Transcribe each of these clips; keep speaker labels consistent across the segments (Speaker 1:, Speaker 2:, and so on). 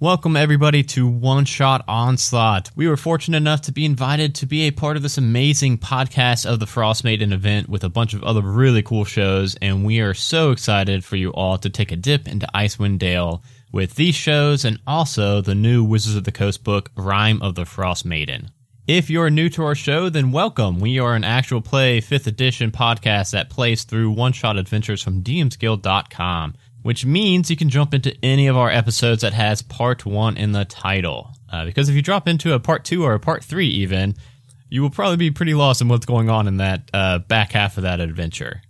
Speaker 1: Welcome, everybody, to One Shot Onslaught. We were fortunate enough to be invited to be a part of this amazing podcast of the Frost Maiden event with a bunch of other really cool shows, and we are so excited for you all to take a dip into Icewind Dale with these shows and also the new Wizards of the Coast book, Rhyme of the Frost Maiden. If you're new to our show, then welcome. We are an actual play 5th edition podcast that plays through one shot adventures from DMsGuild.com, which means you can jump into any of our episodes that has part 1 in the title. Uh, because if you drop into a part 2 or a part 3 even, you will probably be pretty lost in what's going on in that uh, back half of that adventure.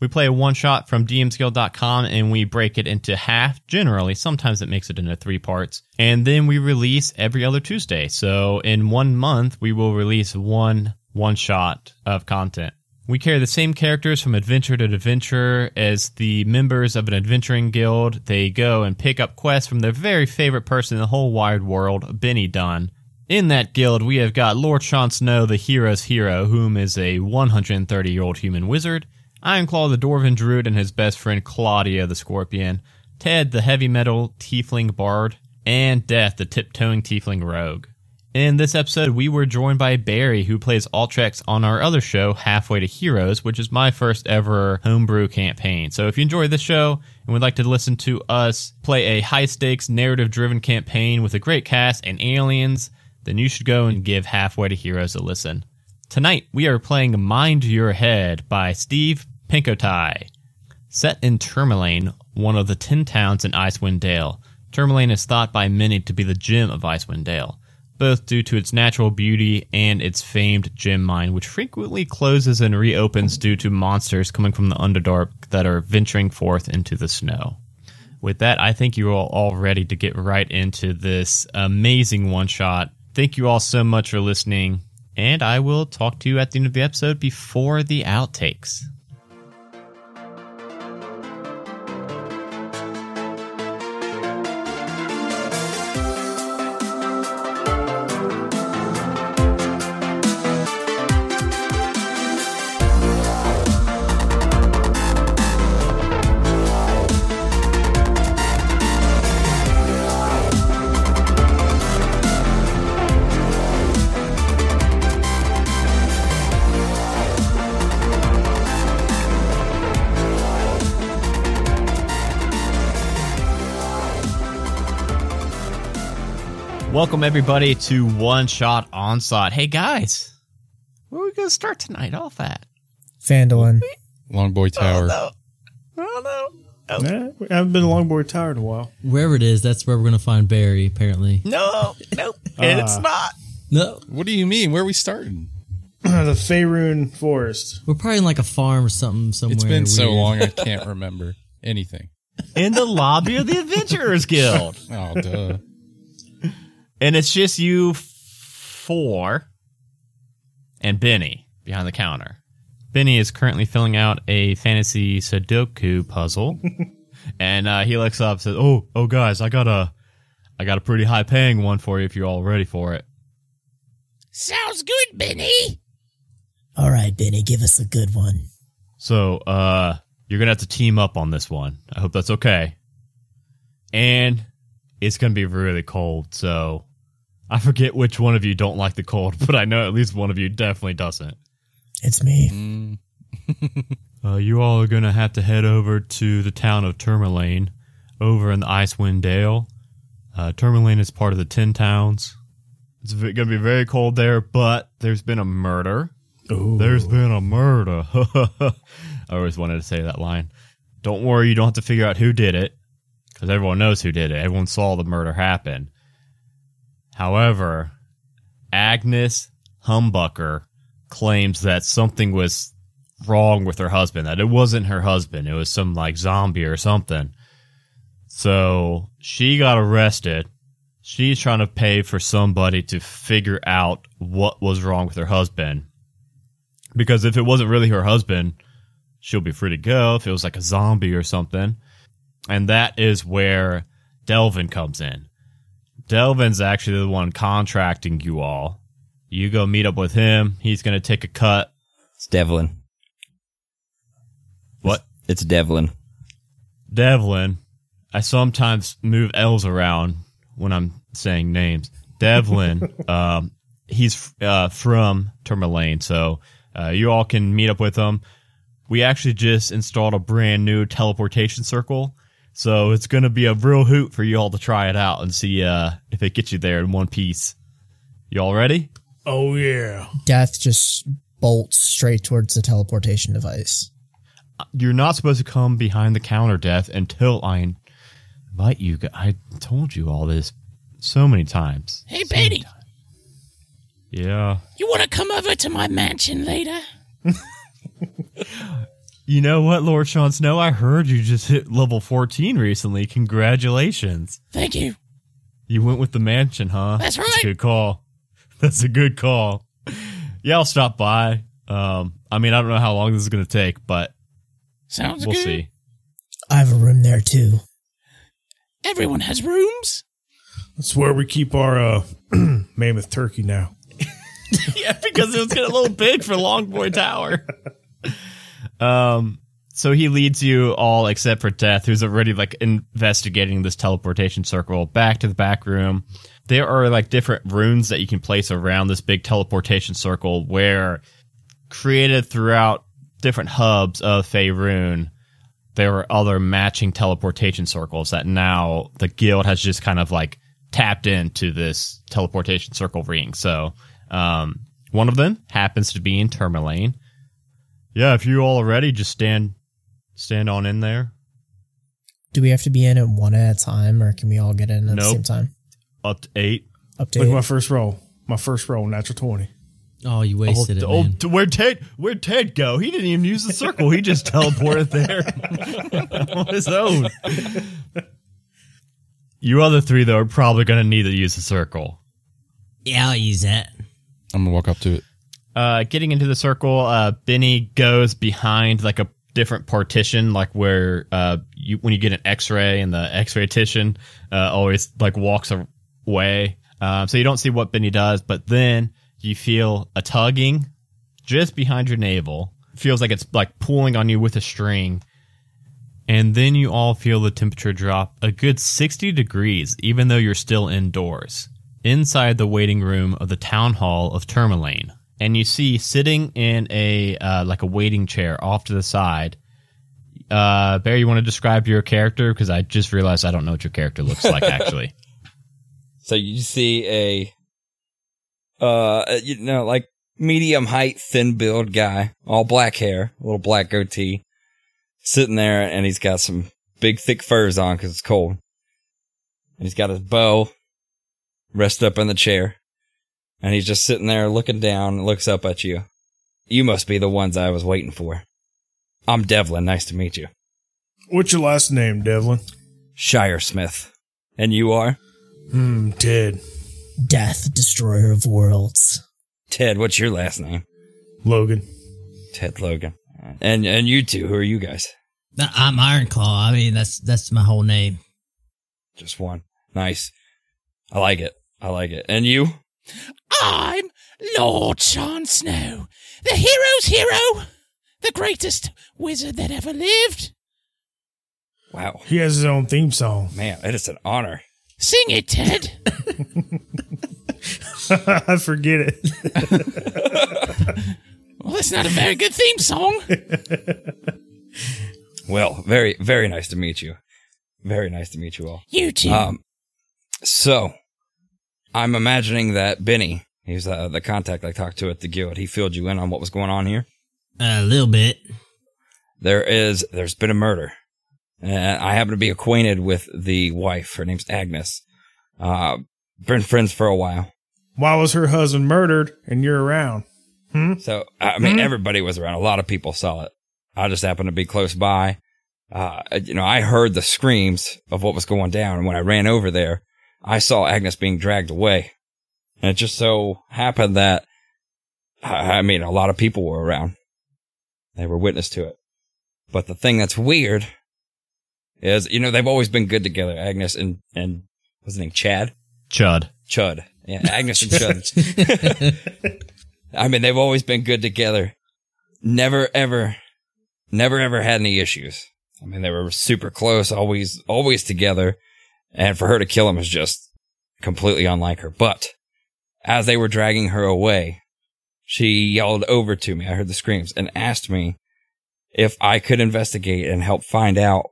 Speaker 1: We play a one shot from dmskill.com and we break it into half generally. Sometimes it makes it into three parts. And then we release every other Tuesday. So in one month, we will release one one shot of content. We carry the same characters from adventure to adventure as the members of an adventuring guild. They go and pick up quests from their very favorite person in the whole wide world, Benny Dunn. In that guild, we have got Lord Sean Snow, the hero's hero, whom is a 130 year old human wizard. Ironclaw the Dwarven Druid and his best friend Claudia the Scorpion, Ted the Heavy Metal Tiefling Bard, and Death the Tiptoeing Tiefling Rogue. In this episode, we were joined by Barry, who plays Altrex on our other show, Halfway to Heroes, which is my first ever homebrew campaign. So if you enjoy this show and would like to listen to us play a high stakes, narrative driven campaign with a great cast and aliens, then you should go and give Halfway to Heroes a listen. Tonight, we are playing Mind Your Head by Steve Pinkotai. Set in Tourmaline, one of the ten towns in Icewind Dale, Tourmaline is thought by many to be the gem of Icewind Dale, both due to its natural beauty and its famed gem mine, which frequently closes and reopens due to monsters coming from the Underdark that are venturing forth into the snow. With that, I think you are all ready to get right into this amazing one shot. Thank you all so much for listening, and I will talk to you at the end of the episode before the outtakes. Welcome everybody to One Shot Onslaught. Hey guys, where are we gonna start tonight off at?
Speaker 2: Fandolin.
Speaker 3: Longboy Tower.
Speaker 1: Oh no,
Speaker 4: Yeah, I haven't been to Longboard Tower in a while.
Speaker 5: Wherever it is, that's where we're gonna find Barry. Apparently,
Speaker 1: no, nope,
Speaker 4: Ah.
Speaker 1: not.
Speaker 5: no,
Speaker 3: What do you mean? Where are we starting?
Speaker 4: the Faerun Forest.
Speaker 5: we're probably in like a farm or something somewhere.
Speaker 3: It's been so
Speaker 5: weird.
Speaker 3: long I can't remember anything.
Speaker 1: In the lobby of the Adventurers Guild,
Speaker 3: Oh, duh.
Speaker 1: and it's just you f- four and Benny behind the counter. Benny is currently filling out a fantasy Sudoku puzzle, and uh, he looks up and says, "Oh, oh guys, I got a, I got a pretty high paying one for you if you're all ready for it."
Speaker 2: All right, Benny, give us a good one.
Speaker 1: So, uh, you're gonna have to team up on this one. I hope that's okay. And it's gonna be really cold, so I forget which one of you don't like the cold, but I know at least one of you definitely doesn't.
Speaker 2: It's me.
Speaker 3: Mm.
Speaker 1: Uh, you all are gonna have to head over to the town of Tourmaline, over in the Icewind Dale. Uh, Tourmaline is part of the Ten Towns. It's v- gonna be very cold there, but there's been a murder. There's been a murder. I always wanted to say that line. Don't worry, you don't have to figure out who did it, because everyone knows who did it. Everyone saw the murder happen. However, Agnes Humbucker claims that something was wrong with her husband, that it wasn't her husband, it was some like zombie or something. So she got arrested. She's trying to pay for somebody to figure out what was wrong with her husband. Because if it wasn't really her husband, she'll be free to go if it was like a zombie or something. And that is where Delvin comes in. Delvin's actually the one contracting you all. You go meet up with him. He's going to take a cut.
Speaker 6: It's Devlin.
Speaker 1: What?
Speaker 6: It's Devlin.
Speaker 1: Devlin. I sometimes move L's around when I'm saying names. Devlin, um, he's uh, from Tourmaline, so uh, you all can meet up with him. We actually just installed a brand new teleportation circle, so it's going to be a real hoot for you all to try it out and see uh, if it gets you there in one piece. You all ready?
Speaker 4: Oh yeah.
Speaker 2: Death just bolts straight towards the teleportation device.
Speaker 1: You're not supposed to come behind the counter, Death, until I invite you. gu- I told you all this so many times.
Speaker 6: Hey, Betty,
Speaker 1: Yeah.
Speaker 6: you want to come over to my mansion later?
Speaker 1: You know what, Lord Sean Snow? I heard you just hit level 14 recently. Congratulations.
Speaker 6: Thank you.
Speaker 1: You went with the mansion, huh?
Speaker 6: That's
Speaker 1: That's
Speaker 6: right.
Speaker 1: a good call. That's a good call. Yeah, I'll stop by. Um, I mean, I don't know how long this is going to take, but
Speaker 6: Sounds
Speaker 1: we'll
Speaker 6: good.
Speaker 1: see.
Speaker 2: I have a room there too.
Speaker 6: Everyone has rooms.
Speaker 4: That's where we keep our uh, mammoth turkey now.
Speaker 1: yeah, because it was getting a little big for Longboy Tower. Um, so he leads you all except for Death, who's already like investigating this teleportation circle back to the back room. There are like different runes that you can place around this big teleportation circle where created throughout different hubs of Faerun, there were other matching teleportation circles that now the guild has just kind of like tapped into this teleportation circle ring. So um, one of them happens to be in Tourmaline. Yeah, if you all are ready, just stand stand on in there.
Speaker 2: Do we have to be in it one at a time, or can we all get in at the
Speaker 1: Nope.
Speaker 2: same time?
Speaker 1: Up to eight.
Speaker 2: Update.
Speaker 4: Look at my first roll. My first roll, natural twenty.
Speaker 5: Oh, you wasted it,
Speaker 1: oh,
Speaker 5: man.
Speaker 1: t- where'd Ted where'd Ted go? He didn't even use the circle. He just teleported there on his own. You other three though are probably gonna need to use the circle.
Speaker 5: Yeah, I'll use that.
Speaker 3: I'm gonna walk up to it.
Speaker 1: uh, getting into the circle, uh, Benny goes behind like a different partition, like where uh, you when you get an X-ray and the X-ray titian uh, always like walks away. Um, so you don't see what Benny does, but then you feel a tugging just behind your navel. Feels like it's like pulling on you with a string. And then you all feel the temperature drop a good 60 degrees, even though you're still indoors, inside the waiting room of the town hall of Tourmaline. And you see sitting in a uh, like a waiting chair off to the side. Uh, Barry, you want to describe your character because I just realized I don't know what your character looks like actually.
Speaker 7: So you see a, uh, you know, like medium height, thin build guy, all black hair, little black goatee, sitting there, and he's got some big, thick furs on because it's cold. And he's got his bow rested up in the chair, and he's just sitting there looking down and looks up at you. You must be the ones I was waiting for. I'm Devlin. Nice to meet you.
Speaker 4: What's your last name, Devlin?
Speaker 7: Shire Smith. And you are?
Speaker 4: Hmm, Ted.
Speaker 2: Death, destroyer of worlds.
Speaker 7: Ted, what's your last name?
Speaker 4: Logan.
Speaker 7: Ted Logan. And and you two, who are you guys?
Speaker 5: No, I'm Iron Claw. I mean, that's that's my whole name.
Speaker 7: Just one. Nice. I like it. I like it. And you?
Speaker 6: I'm Lord Sean Snow, the hero's hero, the greatest wizard that ever lived.
Speaker 7: Wow.
Speaker 4: He has his own theme song.
Speaker 7: Man, it is an honor.
Speaker 6: Sing it, Ted.
Speaker 4: I forget it.
Speaker 6: well, that's not a very good theme song.
Speaker 7: Well, very very nice to meet you. Very nice to meet you all.
Speaker 6: You two.
Speaker 7: Um so I'm imagining that Benny, he's uh, the contact I talked to at the guild. He filled you in on what was going on here.
Speaker 5: A little bit.
Speaker 7: There is there's been a murder. And I happen to be acquainted with the wife. Her name's Agnes. Uh been friends for a while.
Speaker 4: Why was her husband murdered and you're around?
Speaker 7: So I mean, everybody was around. A lot of people saw it. I just happened to be close by. Uh, you know, I heard the screams of what was going down, and when I ran over there, I saw Agnes being dragged away. And it just so happened that, I I mean, a lot of people were around. They were witness to it. But the thing that's weird is, you know, they've always been good together. Agnes and and what's his name, Chad.
Speaker 1: Chud.
Speaker 7: Chud. Yeah, Agnes and Chud. I mean, they've always been good together. Never ever, never ever had any issues. I mean, they were super close, always, always together. And for her to kill him is just completely unlike her. But as they were dragging her away, she yelled over to me. I heard the screams and asked me if I could investigate and help find out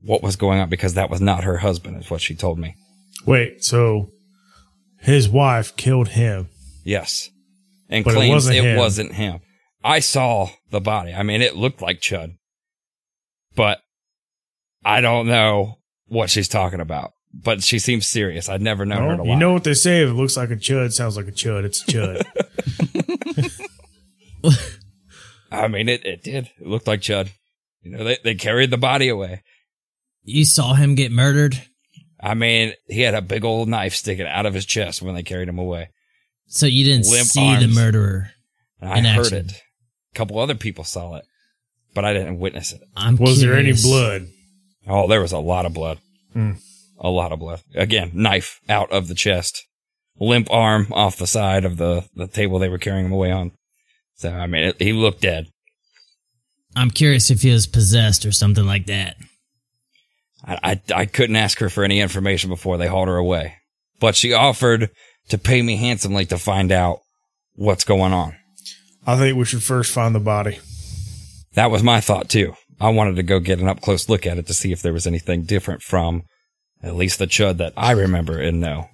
Speaker 7: what was going on because that was not her husband, is what she told me.
Speaker 4: Wait, so his wife killed him.
Speaker 7: Yes. And
Speaker 4: But it
Speaker 7: claims it, wasn't,
Speaker 4: wasn't
Speaker 7: him.
Speaker 4: him.
Speaker 7: I saw the body. I mean, it looked like Chud. But I don't know what she's talking about. But she seems serious. I'd never known her to
Speaker 4: Well,
Speaker 7: lie.
Speaker 4: you know what they say? If it looks like a chud, sounds like a chud. It's a chud.
Speaker 7: I mean, it, it did. It looked like Chud. You know, they, they carried the body away.
Speaker 5: You saw him get murdered.
Speaker 7: I mean, he had a big old knife sticking out of his chest when they carried him away.
Speaker 5: So you didn't
Speaker 7: Limp
Speaker 5: see the
Speaker 7: arms.
Speaker 5: murderer.
Speaker 7: And I
Speaker 5: In
Speaker 7: heard
Speaker 5: action.
Speaker 7: it. A couple other people saw it, but I didn't witness it.
Speaker 5: I'm
Speaker 4: Was there any
Speaker 5: curious.
Speaker 4: blood?
Speaker 7: Oh, there was a lot of blood.
Speaker 4: Hmm.
Speaker 7: A lot of blood. Again, knife out of the chest, limp arm off the side of the, the table they were carrying him away on. So, I mean, it, he looked dead.
Speaker 5: I'm curious if he was possessed or something like that.
Speaker 7: I, I, I couldn't ask her for any information before they hauled her away, but she offered to pay me handsomely to find out what's going on.
Speaker 4: I think we should first find the body.
Speaker 7: That was my thought too. I wanted to go get an up close look at it to see if there was anything different from at least the chud that I remember and know.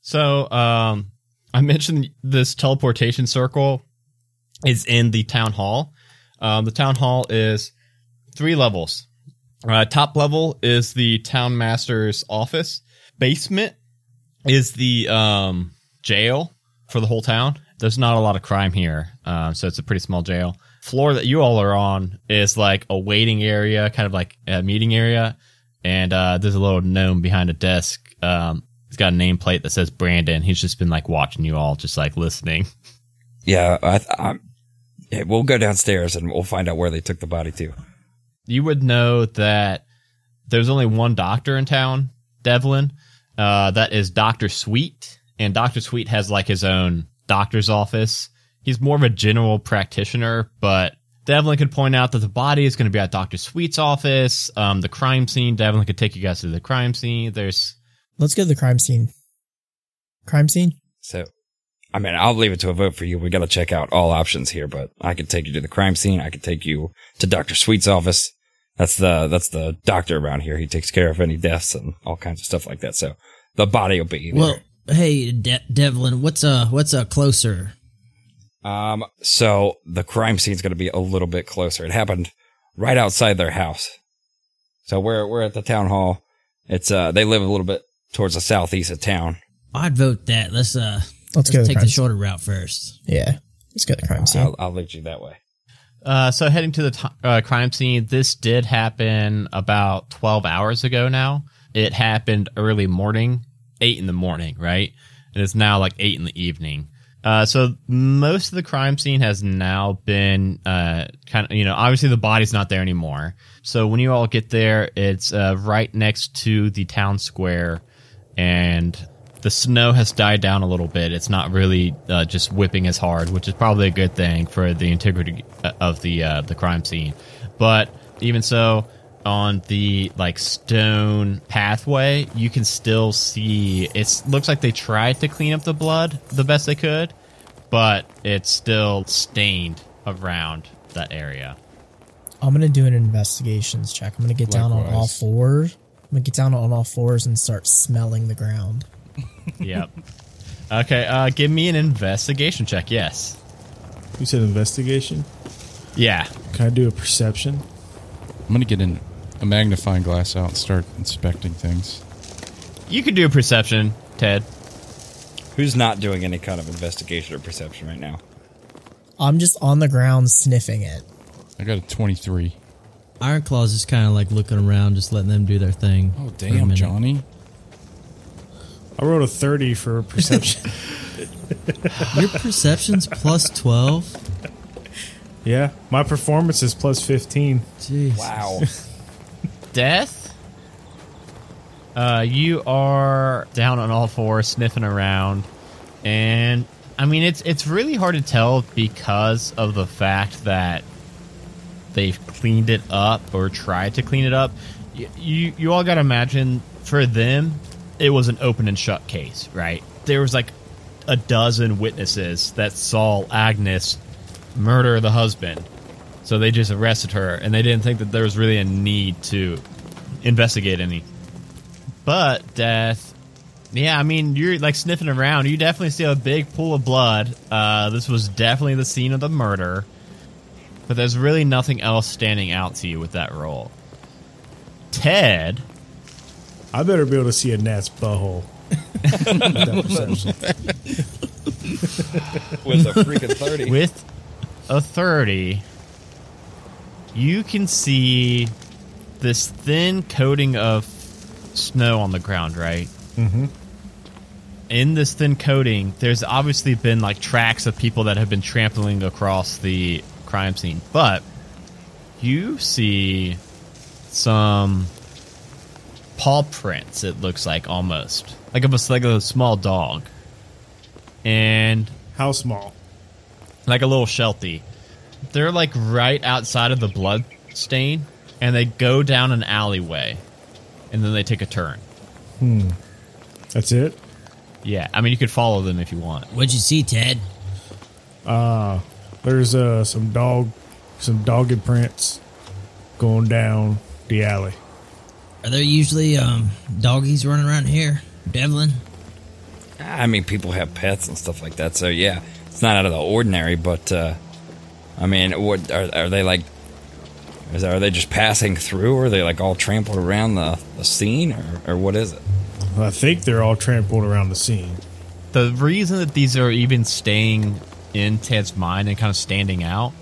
Speaker 1: So, um, I mentioned this teleportation circle is in the town hall. Um, the town hall is three levels. Uh, top level is the town master's office. Basement is the um, jail for the whole town. There's not a lot of crime here, um, so it's a pretty small jail. Floor that you all are on is like a waiting area, kind of like a meeting area, and uh, there's a little gnome behind a desk. Um, he's got a nameplate that says Brandon. He's just been like watching you all, just like listening.
Speaker 7: Yeah, I, I, yeah, we'll go downstairs and we'll find out where they took the body to.
Speaker 1: you would know that there's only one doctor in town, Devlin. Uh, that is Doctor Sweet, and Doctor Sweet has like his own doctor's office. He's more of a general practitioner, but Devlin could point out that the body is going to be at Doctor Sweet's office. Um, the crime scene. Devlin could take you guys to the crime scene. There's
Speaker 2: Let's go to the crime scene. Crime scene?
Speaker 7: So, I mean, I'll leave it to a vote for you. We got to check out all options here, but I could take you to the crime scene. I could take you to Doctor Sweet's office. That's the that's the doctor around here. He takes care of any deaths and all kinds of stuff like that. So the body will be there.
Speaker 5: Well, hey, De- Devlin, what's uh what's uh closer?
Speaker 7: Um, so the crime scene's going to be a little bit closer. It happened right outside their house. So we're we're at the town hall. It's uh they live a little bit towards the southeast of town.
Speaker 5: I'd vote that. Let's uh
Speaker 2: Let's,
Speaker 5: let's
Speaker 2: go to the
Speaker 5: take
Speaker 2: crime
Speaker 5: the
Speaker 2: scene.
Speaker 5: shorter route first.
Speaker 2: Yeah. Let's go to the crime scene.
Speaker 7: I'll, I'll lead you that way.
Speaker 1: Uh, so heading to the t- uh, crime scene, this did happen about 12 hours ago now. It happened early morning, 8 in the morning, right? And it's now like 8 in the evening. Uh, so most of the crime scene has now been uh, kind of, you know, obviously the body's not there anymore. So when you all get there, it's uh, right next to the town square and the snow has died down a little bit. It's not really uh, just whipping as hard, which is probably a good thing for the integrity uh, of the uh, the crime scene. But even so, on the like stone pathway, you can still see. It looks like they tried to clean up the blood the best they could, but it's still stained around that area.
Speaker 2: I'm gonna do an investigations check. I'm gonna get down on all
Speaker 3: Likewise.
Speaker 2: fours. I'm gonna get down on all fours and start smelling the ground.
Speaker 1: Yep. Okay, uh, give me an investigation check. Yes.
Speaker 4: You said investigation?
Speaker 1: Yeah.
Speaker 4: Can I do a perception?
Speaker 3: I'm going to get in a magnifying glass out and start inspecting things.
Speaker 1: You could do a perception, Ted.
Speaker 7: Who's not doing any kind of investigation or perception right now?
Speaker 2: I'm just on the ground sniffing it.
Speaker 3: I got a 23.
Speaker 5: Iron Claw's just kind of like looking around, just letting them do their thing.
Speaker 3: Oh,
Speaker 5: for a
Speaker 3: damn,
Speaker 5: minute.
Speaker 3: Johnny.
Speaker 4: I wrote a 30 for perception.
Speaker 5: Your perception's plus twelve.
Speaker 4: yeah. My performance is plus 15.
Speaker 5: Jeez.
Speaker 7: Wow.
Speaker 1: death. Uh, you are down on all fours, sniffing around, and I mean it's it's really hard to tell because of the fact that they've cleaned it up or tried to clean it up. Y- You you all got to imagine for them, it was an open and shut case, right? There was like a dozen witnesses that saw Agnes murder the husband. So they just arrested her and they didn't think that there was really a need to investigate any. But death yeah, I mean, you're like sniffing around. You definitely see a big pool of blood. Uh, this was definitely the scene of the murder. But there's really nothing else standing out to you with that roll. Ted,
Speaker 4: I better be able to see a gnat's butthole. With that perception.
Speaker 7: with a freaking 30.
Speaker 1: with a 30, you can see this thin coating of snow on the ground, right? Mm-hmm. In this thin coating, there's obviously been like tracks of people that have been trampling across the crime scene, but you see some paw prints. It looks like almost like of a like a small dog, and
Speaker 4: How small?
Speaker 1: like a little shelty. They're like right outside of the blood stain, and they go down an alleyway, and then they take a turn.
Speaker 4: That's it.
Speaker 1: Yeah, I mean you could follow them if you want.
Speaker 5: What'd you see, Ted?
Speaker 4: There's uh, some dog, some dogged prints going down the alley.
Speaker 5: Are there usually um, doggies running around here? Devlin?
Speaker 7: I mean, people have pets and stuff like that, so yeah, it's not out of the ordinary. But uh, I mean, what are, are they like? Is, are they just passing through? Or are they like all trampled around the, the scene, or, or what is it?
Speaker 4: I think they're all trampled around the scene.
Speaker 1: the reason that these are even staying in Ted's mind and kind of standing out.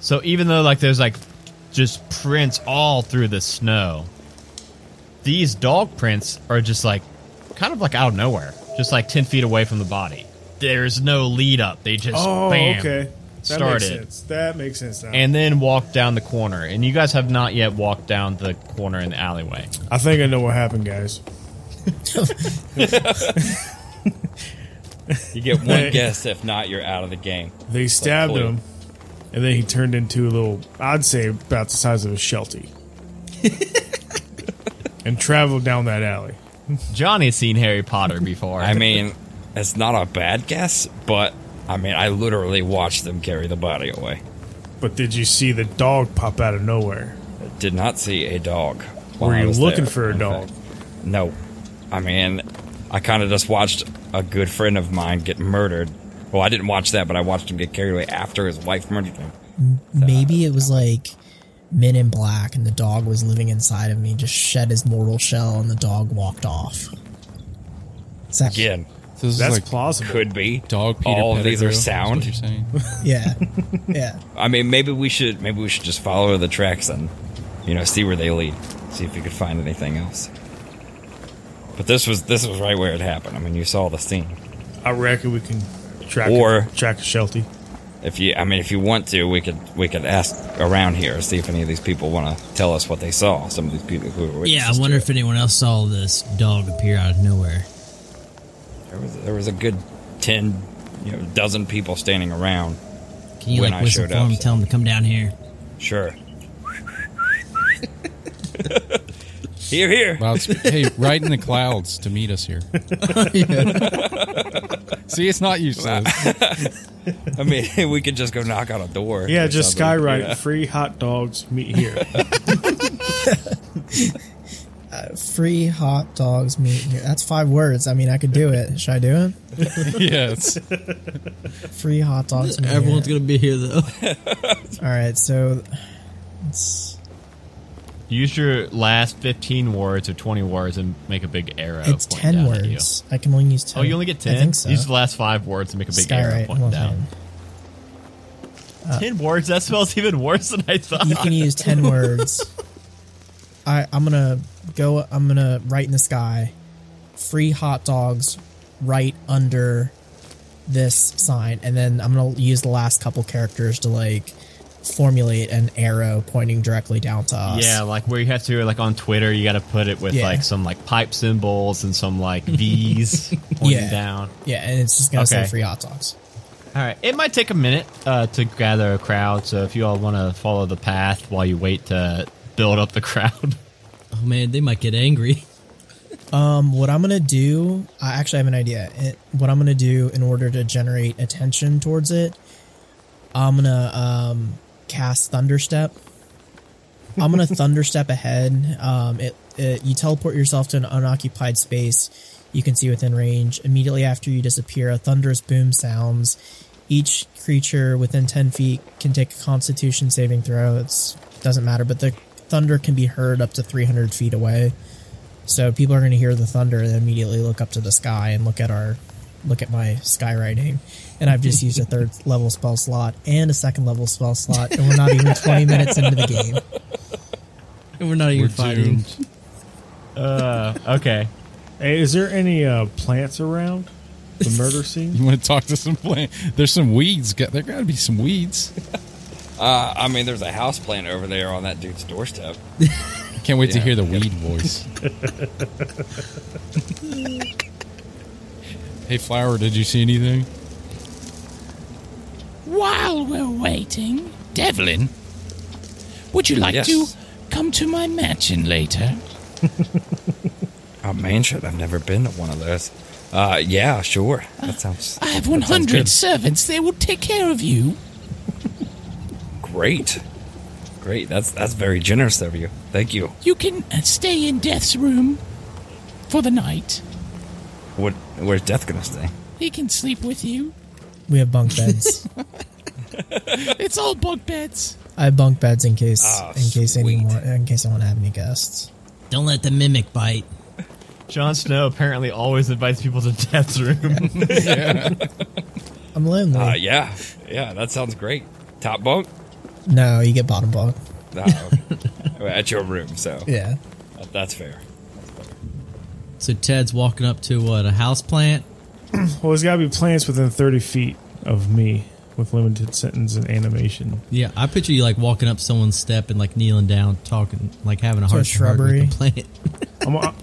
Speaker 1: So even though like there's like just prints all through the snow, these dog prints are just like kind of like out of nowhere, just like ten feet away from the body. There's no lead up. They just
Speaker 4: Oh,
Speaker 1: bam,
Speaker 4: okay. That
Speaker 1: started
Speaker 4: makes sense. That makes sense now.
Speaker 1: and then walked down the corner. And you guys have not yet walked down the corner in the alleyway.
Speaker 4: I think I know what happened, guys.
Speaker 7: You get one guess. If not, you're out of the game.
Speaker 4: They stabbed
Speaker 7: clue.
Speaker 4: him, and then he turned into a little, I'd say about the size of a sheltie. and traveled down that alley.
Speaker 1: Johnny's seen Harry Potter before.
Speaker 7: I mean, it's not a bad guess, but I mean, I literally watched them carry the body away.
Speaker 4: But did you see the dog pop out of nowhere?
Speaker 7: I did not see a dog. while
Speaker 4: Were
Speaker 7: I
Speaker 4: you
Speaker 7: was
Speaker 4: looking
Speaker 7: there,
Speaker 4: for a
Speaker 7: in
Speaker 4: dog?
Speaker 7: fact. No. I mean, I kind of just watched a good friend of mine get murdered. Well, I didn't watch that, but I watched him get carried away after his wife murdered him.
Speaker 2: Maybe it was like Men in Black and the dog was living inside of me, just shed his mortal shell and the dog walked off. Is that-
Speaker 7: Again,
Speaker 3: So this
Speaker 4: That's
Speaker 3: is like
Speaker 4: plausible.
Speaker 7: could be
Speaker 3: dog Peter
Speaker 7: All of
Speaker 3: Pettigrew,
Speaker 7: these are
Speaker 3: is what
Speaker 7: sound.
Speaker 3: you're saying.
Speaker 2: Yeah. Yeah.
Speaker 7: I mean, maybe we should maybe we should just follow the tracks and you know see where they lead, see if you could find anything else. But this was this was right where it happened. I mean, you saw the scene.
Speaker 4: I reckon we can track
Speaker 7: Or-
Speaker 4: track a sheltie.
Speaker 7: If you, I mean, if you want to, we could we could ask around here see if any of these people want to tell us what they saw. Some of these people who were witnesses
Speaker 5: Yeah, I
Speaker 7: to
Speaker 5: wonder
Speaker 7: it.
Speaker 5: if anyone else saw this dog appear out of nowhere.
Speaker 7: there was there was a good ten, you know, dozen people standing around.
Speaker 5: Can you
Speaker 7: When
Speaker 5: like
Speaker 7: I
Speaker 5: whistle
Speaker 7: showed
Speaker 5: for
Speaker 7: up,
Speaker 5: him,
Speaker 7: so-
Speaker 5: tell him to come down here?
Speaker 7: Sure. here, here.
Speaker 3: Loud spe- hey, right in the clouds to meet us here. See, it's not useless.
Speaker 7: I mean, we could just go knock on a door.
Speaker 4: Yeah,
Speaker 7: or
Speaker 4: just
Speaker 7: something.
Speaker 4: skywrite
Speaker 7: Yeah.
Speaker 4: free hot dogs meet here.
Speaker 2: Free hot dogs meat. here. That's five words. I mean, I could do it. Should I do it?
Speaker 3: yes.
Speaker 2: Free hot dogs. meat
Speaker 5: Everyone's
Speaker 2: here.
Speaker 5: gonna be here though.
Speaker 2: All right. So, it's,
Speaker 1: Use your last 15 words or 20 words and make a big arrow.
Speaker 2: it's
Speaker 1: point
Speaker 2: ten
Speaker 1: down at you.
Speaker 2: words. I can only use ten.
Speaker 1: Oh, you only get 10?
Speaker 2: I think so.
Speaker 1: Use the last five words and make a big arrow
Speaker 2: Skyrite.
Speaker 1: point
Speaker 2: Well,
Speaker 1: down.
Speaker 2: fine.
Speaker 1: 10 words? That smells even worse than I thought.
Speaker 2: you can use 10 words i i'm gonna go i'm gonna write in the sky free hot dogs right under this sign and then i'm gonna use the last couple characters to like formulate an arrow pointing directly down to us
Speaker 1: Yeah, like where you have to, like on Twitter, you got to put it with
Speaker 2: Yeah.
Speaker 1: like some like pipe symbols and some like V's pointing
Speaker 2: Yeah.
Speaker 1: down.
Speaker 2: yeah and it's just gonna say
Speaker 1: Okay.
Speaker 2: free hot dogs
Speaker 1: All right. It might take a minute uh, to gather a crowd, so if you all want to follow the path while you wait to build up the crowd.
Speaker 5: Oh man, they might get angry.
Speaker 2: Um, what I'm gonna do, I actually have an idea. It, what I'm gonna do in order to generate attention towards it, I'm gonna um, cast Thunderstep. I'm gonna Thunderstep ahead. Um, it, it you teleport yourself to an unoccupied space you can see within range. Immediately after you disappear, a thunderous boom sounds. Each creature within ten feet can take a Constitution saving throw. It doesn't matter, but the thunder can be heard up to 300 feet away. So people are going to hear the thunder and immediately look up to the sky and look at our look at my skywriting. And I've just used a third level spell slot and a second level spell slot, and we're not even 20 minutes into the game.
Speaker 5: And we're not even
Speaker 3: We're
Speaker 5: fighting.
Speaker 3: doomed.
Speaker 1: Okay.
Speaker 4: Hey, is there any uh, plants around the murder scene?
Speaker 3: You want to talk to some plant? There's some weeds. Got there got to be some weeds.
Speaker 7: Uh, I mean, there's a house plant over there on that dude's doorstep.
Speaker 3: I can't wait to
Speaker 7: Yeah.
Speaker 3: hear the weed voice. hey, flower, did you see anything?
Speaker 6: While we're waiting, Devlin, would you like
Speaker 7: Yes.
Speaker 6: to come to my mansion later?
Speaker 7: A mansion? I've never been to one of those. Uh, yeah, sure. That sounds
Speaker 6: I have
Speaker 7: that sounds
Speaker 6: 100
Speaker 7: good.
Speaker 6: servants. They will take care of you.
Speaker 7: Great, great. That's that's very generous of you. Thank you.
Speaker 6: You can uh, stay in Death's room for the night.
Speaker 7: What? Where's Death gonna stay?
Speaker 6: He can sleep with you.
Speaker 2: We have bunk beds.
Speaker 6: It's all bunk beds.
Speaker 2: I have bunk beds in case
Speaker 7: Ah,
Speaker 2: in case
Speaker 7: sweet.
Speaker 2: anyone in case I want to have any guests.
Speaker 5: Don't let the mimic bite.
Speaker 1: Jon Snow apparently always invites people to death's room.
Speaker 2: I'm lonely.
Speaker 7: Uh, yeah, yeah. That sounds great. Top bunk.
Speaker 2: no, you get bottom bunk.
Speaker 7: Ah, okay. Well, At your room, so
Speaker 2: Yeah.
Speaker 7: that- that's fair.
Speaker 5: So Ted's walking up to what a house plant.
Speaker 4: Well, there's got to be plants within 30 feet of me with limited sentence and animation.
Speaker 5: Yeah, I picture you like walking up someone's step and like kneeling down, talking, like having a
Speaker 2: To a
Speaker 5: heart
Speaker 2: shrubbery.
Speaker 5: with the plant.
Speaker 4: I'm gonna,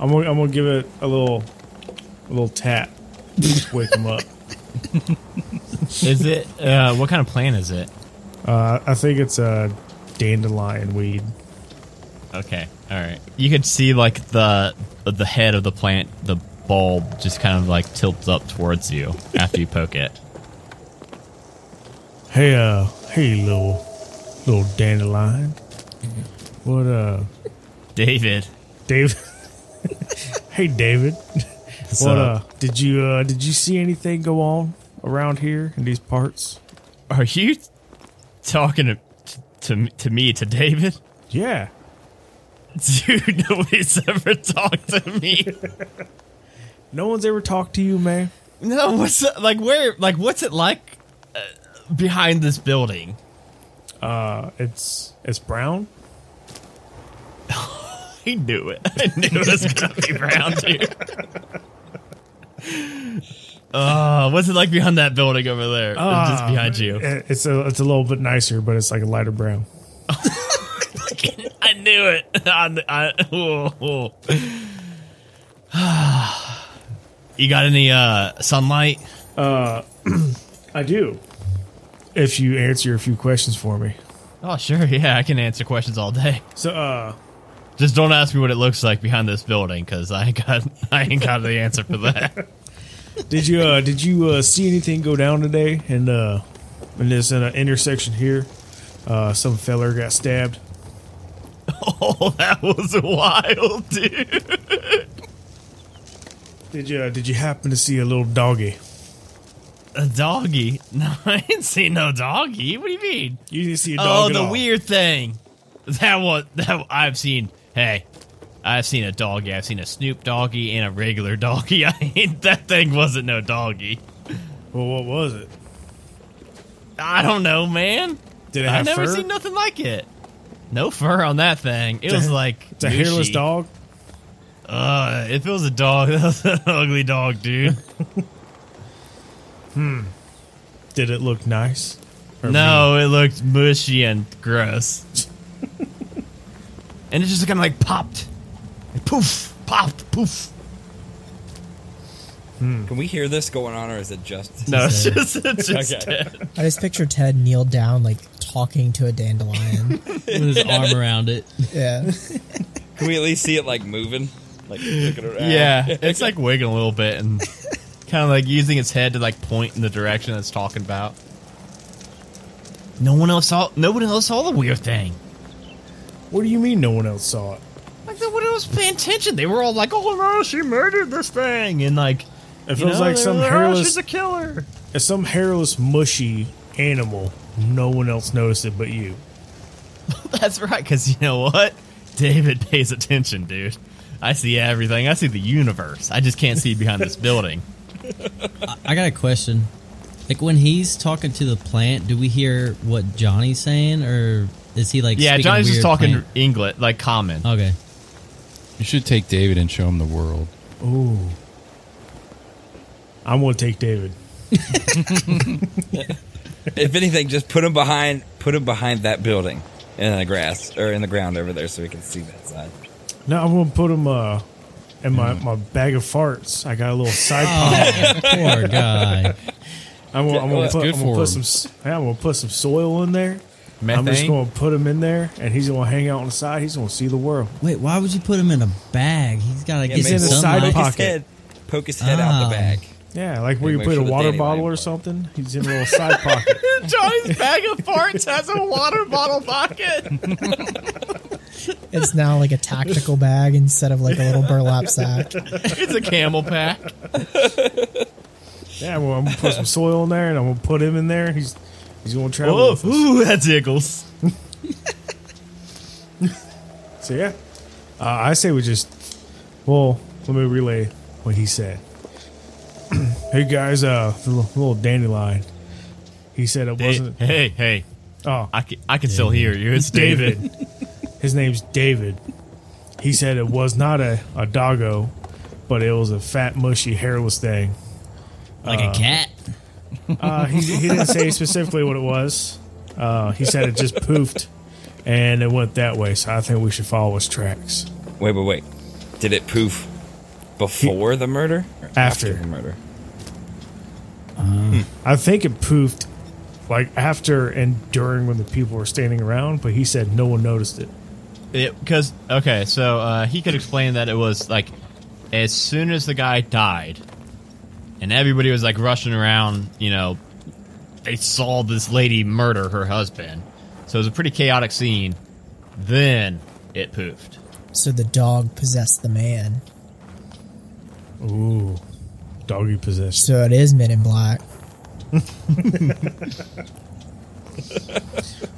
Speaker 4: I'm gonna, I'm gonna give it a little, a little tap. Just wake him up.
Speaker 1: is it? Uh, what kind of plan is it?
Speaker 4: Uh, I think it's a dandelion weed.
Speaker 1: Okay. All right. You could see like the the head of the plant, the bulb just kind of like tilts up towards you after you poke it.
Speaker 4: Hey, uh, hey, little, little dandelion. What, uh,
Speaker 1: David.
Speaker 4: Dave? hey, David.
Speaker 1: What's
Speaker 4: What, uh,
Speaker 1: up?
Speaker 4: did you, uh, did you see anything go on around here in these parts?
Speaker 1: Are you talking to to, me- to me to David?
Speaker 4: Yeah.
Speaker 1: Dude, nobody's ever talked to me.
Speaker 4: No one's ever talked to you, man.
Speaker 1: No, what's like where like what's it like uh, behind this building?
Speaker 4: Uh, it's, it's brown.
Speaker 1: I knew it. I knew it was gonna be round here. Uh, what's it like behind that building over there? Or just
Speaker 4: Ah,
Speaker 1: behind you.
Speaker 4: it- It's a, it's a little bit nicer, but it's like a lighter brown.
Speaker 1: I knew it. I, kn- I- oh, oh. you got any uh, sunlight?
Speaker 4: I do. If you answer a few questions for me.
Speaker 1: Oh, sure. Yeah, I can answer questions all day.
Speaker 4: So, uh,
Speaker 1: Just don't ask me what it looks like behind this building, cause I ain't got I ain't got the answer for that.
Speaker 4: Did you uh, did you uh, see anything go down today in uh, in this uh, intersection here? Uh, some feller got stabbed.
Speaker 1: oh, that was wild, dude.
Speaker 4: Did you uh, did you happen to see a little doggy?
Speaker 1: A doggy? No, I didn't see no doggy. What do you mean?
Speaker 4: You didn't see a
Speaker 1: Oh,
Speaker 4: dog. at
Speaker 1: the
Speaker 4: all.
Speaker 1: weird thing. That one. That I've seen. Hey, I've seen a doggy. I've seen a Snoop doggy and a regular doggy. I ain't, that thing wasn't no doggy.
Speaker 4: Well, what was it?
Speaker 1: I don't know, man.
Speaker 4: Did it
Speaker 1: I've
Speaker 4: have
Speaker 1: never
Speaker 4: fur?
Speaker 1: seen nothing like it. No fur on that thing. It was like
Speaker 4: It's a hairless
Speaker 1: mushy.
Speaker 4: dog.
Speaker 1: Uh, if it was a dog, that was an ugly dog, dude.
Speaker 4: Did it look nice? Or
Speaker 1: No, it looked mushy and gross. and it just kind of like popped. Like poof, popped, poof.
Speaker 7: Can we hear this going on, or is it just?
Speaker 1: No, it's just, it's just dead.
Speaker 2: I just picture Ted kneel down like talking to a dandelion.
Speaker 5: with his arm around it.
Speaker 2: yeah.
Speaker 7: Can we at least see it like moving? like looking around.
Speaker 1: Yeah, it's like wiggling a little bit and kind of like using its head to like point in the direction it's talking about. No one else saw. No one else saw the weird thing.
Speaker 4: What do you mean no one else saw it?
Speaker 1: Like no one else was paying attention. They were all like, "Oh no, she murdered this thing," and like,
Speaker 4: It
Speaker 1: you
Speaker 4: feels
Speaker 1: know,
Speaker 4: like
Speaker 1: they
Speaker 4: some
Speaker 1: were, "Oh,
Speaker 4: hairless,
Speaker 1: she's a killer.
Speaker 4: it's some hairless, mushy animal. No one else noticed it but you.
Speaker 1: That's right, because you know what? David pays attention, dude. I see everything. I see the universe. I just can't see behind this building.
Speaker 5: I got a question. Like when he's talking to the plant, do we hear what Johnny's saying, or is he like?
Speaker 1: Yeah,
Speaker 5: speaking
Speaker 1: Johnny's just
Speaker 5: weird Uh.
Speaker 1: talking
Speaker 5: plant?
Speaker 1: English, like common.
Speaker 5: Okay.
Speaker 3: You should take David and show him the world.
Speaker 4: Ooh. I'm gonna take David.
Speaker 7: If anything, just put him behind put him behind that building in the grass or in the ground over there so we can see that side.
Speaker 4: No, I'm gonna put him uh in my, my bag of farts. I got a little side pocket.
Speaker 5: Poor guy.
Speaker 4: I'm gonna, I'm gonna
Speaker 3: That's
Speaker 4: put,
Speaker 3: good
Speaker 4: I'm gonna
Speaker 3: for
Speaker 4: put
Speaker 3: him.
Speaker 4: some s- yeah, I'm gonna put some soil in there. I'm just
Speaker 1: Methane?
Speaker 4: gonna put him in there, and he's gonna hang out on the side. He's gonna see the world.
Speaker 5: Wait, why would you put him in a bag? He's got to get
Speaker 4: He's
Speaker 5: some
Speaker 4: in
Speaker 7: maybe
Speaker 4: the
Speaker 7: poke
Speaker 4: side
Speaker 5: sunlight.
Speaker 7: his
Speaker 4: pocket.
Speaker 7: head- poke his head out
Speaker 5: Ah.
Speaker 7: the back.
Speaker 4: Yeah, like where
Speaker 7: Yeah,
Speaker 4: you
Speaker 7: make
Speaker 4: put
Speaker 7: sure
Speaker 4: a
Speaker 7: the
Speaker 4: water
Speaker 7: dandelion
Speaker 4: bottle or
Speaker 7: part.
Speaker 4: something. He's in a little side pocket.
Speaker 1: Johnny's bag of farts has a water bottle pocket.
Speaker 2: It's now like a tactical bag instead of like a little burlap sack.
Speaker 1: It's a camel pack.
Speaker 4: Yeah, well, I'm gonna put some soil in there, and I'm gonna put him in there. He's he's gonna travel.
Speaker 1: Oh,
Speaker 4: with us.
Speaker 1: ooh, that tickles.
Speaker 4: So yeah, uh, I say we just. Well, let me relay what he said. hey guys, uh, the li- little dandelion. He said it wasn't.
Speaker 1: hey, hey,
Speaker 4: Oh,
Speaker 1: I can, I can still hear you. It's David.
Speaker 4: David. His name's David. He said it was not a, a doggo, but it was a fat, mushy, hairless thing.
Speaker 5: like a cat.
Speaker 4: Uh, he, he didn't say specifically what it was. Uh, he said it just poofed and it went that way. So I think we should follow his tracks.
Speaker 7: Wait, wait, wait. Did it poof before the murder? Or
Speaker 4: After.
Speaker 7: the murder.
Speaker 4: I think it poofed like after and during when the people were standing around, but he said no one noticed it.
Speaker 1: Because, okay, so uh, he could explain that it was like as soon as the guy died and everybody was like rushing around, you know, they saw this lady murder her husband. So it was a pretty chaotic scene. Then it poofed.
Speaker 2: So the dog possessed the man.
Speaker 4: Ooh, doggy possession.
Speaker 2: So it is Men in Black.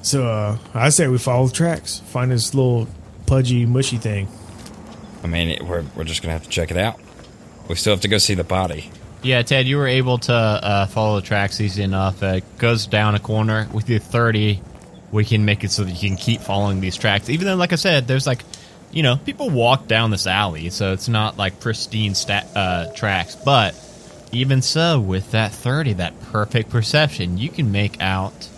Speaker 4: So uh, I say we follow the tracks, find this little pudgy, mushy thing.
Speaker 7: I mean, it, we're, we're just going to have to check it out. We still have to go see the body.
Speaker 1: Yeah, Ted, you were able to uh, follow the tracks easy enough. Uh, It goes down a corner. With your 30, we can make it so that you can keep following these tracks. Even though, like I said, there's like, you know, people walk down this alley, so it's not like pristine sta uh, tracks. But even so, with that 30, that perfect perception, you can make out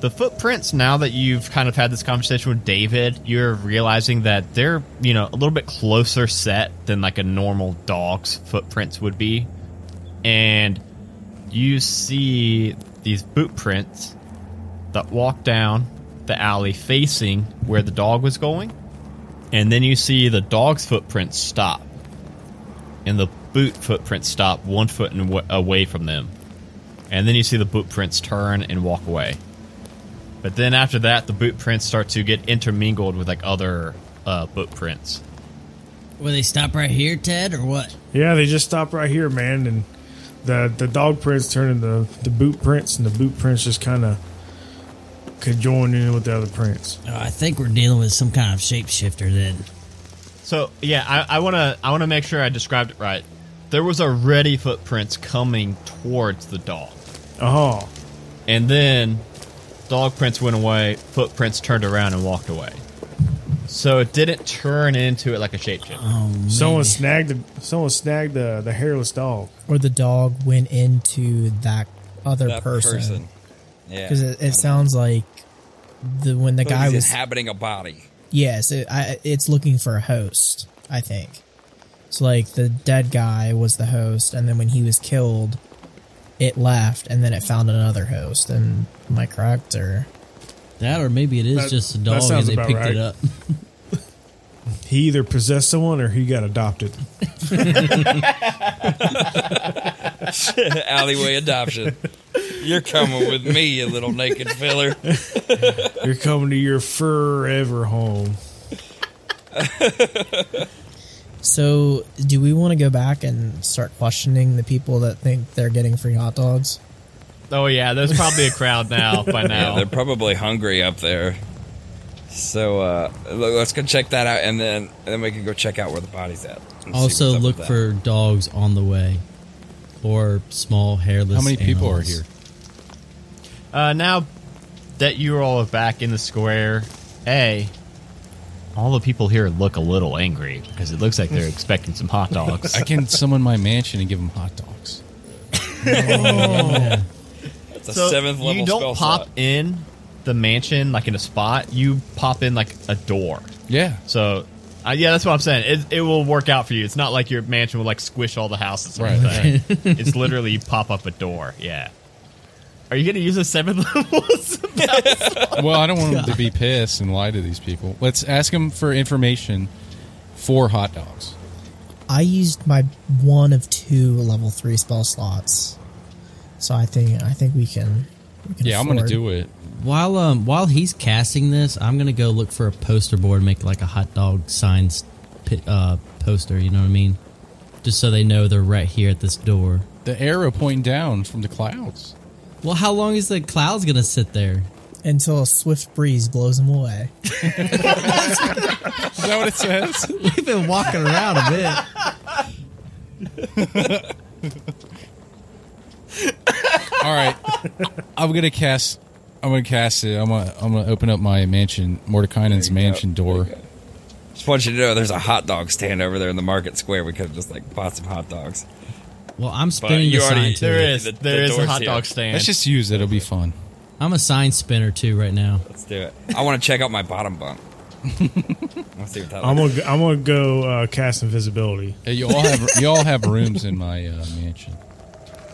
Speaker 1: the footprints now that you've kind of had this conversation with David, you're realizing that they're, you know, a little bit closer set than like a normal dog's footprints would be. And you see these boot prints that walk down the alley facing where the dog was going. And then you see the dog's footprints stop. And the boot footprints stop one foot in, away from them. And then you see the boot prints turn and walk away. But then after that, the boot prints start to get intermingled with like other uh, boot prints.
Speaker 5: Will they stop right here, Ted, or what?
Speaker 4: Yeah, they just stopped right here, man, and the the dog prints turned into the boot prints, and the boot prints just kind of could join in with the other prints.
Speaker 5: Oh, I think we're dealing with some kind of shapeshifter then.
Speaker 1: So yeah, I want to I want to make sure I described it right. There was already footprints coming towards the dog,
Speaker 4: Oh,
Speaker 1: and then dog prints went away. Footprints turned around and walked away. So it didn't turn into it like a shapeshifter.
Speaker 5: Oh, man.
Speaker 4: someone snagged the someone snagged the the hairless dog.
Speaker 2: Or the dog went into that other
Speaker 7: That
Speaker 2: person.
Speaker 7: Yeah.
Speaker 2: Because it, it sounds like the when the
Speaker 7: But
Speaker 2: guy
Speaker 7: he's
Speaker 2: was
Speaker 7: inhabiting a body.
Speaker 2: Yes, it, I, it's looking for a host, I think. So, like, the dead guy was the host, and then when he was killed, it left, and then it found another host. And am I correct? Or
Speaker 5: that, or maybe it is
Speaker 4: That-
Speaker 5: just a
Speaker 4: that
Speaker 5: dog
Speaker 4: sounds
Speaker 5: and they
Speaker 4: about
Speaker 5: picked
Speaker 4: right.
Speaker 5: it up.
Speaker 4: He either possessed someone or he got adopted.
Speaker 7: Alleyway adoption. You're coming with me, you little naked filler.
Speaker 4: You're coming to your forever home.
Speaker 2: So, do we want to go back and start questioning the people that think they're getting free hot dogs?
Speaker 1: Oh yeah, there's probably a crowd now by now.
Speaker 7: They're probably hungry up there. So uh, look, let's go check that out, and then and then we can go check out where the body's at. and see
Speaker 5: Also,
Speaker 7: what's up
Speaker 5: look
Speaker 7: with
Speaker 5: for
Speaker 7: that.
Speaker 5: dogs on the way, or small hairless.
Speaker 3: How many people are
Speaker 5: animals.
Speaker 3: here?
Speaker 1: Uh, now that you all are back in the square, A, all the people here look a little angry because it looks like they're expecting some hot dogs.
Speaker 3: I can summon my mansion and give them hot dogs.
Speaker 7: It's a seventh level
Speaker 1: you don't
Speaker 7: spell
Speaker 1: pop
Speaker 7: slot.
Speaker 1: in the mansion like in a spot. You pop in like a door.
Speaker 3: Yeah.
Speaker 1: So, uh, yeah, that's what I'm saying. It, it will work out for you. It's not like your mansion will like squish all the houses. Or
Speaker 3: Right.
Speaker 1: anything. it's literally you pop up a door. Yeah. Are you going to use a seventh level?
Speaker 3: Well, I don't want them to be pissed and lie to these people. Let's ask them for information for hot dogs.
Speaker 2: I used my one of two level three spell slots, so I think I think we can. We can
Speaker 3: Yeah, I'm going to
Speaker 2: afford-
Speaker 3: do it.
Speaker 5: While um while he's casting this, I'm gonna go look for a poster board, and make like a hot dog signs pi- uh, poster. You know what I mean? Just so they know they're right here at this door.
Speaker 3: The arrow pointing down from the clouds.
Speaker 5: Well, how long is the clouds gonna sit there?
Speaker 2: until a swift breeze blows them away.
Speaker 3: Is that what it says?
Speaker 5: We've been walking around a bit.
Speaker 3: All right. I'm going to cast. I'm gonna cast it. I'm gonna I'm gonna open up my mansion, Mordekainen's mansion door.
Speaker 7: Just want you to know, there's a hot dog stand over there in the market square. We could have just like bought some hot dogs.
Speaker 5: Well, I'm spinning
Speaker 7: you
Speaker 5: the sign
Speaker 7: already-
Speaker 5: too.
Speaker 1: there is.
Speaker 7: The- the
Speaker 1: there is a
Speaker 7: door's
Speaker 1: hot
Speaker 7: here.
Speaker 1: dog stand.
Speaker 3: Let's just use it. It'll be fun.
Speaker 5: I'm a sign spinner too right now.
Speaker 7: Let's do it. I want to check out my bottom bunk. Let's see what that.
Speaker 4: I'm
Speaker 7: looks
Speaker 4: gonna go- I'm gonna go uh, cast invisibility.
Speaker 3: Hey, Uh, you all have you all have rooms in my uh, mansion.
Speaker 7: like.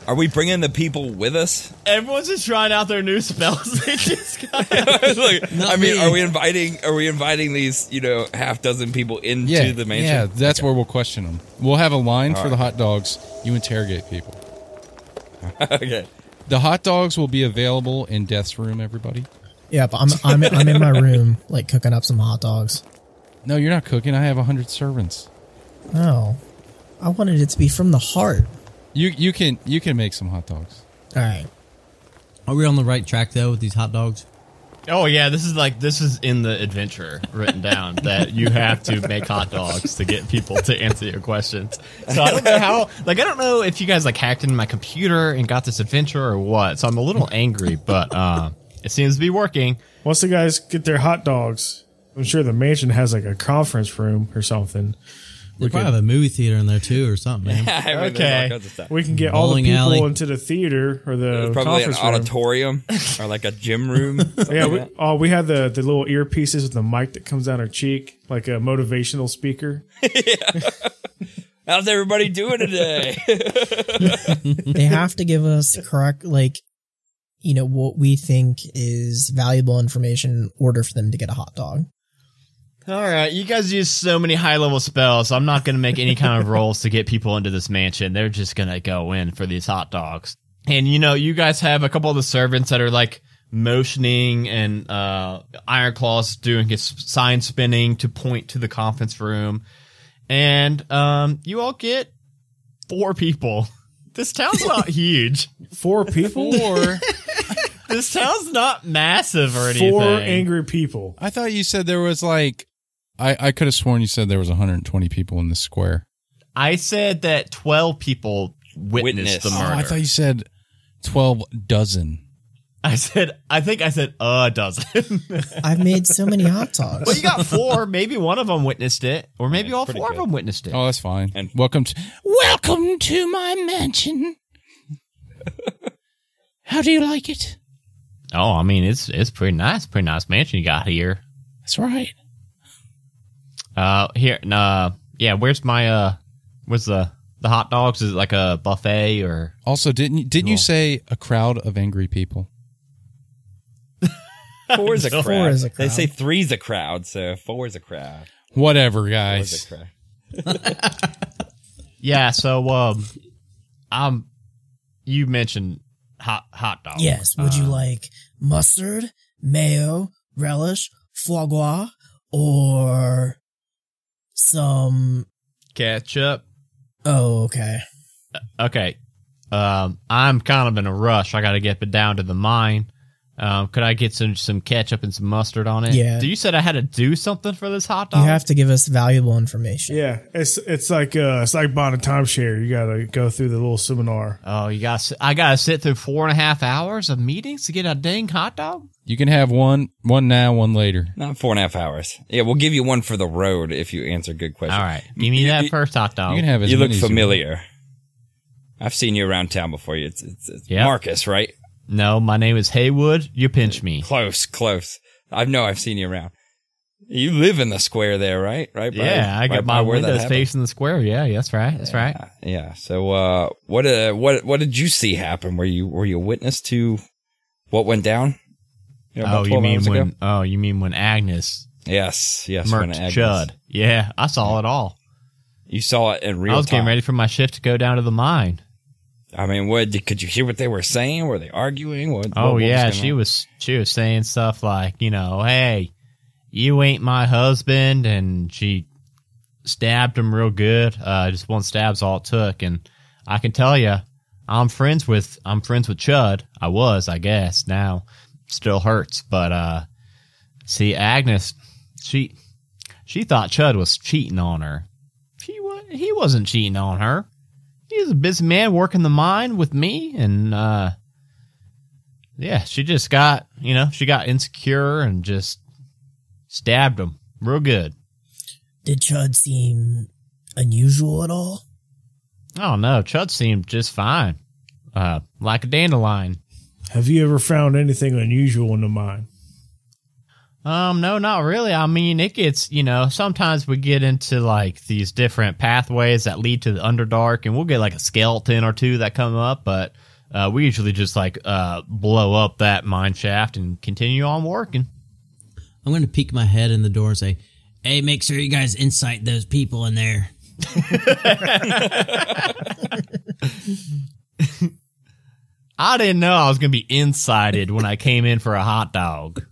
Speaker 7: Are we bringing the people with us?
Speaker 1: Everyone's just trying out their new spells. They just got
Speaker 7: Like, I mean,
Speaker 5: me.
Speaker 7: are we inviting? Are we inviting these? You know, half dozen people into
Speaker 3: Yeah,
Speaker 7: the mansion?
Speaker 3: yeah. That's where we'll question them. We'll have a line for
Speaker 7: right.
Speaker 3: the hot dogs. You interrogate people.
Speaker 7: okay.
Speaker 3: The hot dogs will be available in Death's room. Everybody.
Speaker 2: Yep, I'm I'm I'm in my room like cooking up some hot dogs.
Speaker 3: No, you're not cooking. I have a hundred servants.
Speaker 2: Oh, I wanted it to be from the heart.
Speaker 3: You you can you can make some hot dogs.
Speaker 2: All right.
Speaker 5: Are we on the right track though with these hot dogs?
Speaker 1: Oh yeah, this is like this is in the adventure written down that you have to make hot dogs to get people to answer your questions. So I don't know how like I don't know if you guys like hacked into my computer and got this adventure or what. So I'm a little angry, but uh, it seems to be working.
Speaker 4: Once the guys get their hot dogs, I'm sure the mansion has like a conference room or something.
Speaker 5: They probably have a movie theater in there too, or something, man.
Speaker 7: I mean, there's
Speaker 1: Okay.
Speaker 7: all kinds of stuff.
Speaker 4: We can get all the
Speaker 5: Bowling
Speaker 4: people
Speaker 5: alley.
Speaker 4: into the theater or the
Speaker 7: There's probably an
Speaker 4: conference room.
Speaker 7: auditorium or like a gym room.
Speaker 4: Yeah, we, oh, we had the the little earpieces with the mic that comes down our cheek, like a motivational speaker.
Speaker 7: How's everybody doing today?
Speaker 2: they have to give us correct like you know what we think is valuable information in order for them to get a hot dog
Speaker 1: All right, you guys use so many high level spells. I'm not going to make any kind of rolls to get people into this mansion. They're just going to go in for these hot dogs. And you know, you guys have a couple of the servants that are like motioning and uh Iron Claw's doing his sign spinning to point to the conference room. And um you all get four people. This town's not huge.
Speaker 4: Four people,
Speaker 3: Or
Speaker 1: This town's not massive or anything.
Speaker 4: four angry people.
Speaker 3: I thought you said there was like I I could have sworn you said there was 120 people in this square.
Speaker 1: I said that 12 people witnessed
Speaker 7: Witnessed.
Speaker 1: the
Speaker 7: Oh,
Speaker 1: murder.
Speaker 3: I thought you said 12 dozen.
Speaker 1: I said, I think I said uh, a dozen.
Speaker 2: i've made so many hot
Speaker 1: well,
Speaker 2: dogs
Speaker 1: you got four. Maybe one of them witnessed it, or maybe all
Speaker 7: pretty
Speaker 1: four of
Speaker 7: good.
Speaker 1: them witnessed it.
Speaker 3: Oh, that's fine.
Speaker 7: And-
Speaker 3: welcome to
Speaker 6: Welcome to my mansion. How do you like it?
Speaker 1: Oh, I mean, it's it's pretty nice. Pretty nice mansion you got here.
Speaker 6: That's right.
Speaker 1: Uh, here, nah, yeah. Where's my uh, where's the the hot dogs? Is it like a buffet or?
Speaker 3: Also, didn't you- didn't you say a crowd of angry people?
Speaker 7: Four's a crowd.
Speaker 2: is a
Speaker 7: They
Speaker 2: crowd.
Speaker 7: say three's a crowd, so four's a crowd.
Speaker 3: Whatever,
Speaker 7: Was
Speaker 3: guys.
Speaker 7: it crack?
Speaker 1: Yeah, so um I'm you mentioned hot hot dog.
Speaker 2: Yes. Would you like mustard, mayo, relish, foie gras, or some?
Speaker 1: ketchup?
Speaker 2: Oh, okay.
Speaker 1: Okay. Um I'm kind of in a rush. I gotta get it down to the mine. Um, could I get some some ketchup and some mustard on it?
Speaker 2: Yeah.
Speaker 1: Do you said I had to do something for this hot
Speaker 2: You
Speaker 1: dog?
Speaker 2: have to give us valuable information.
Speaker 4: Yeah, it's it's like uh, it's like buying a timeshare. You gotta go through the little seminar.
Speaker 1: oh, you got I gotta sit through four and a half hours of meetings to get a dang hot dog?
Speaker 3: You can have one one now, one later.
Speaker 7: Not four and a half hours. Yeah, we'll give you one for the road if you answer good questions.
Speaker 1: All right, give me that first hot dog.
Speaker 3: You can have as
Speaker 7: Oh, You look
Speaker 3: many as want.
Speaker 7: familiar. I've seen you around town before. You, it's, it's, it's
Speaker 1: Yeah.
Speaker 7: Marcus, right?
Speaker 1: no, my name is Haywood. You pinch me.
Speaker 7: Close, close. I know I've seen you around. You live in the square there, right? Right. by-
Speaker 1: Yeah, I
Speaker 7: right
Speaker 1: got
Speaker 7: by
Speaker 1: my
Speaker 7: where that
Speaker 1: windows
Speaker 7: happened?
Speaker 1: facing the square. Yeah, that's right. That's right.
Speaker 7: Yeah. So, uh, what, uh, what, what did you see happen? Were you, were you a witness to what went down? You know, about
Speaker 1: Oh, you
Speaker 7: 12
Speaker 1: mean
Speaker 7: hours ago?
Speaker 1: when? Oh, you mean when Agnes
Speaker 7: Yes, yes. when
Speaker 1: murked
Speaker 7: Agnes-
Speaker 1: Chud? Yeah, I saw it all.
Speaker 7: You saw it in real
Speaker 1: I was
Speaker 7: time.
Speaker 1: getting ready for my shift to go down to the mine.
Speaker 7: I mean, what did- could you hear? What they were saying? Were they arguing? What, what-
Speaker 1: Oh
Speaker 7: what was
Speaker 1: yeah,
Speaker 7: going
Speaker 1: she
Speaker 7: on?
Speaker 1: was she was saying stuff like, you know, hey, you ain't my husband, and she stabbed him real good. Uh, just one stab's all it took, and I can tell you, I'm friends with I'm friends with Chud. I was, I guess. Now, still hurts, but uh, see, Agnes, she she thought Chud was cheating on her. She wa- he wasn't cheating on her. He's a busy man working the mine with me, and uh, yeah, she just got, you know, she got insecure and just stabbed him real good.
Speaker 2: Did Chud seem unusual at all?
Speaker 1: I don't know. Oh, Chud seemed just fine, uh, like a dandelion.
Speaker 4: Have you ever found anything unusual in the mine?
Speaker 1: Um, no, not really. I mean, it gets, you know, sometimes we get into like these different pathways that lead to the Underdark, and we'll get like a skeleton or two that come up, but uh, we usually just like uh, blow up that mine shaft and continue on working.
Speaker 5: I'm going to peek my head in the door and say, "Hey, make sure you guys incite those people in there."
Speaker 1: I didn't know I was going to be incited when I came in for a hot dog.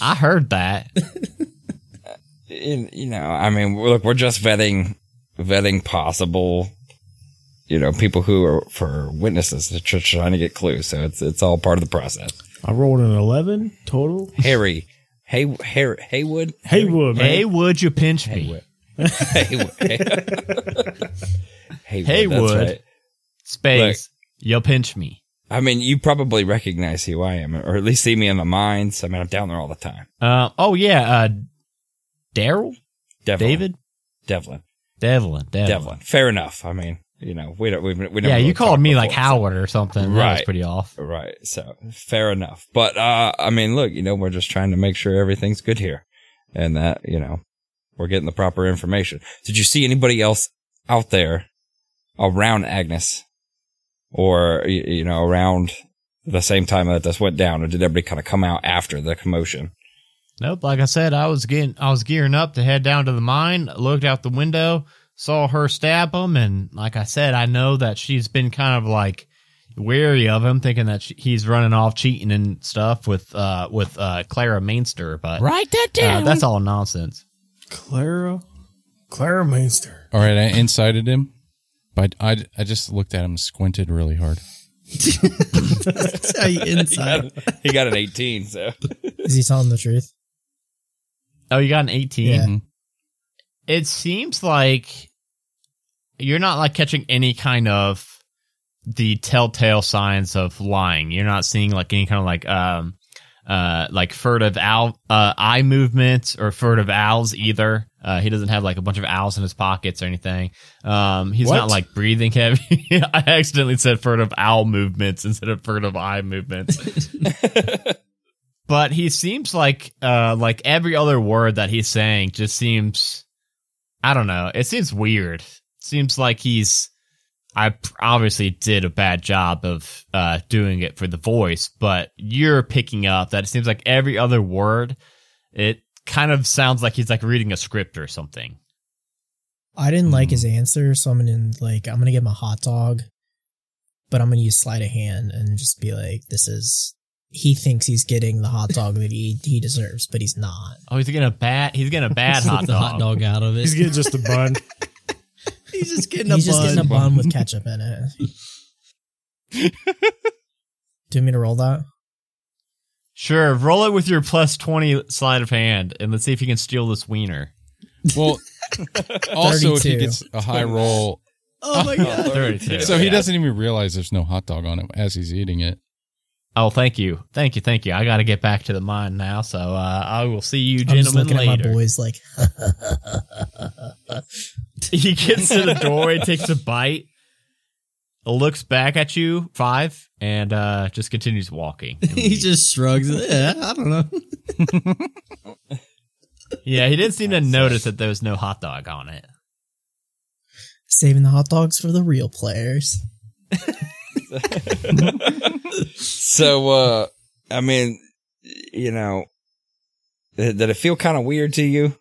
Speaker 1: I heard that.
Speaker 7: in, you know, I mean, we're- look, we're just vetting, vetting possible, you know, people who are for witnesses. They're tr- trying to get clues, so it's it's all part of the process.
Speaker 4: I rolled an eleven total.
Speaker 7: Harry, Hay, Har Haywood,
Speaker 4: Haywood, man.
Speaker 1: Hey, would you pinch me?
Speaker 7: Haywood, Haywood, that's
Speaker 1: Haywood.
Speaker 7: right.
Speaker 1: Space, you'll pinch me.
Speaker 7: I mean, you probably recognize who I am, or at least see me in the mines. I mean, I'm down there all the time.
Speaker 1: Uh, oh, yeah. Uh, Daryl?
Speaker 7: Devlin,
Speaker 1: David?
Speaker 7: Devlin,
Speaker 1: Devlin. Devlin.
Speaker 7: Devlin. Fair enough. I mean, you know, we don't, we've, we never
Speaker 1: Yeah,
Speaker 7: really
Speaker 1: you called
Speaker 7: talked
Speaker 1: me
Speaker 7: before,
Speaker 1: like
Speaker 7: so-
Speaker 1: Howard or something. That was
Speaker 7: Right.
Speaker 1: pretty off.
Speaker 7: Right. So fair enough. But uh I mean, look, you know, we're just trying to make sure everything's good here and that, you know, we're getting the proper information. Did you see anybody else out there around Agnes or y- you know, around the same time that this went down or did everybody kind of come out after the commotion?
Speaker 1: Nope. Like I said, I was getting, I was gearing up to head down to the mine. Looked out the window, saw her stab him, and like I said, I know that she's been kind of like wary of him, thinking that she, he's running off cheating and stuff with, uh, with uh, Clara Mainster. But
Speaker 6: Write that
Speaker 1: uh,
Speaker 6: down.
Speaker 1: that's all nonsense.
Speaker 4: Clara, Clara Mainster.
Speaker 3: All right, I incited him, but I, I just looked at him, and squinted really hard.
Speaker 5: That's how you incite.
Speaker 7: he got an 18, so
Speaker 2: Is he telling the truth?
Speaker 1: Oh, you got an eighteen.
Speaker 2: Yeah.
Speaker 3: Mhm.
Speaker 1: It seems like you're not like catching any kind of the telltale signs of lying. You're not seeing like any kind of like um uh like furtive owl uh eye movements or furtive owls either. Uh he doesn't have like a bunch of owls in his pockets or anything. Um he's not
Speaker 3: What?
Speaker 1: like breathing heavy. I accidentally said furtive owl movements instead of furtive eye movements but he seems like uh like every other word that he's saying just seems i don't know it seems weird seems like he's i p- obviously did a bad job of uh doing it for the voice but you're picking up that it seems like every other word it kind of sounds like he's like reading a script or something.
Speaker 2: I didn't like
Speaker 5: Mm.
Speaker 2: his answer, so I'm gonna like I'm gonna get my hot dog, but I'm gonna use sleight of hand and just be like, "This is." He thinks he's getting the hot dog that he he deserves, but he's not.
Speaker 1: Oh, he's getting a bad he's getting a bad
Speaker 5: Slip
Speaker 1: hot
Speaker 5: the
Speaker 1: dog.
Speaker 5: hot dog out of it.
Speaker 4: He's getting just a bun.
Speaker 2: He's just getting
Speaker 5: a
Speaker 2: he's just
Speaker 5: bun.
Speaker 2: getting a bun with ketchup in it. Do you want me to roll that?
Speaker 1: Sure, roll it with your plus twenty sleight of hand, and let's see if you can steal this wiener.
Speaker 3: Well, also if he
Speaker 2: 32.
Speaker 3: gets a high roll,
Speaker 5: oh my god!
Speaker 1: Thirty-two.
Speaker 3: so he
Speaker 1: yeah.
Speaker 3: doesn't even realize there's no hot dog on him as he's eating it.
Speaker 1: Oh, thank you, thank you, thank you. I got to get back to the mine now, so uh, I will see you,
Speaker 2: I'm just
Speaker 1: gentlemen,
Speaker 2: looking at my
Speaker 1: later.
Speaker 2: boys like,
Speaker 1: He gets to the doorway, takes a bite, looks back at you five, and uh, just continues walking.
Speaker 5: he just shrugs. Yeah, I don't know.
Speaker 1: yeah, he didn't seem to notice that there was no hot dog on it.
Speaker 2: saving the hot dogs for the real players.
Speaker 7: So, uh, I mean, you know, th- did it feel kind of weird to you,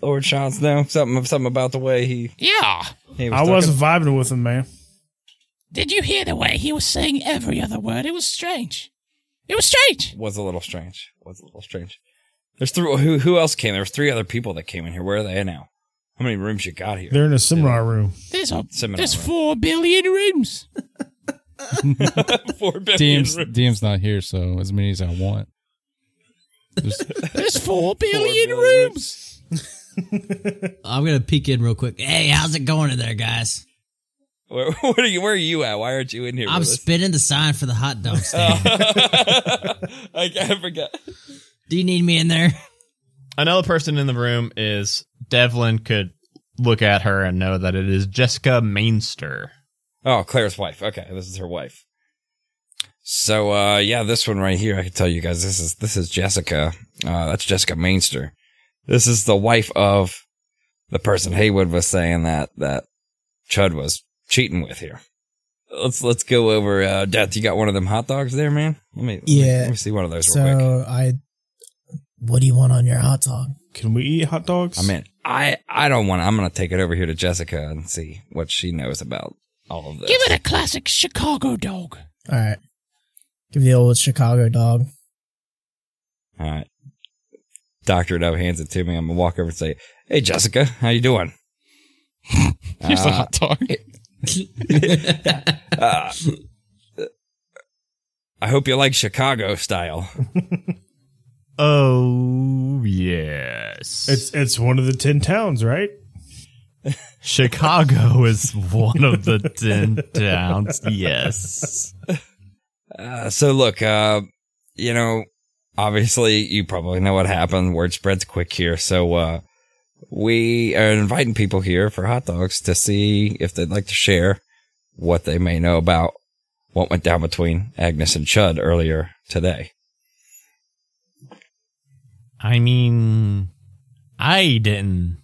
Speaker 7: Lord Sean Snow? Something, something about the way he,
Speaker 6: Yeah.
Speaker 7: he was
Speaker 4: I
Speaker 7: talking?
Speaker 4: wasn't vibing with him, man.
Speaker 6: Did you hear the way he was saying every other word? It was strange. It was strange.
Speaker 7: was a little strange. Was a little strange. There's three. Who who else came? There was three other people that came in here. Where are they now? How many rooms you got here?
Speaker 4: They're in a seminar room.
Speaker 6: There's a
Speaker 7: Seminar
Speaker 6: there's
Speaker 7: room.
Speaker 6: four billion rooms.
Speaker 7: Four billion
Speaker 3: DM's
Speaker 7: rooms.
Speaker 3: DM's not here, so as many as I want. There's-
Speaker 6: There's four billion
Speaker 7: billion
Speaker 6: rooms.
Speaker 5: I'm gonna peek in real quick. Hey, how's it going in there, guys?
Speaker 7: Where, where are you? Where are you at? Why aren't you in here?
Speaker 5: I'm
Speaker 7: with us?
Speaker 5: spinning the sign for the hot dog stand.
Speaker 7: I, I forgot.
Speaker 5: Do you need me in there?
Speaker 1: Another person in the room is Devlin. Could look at her and know that it is Jessica Mainster.
Speaker 7: Oh, Claire's wife. Okay, this is her wife. So uh yeah, this one right here, I can tell you guys this is this is Jessica. Uh that's Jessica Mainster. This is the wife of the person Haywood was saying that that Chud was cheating with here. Let's let's go over uh Death, you got one of them hot dogs there, man? Let me let me-
Speaker 2: Yeah.
Speaker 7: let me see one of those real quick.
Speaker 2: So I, what do you want on your hot dog?
Speaker 4: Can we eat hot dogs?
Speaker 7: I mean, I I don't want to I'm gonna take it over here to Jessica and see what she knows about all of this.
Speaker 6: Give it a classic Chicago dog.
Speaker 2: All right, give the old Chicago dog.
Speaker 7: All right. Uh, Doctor now hands it to me. I'm gonna walk over and say, "Hey, Jessica, how you doing?"
Speaker 3: Here's a
Speaker 7: Uh,
Speaker 3: hot dog.
Speaker 7: uh, I hope you like Chicago style.
Speaker 1: Oh yes,
Speaker 4: it's it's one of the ten towns, right?
Speaker 1: Chicago is one of the ten towns. Yes.
Speaker 7: Uh, so look, uh, you know, obviously you probably know what happened. Word spreads quick here, so uh, we are inviting people here for hot dogs to see if they'd like to share what they may know about what went down between Agnes and Chud earlier today.
Speaker 1: I mean, I didn't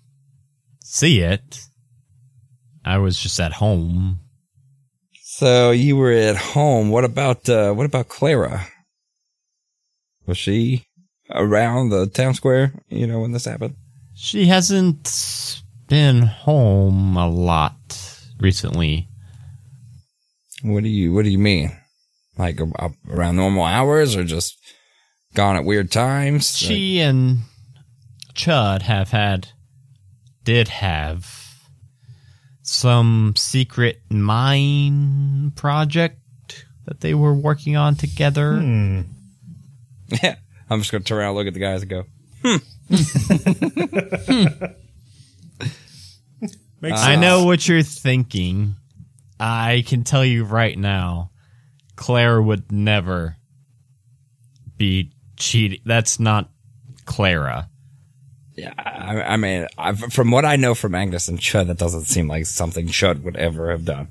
Speaker 1: see it. I was just at home.
Speaker 7: So you were at home. What about uh, what about Clara? Was she around the town square? You know when this happened?
Speaker 1: She hasn't been home a lot recently.
Speaker 7: What do you What do you mean? Like a- a- around normal hours, or just gone at weird times? Like,
Speaker 1: She and Chud have had, did have, some secret mine project that they were working on together.
Speaker 7: I'm just gonna turn around, look at the guys, and go.
Speaker 4: Makes
Speaker 1: I know what you're thinking. I can tell you right now, Claire would never be cheating. That's not Clara.
Speaker 7: Yeah, I, I mean, i from what I know from Agnes and Chud, that doesn't seem like something Chud would ever have done.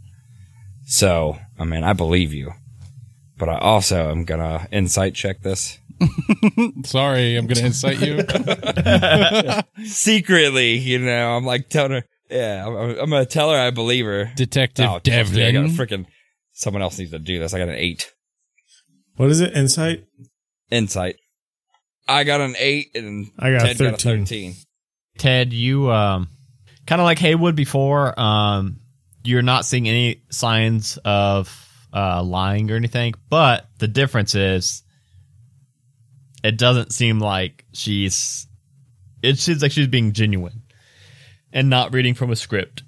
Speaker 7: So, I mean, I believe you, but I also am gonna insight check this.
Speaker 3: Sorry, I'm gonna incite you.
Speaker 7: secretly, you know, I'm like telling her, yeah, I'm, I'm- I'm gonna tell her I believe her.
Speaker 3: Detective
Speaker 7: Oh, trust me, I got a
Speaker 3: Devlin.
Speaker 7: freaking. Someone else needs to do this. I got an eight
Speaker 4: What is it? Insight.
Speaker 7: insight. I got an eight, and
Speaker 4: I got a
Speaker 7: Ted got a
Speaker 4: 13.
Speaker 7: thirteen.
Speaker 1: Ted, you um, kind of like Haywood before. Um, you're not seeing any signs of uh, lying or anything, but the difference is, it doesn't seem like she's. It seems like she's being genuine, and not reading from a script.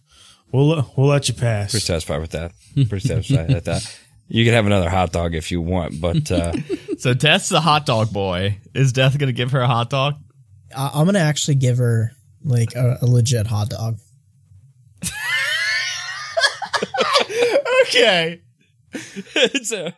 Speaker 4: We'll we'll let you pass.
Speaker 7: Pretty satisfied with that. Pretty satisfied with that. You can have another hot dog if you want, but uh,
Speaker 1: So Death's the hot dog boy. Is Death gonna give her a hot dog?
Speaker 2: I, I'm gonna actually give her like a, a legit hot dog.
Speaker 1: Okay.
Speaker 7: it's a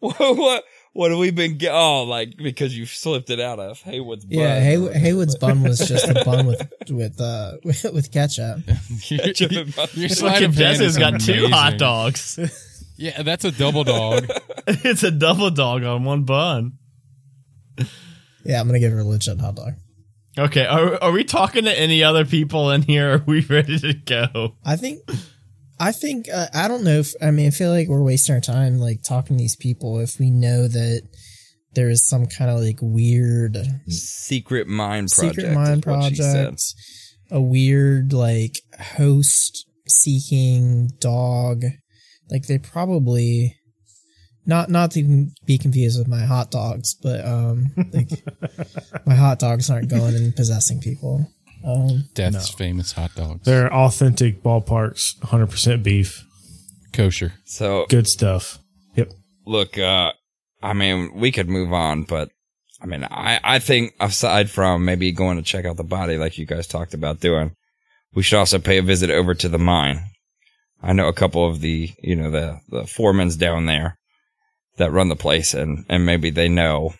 Speaker 7: what, what what have we been ge- oh like because you've slipped it out of Haywood's butt.
Speaker 2: Yeah, Hay- Haywood's bun was just a bun with with uh with ketchup.
Speaker 7: Ketchup and mustard.
Speaker 3: Your sleight
Speaker 1: Fucking
Speaker 3: of hand
Speaker 1: Death has
Speaker 3: is
Speaker 1: got two
Speaker 3: amazing.
Speaker 1: hot dogs.
Speaker 3: Yeah, that's a double dog.
Speaker 1: it's a double dog on one bun.
Speaker 2: Yeah, I'm gonna give her a legit hot dog.
Speaker 1: Okay, are, are we talking to any other people in here? Are we ready to go?
Speaker 2: I think, I think, uh, I don't know if, I mean, I feel like we're wasting our time like talking to these people if we know that there is some kind of like weird
Speaker 7: Secret mine project.
Speaker 2: secret mine
Speaker 7: is what she said.
Speaker 2: project, a weird like host seeking dog. Like they probably, not, not to be confused with my hot dogs, but, um, like my hot dogs aren't going and possessing people. Um,
Speaker 3: Death's famous hot dogs.
Speaker 4: They're authentic ballparks, 100% beef.
Speaker 3: kosher.
Speaker 7: So
Speaker 4: Good stuff. Yep.
Speaker 7: look, uh, I mean, we could move on, but I mean, I, I think aside from maybe going to check out the body, like you guys talked about doing, we should also pay a visit over to the mine. I know a couple of the, you know, the, the foremans down there that run the place and, and maybe they know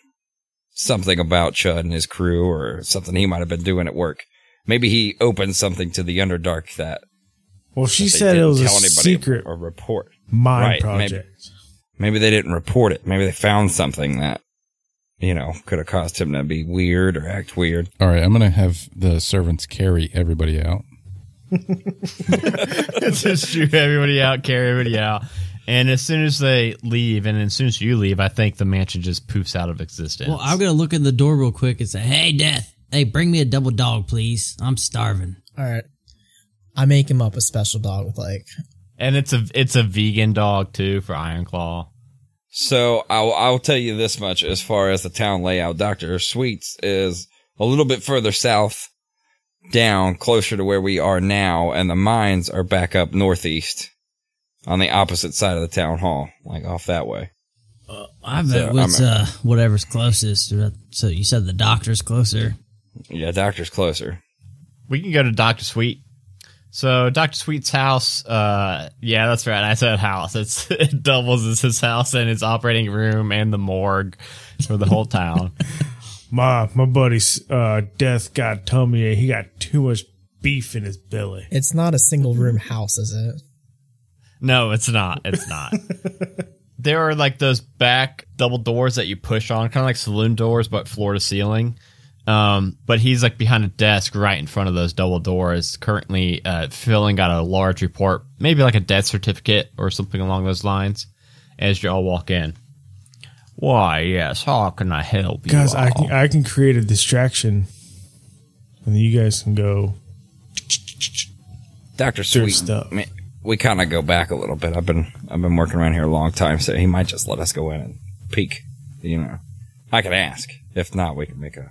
Speaker 7: something about Chud and his crew or something he might have been doing at work. Maybe he opened something to the Underdark that
Speaker 4: Well, she
Speaker 7: they
Speaker 4: said it
Speaker 7: didn't
Speaker 4: was a
Speaker 7: tell anybody
Speaker 4: secret
Speaker 7: or report.
Speaker 4: mine
Speaker 7: Right,
Speaker 4: project.
Speaker 7: maybe. Maybe they didn't report it. Maybe they found something that, you know, could have caused him to be weird or act weird.
Speaker 3: All right, I'm gonna have the servants carry everybody out.
Speaker 1: Let's just shoot everybody out, carry everybody out. And as soon as they leave, and as soon as you leave, I think the mansion just poofs out of existence.
Speaker 5: Well, I'm gonna look in the door real quick and say, "Hey, Death, hey, bring me a double dog, please. I'm starving."
Speaker 2: All right. I make him up a special dog with like
Speaker 1: and it's a it's a vegan dog too for Iron Claw.
Speaker 7: So I'll, I'll tell you this much as far as the town layout. Dr. Sweets is a little bit further south down closer to where we are now. And the mines are back up northeast on the opposite side of the town hall, like off that way.
Speaker 5: I bet
Speaker 7: So,
Speaker 5: what's
Speaker 7: I'm
Speaker 5: uh, whatever's closest. So you said the doctor's closer.
Speaker 7: Yeah. Doctor's closer.
Speaker 1: We can go to Doctor Sweet. So Doctor Sweet's house, uh, yeah, that's right. I said house. It's it doubles as his house and his operating room and the morgue for the whole town.
Speaker 4: My my buddy's uh, death got told me he got too much beef in his belly.
Speaker 2: it's not a single room house, is it?
Speaker 1: No, it's not. It's not. there are like those back double doors that you push on, kind of like saloon doors, but floor to ceiling. Um, but he's like behind a desk right in front of those double doors, currently uh, filling out a large report, maybe like a death certificate or something along those lines, as you all walk in. Why, yes, how can I help you?
Speaker 4: Guys, I
Speaker 1: all?
Speaker 4: can I can create a distraction, and then you guys can go.
Speaker 7: Doctor Sweet.
Speaker 4: stuff.
Speaker 7: I mean, we kind of go back a little bit. I've been I've been working around here a long time, so he might just let us go in and peek. You know, I could ask. If not, we can make a.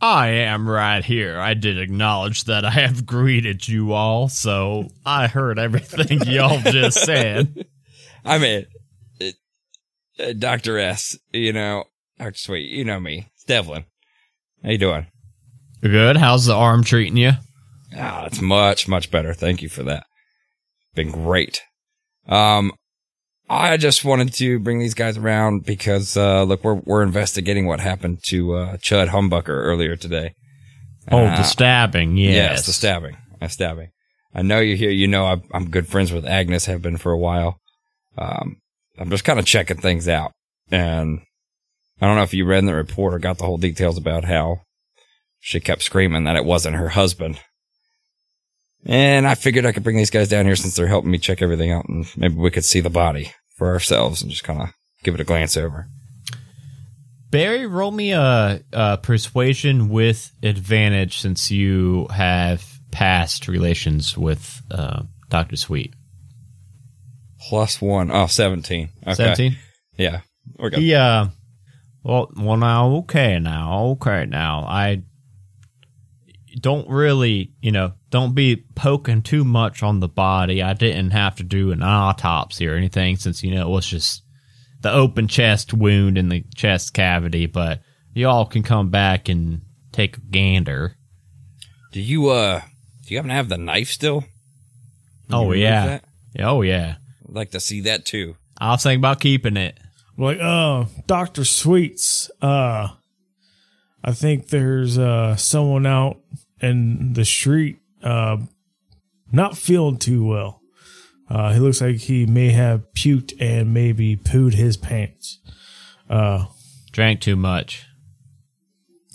Speaker 1: I am right here. I did acknowledge that I have greeted you all, so I heard everything y'all just said.
Speaker 7: I mean, it, uh, Doctor S. You know, Doctor Sweet. You know me, it's Devlin. How you doing?
Speaker 1: Good. How's the arm treating you?
Speaker 7: Ah, it's much much better. Thank you for that. Been great. Um, I just wanted to bring these guys around because uh, look, we're we're investigating what happened to uh, Chud Humbucker earlier today.
Speaker 1: Oh,
Speaker 7: Uh,
Speaker 1: the stabbing. Yes.
Speaker 7: Yes, the stabbing. A stabbing. I know you're here. You know I'm, I'm good friends with Agnes. Have been for a while. Um, I'm just kind of checking things out, and I don't know if you read in the report or got the whole details about how she kept screaming that it wasn't her husband. And I figured I could bring these guys down here since they're helping me check everything out, and maybe we could see the body for ourselves and just kind of give it a glance over.
Speaker 1: Barry, roll me a, a persuasion with advantage since you have past relations with uh, Doctor Sweet.
Speaker 7: Plus one. Oh, 17. Okay.
Speaker 1: Seventeen.
Speaker 7: Yeah. We're good.
Speaker 1: He uh, well, well now, okay now, okay now. I don't really, you know, don't be poking too much on the body. I didn't have to do an autopsy or anything since you know it was just the open chest wound in the chest cavity. But y'all can come back and take a gander.
Speaker 7: Do you, uh, do you happen to have the knife still? Can you
Speaker 1: Oh
Speaker 7: remove
Speaker 1: yeah,
Speaker 7: that?
Speaker 1: oh yeah.
Speaker 7: I'd like to see that too.
Speaker 1: I was thinking about keeping it.
Speaker 4: I'm like, oh, Doctor Sweets. Uh, I think there's uh someone out in the street, uh, not feeling too well. Uh, he looks like he may have puked and maybe pooed his pants. Uh,
Speaker 1: Drank too much.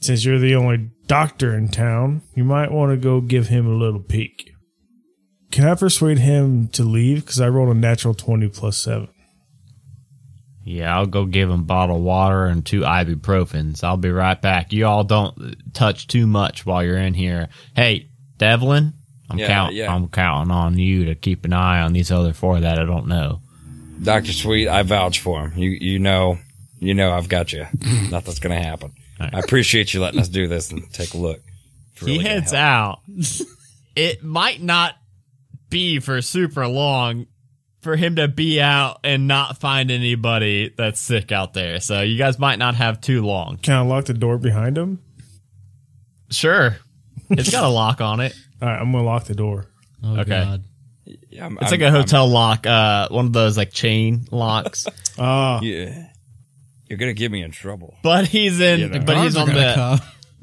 Speaker 4: since you're the only doctor in town, you might want to go give him a little peek. Can I persuade him to leave? Because I rolled a natural twenty plus seven.
Speaker 1: Yeah, I'll go give him bottled water and two ibuprofens. I'll be right back. You all don't touch too much while you're in here. Hey, Devlin, I'm
Speaker 7: Yeah,
Speaker 1: count
Speaker 7: yeah.
Speaker 1: I'm counting on you to keep an eye on these other four that I don't know.
Speaker 7: Dr. Sweet, I vouch for him. You, you know, you know, I've got you. Nothing's going to happen. I appreciate you letting us do this and take a look. It's
Speaker 1: he
Speaker 7: really gonna
Speaker 1: heads
Speaker 7: help.
Speaker 1: out. it might not be for super long for him to be out and not find anybody that's sick out there. So you guys might not have too long.
Speaker 4: Can I lock the door behind him?
Speaker 1: Sure. It's got a lock on it.
Speaker 4: All right, I'm gonna lock the door.
Speaker 5: Oh,
Speaker 1: Okay.
Speaker 5: God.
Speaker 7: Yeah, I'm-
Speaker 1: It's
Speaker 7: I'm-
Speaker 1: like a hotel lock, uh, one of those like chain locks.
Speaker 4: Ah,
Speaker 7: I'm- yeah. You're going to get me in trouble.
Speaker 1: but he's in, but he's
Speaker 5: Guards are
Speaker 1: on
Speaker 5: gonna
Speaker 1: the,
Speaker 5: come.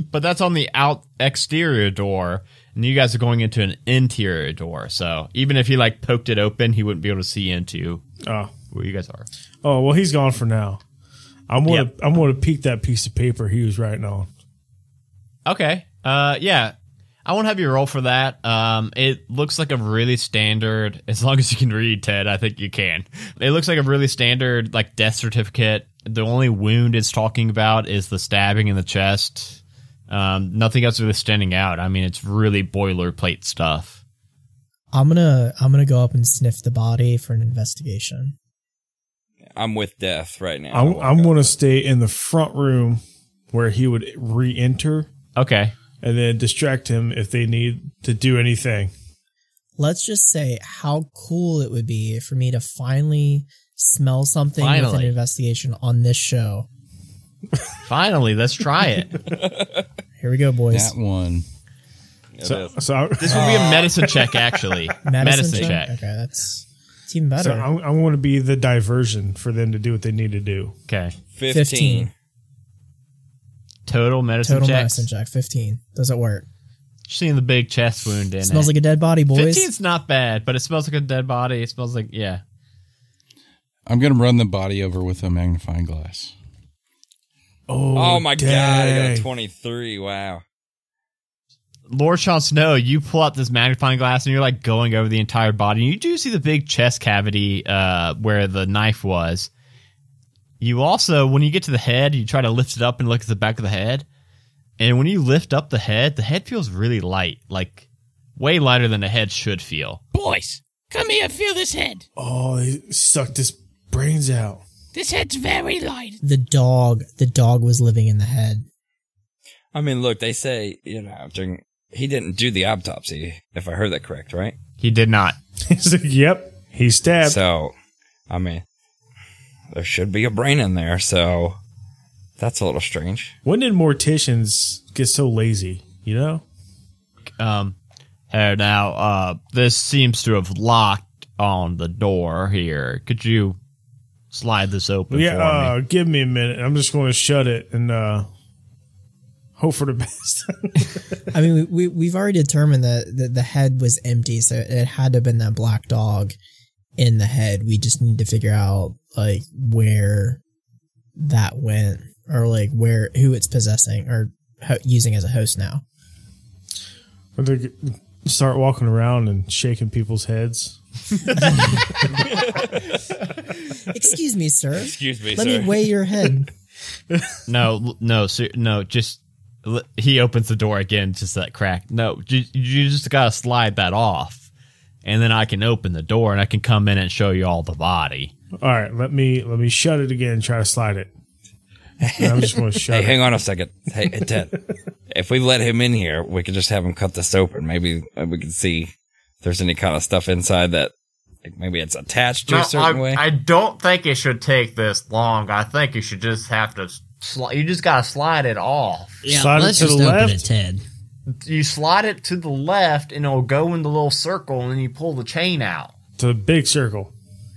Speaker 1: but that's on the out exterior door, and you guys are going into an interior door. So even if he like poked it open, he wouldn't be able to see into
Speaker 4: ah.
Speaker 1: where you guys are.
Speaker 4: Oh well, he's gone for now. I'm gonna
Speaker 1: Yep.
Speaker 4: I'm gonna peek that piece of paper he was writing on.
Speaker 1: Okay. Uh, yeah. I won't have you roll for that. Um, it looks like a really standard, as long as you can read, Ted, I think you can. It looks like a really standard, like, death certificate. The only wound it's talking about is the stabbing in the chest. Um, nothing else really standing out. I mean, it's really boilerplate stuff.
Speaker 2: I'm gonna I'm gonna go up and sniff the body for an investigation.
Speaker 7: I'm with death right now.
Speaker 4: I'm I'm gonna stay in the front room where he would re-enter
Speaker 1: Okay.
Speaker 4: and then distract him if they need to do anything.
Speaker 2: Let's just say how cool it would be for me to finally smell something with
Speaker 1: Finally.
Speaker 2: an investigation on this show.
Speaker 1: Finally, let's try it.
Speaker 2: Here we go, boys.
Speaker 3: That one.
Speaker 7: It
Speaker 4: So,
Speaker 7: is.
Speaker 4: so, I,
Speaker 1: This will be a medicine check, actually.
Speaker 2: check? Okay, that's it's even better.
Speaker 4: so I'm, I'm gonna be the diversion for them to do what they need to do.
Speaker 1: Okay.
Speaker 7: 15.
Speaker 2: 15.
Speaker 1: Total medicine
Speaker 2: Total
Speaker 1: check.
Speaker 2: medicine check. Fifteen. Does it work?
Speaker 1: Seeing the big chest wound in it.
Speaker 2: Smells like a dead body, boys.
Speaker 1: 15's not bad, but it smells like a dead body. It smells like, yeah.
Speaker 3: I'm gonna run the body over with a magnifying glass.
Speaker 4: Oh,
Speaker 7: Oh my God. I
Speaker 4: dang.
Speaker 7: got a 23. Wow.
Speaker 1: Lord Sean Snow, you pull out this magnifying glass and you're like going over the entire body. And you do see the big chest cavity uh, where the knife was. You also, when you get to the head, you try to lift it up and look at the back of the head. And when you lift up the head, the head feels really light, like way lighter than a head should feel.
Speaker 6: Boys, come here, feel this head.
Speaker 4: Oh, they sucked his brains out.
Speaker 6: This head's very light.
Speaker 2: the dog. The dog was living in the head.
Speaker 7: I mean, look, they say, you know, during, he didn't do the autopsy, if I heard that correct, right?
Speaker 1: He did not.
Speaker 4: He's like, yep, he stabbed.
Speaker 7: So, I mean, there should be a brain in there, so that's a little strange.
Speaker 4: when did morticians get so lazy? You know,
Speaker 1: Um, hey, now, uh, this seems to have locked on the door here. Could you slide this open
Speaker 4: Yeah,
Speaker 1: for me?
Speaker 4: uh, give me a minute. I'm just going to shut it and uh, hope for the best.
Speaker 2: I mean, we, we we've already determined that the, the head was empty, so it had to have been that black dog in the head. We just need to figure out like where that went, or like where who it's possessing or ho- using as a host now.
Speaker 4: When they get- start walking around and shaking people's heads.
Speaker 2: Excuse me, sir.
Speaker 7: Excuse me,
Speaker 2: Let me weigh your head.
Speaker 1: No, l- no, ser- no. Just l- he opens the door again, just that crack. No, you, you just gotta slide that off, and then I can open the door and I can come in and show you all the body.
Speaker 4: All right, let me let me shut it again. Try to slide it. I'm just going to shut
Speaker 7: Hey,
Speaker 4: it.
Speaker 7: hang on a second. Hey, hey, Ted. if we let him in here, we could just have him cut this open. Maybe uh, we can see if there's any kind of stuff inside that like maybe it's attached to
Speaker 8: No,
Speaker 7: a certain
Speaker 8: I,
Speaker 7: way.
Speaker 8: I don't think it should take this long. I think you should just have to. Sli- you just gotta slide it off.
Speaker 5: Yeah,
Speaker 4: Slide it
Speaker 5: let's
Speaker 4: to the
Speaker 5: just open
Speaker 4: left.
Speaker 5: it, Ted.
Speaker 8: You slide it to the left, and it'll go in the little circle, and you pull the chain out.
Speaker 4: to the big circle.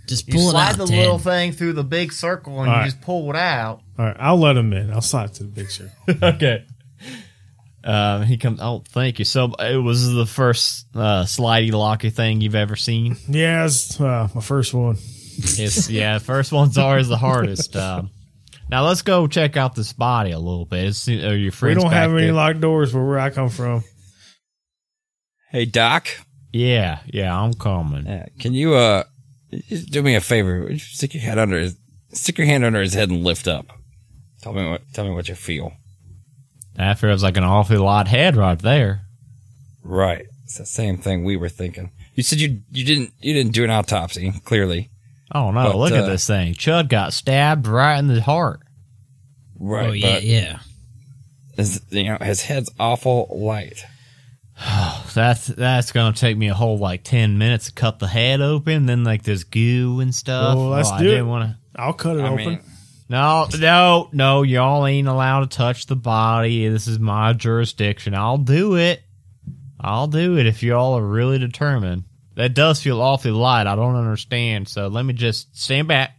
Speaker 5: Just
Speaker 8: You
Speaker 5: pull it
Speaker 8: slide
Speaker 5: out,
Speaker 8: the
Speaker 5: Ted. Oh,
Speaker 8: little thing through the big circle, and
Speaker 4: All
Speaker 8: you
Speaker 4: right.
Speaker 8: just pull it out.
Speaker 4: All right, I'll let him in. I'll slide to the big circle.
Speaker 1: okay. Um, he comes. Oh, thank you. So it was the first uh, slidey locky thing you've ever seen.
Speaker 4: Yeah, it's uh, my first one.
Speaker 1: It's yeah, first one's always the hardest. Um, now let's go check out this body a little bit. It's, are your
Speaker 4: We
Speaker 1: friends
Speaker 4: don't
Speaker 1: back
Speaker 4: have any
Speaker 1: there?
Speaker 4: locked doors where, where I come from.
Speaker 7: hey, Doc,
Speaker 1: Yeah, yeah, I'm coming.
Speaker 7: uh, can you uh just do me a favor? Would you Stick your head under his stick your hand under his head and lift up. Tell me what tell me what you feel.
Speaker 1: That feels like an awfully lot head right there.
Speaker 7: Right. It's the same thing we were thinking. You said you you didn't you didn't do an autopsy, clearly.
Speaker 1: Oh no!
Speaker 7: But,
Speaker 1: look at
Speaker 7: uh,
Speaker 1: this thing. Chud got stabbed right in the heart.
Speaker 7: Right.
Speaker 5: Oh yeah,
Speaker 7: but
Speaker 5: yeah.
Speaker 7: his, you know, his head's awful light.
Speaker 1: That's that's gonna take me a whole like ten minutes to cut the head open. Then like there's goo and stuff. Oh,
Speaker 4: Well, let's
Speaker 1: I
Speaker 4: do
Speaker 1: didn't
Speaker 4: it.
Speaker 1: want to.
Speaker 4: I'll cut it
Speaker 7: I
Speaker 4: open.
Speaker 7: mean,
Speaker 1: No, no, no! Y'all ain't allowed to touch the body. This is my jurisdiction. I'll do it. I'll do it if y'all are really determined. That does feel awfully light. I don't understand. So let me just stand back.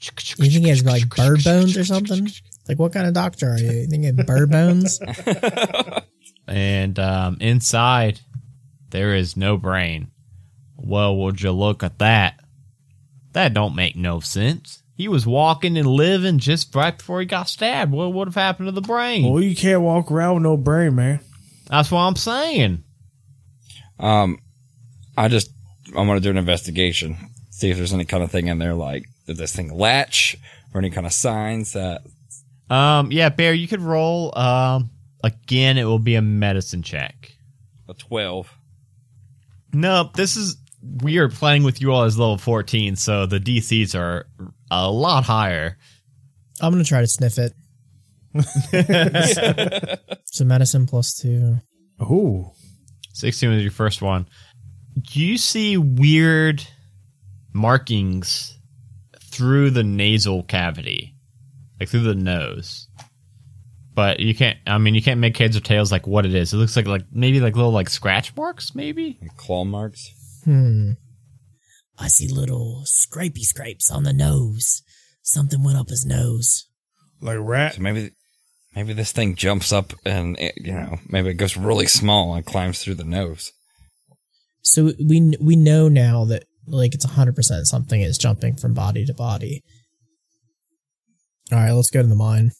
Speaker 2: You think he has like bird bones or something? Like, what kind of doctor are you? You think he had bird bones?
Speaker 1: and um, inside there is no brain. Well, would you look at that? That don't make no sense. He was walking and living just right before he got stabbed. What would have happened to the brain?
Speaker 4: Well, you can't walk around with no brain, man.
Speaker 1: That's what I'm saying.
Speaker 7: Um, I just I'm gonna do an investigation, see if there's any kind of thing in there like did this thing latch or any kind of signs that
Speaker 1: Um, yeah, Bear, you could roll. Um, again, it will be a medicine check.
Speaker 7: a twelve.
Speaker 1: No, this is we are playing with you all as level 14, so the DCs are a lot higher.
Speaker 2: I'm gonna try to sniff it. so medicine plus two.
Speaker 4: Ooh.
Speaker 1: 16 was your first one. You see weird markings through the nasal cavity, like through the nose. But you can't. I mean, you can't make heads or tails like what it is. It looks like like maybe like little like scratch marks, maybe.
Speaker 7: Claw marks.
Speaker 2: Hmm. I see little scrapey scrapes on the nose. Something went up his nose.
Speaker 4: Like rat.
Speaker 7: So maybe maybe this thing jumps up and it, you know maybe it goes really small and climbs through the nose.
Speaker 2: So we we know now that like it's hundred percent something is jumping from body to body. All right, let's go to the mine.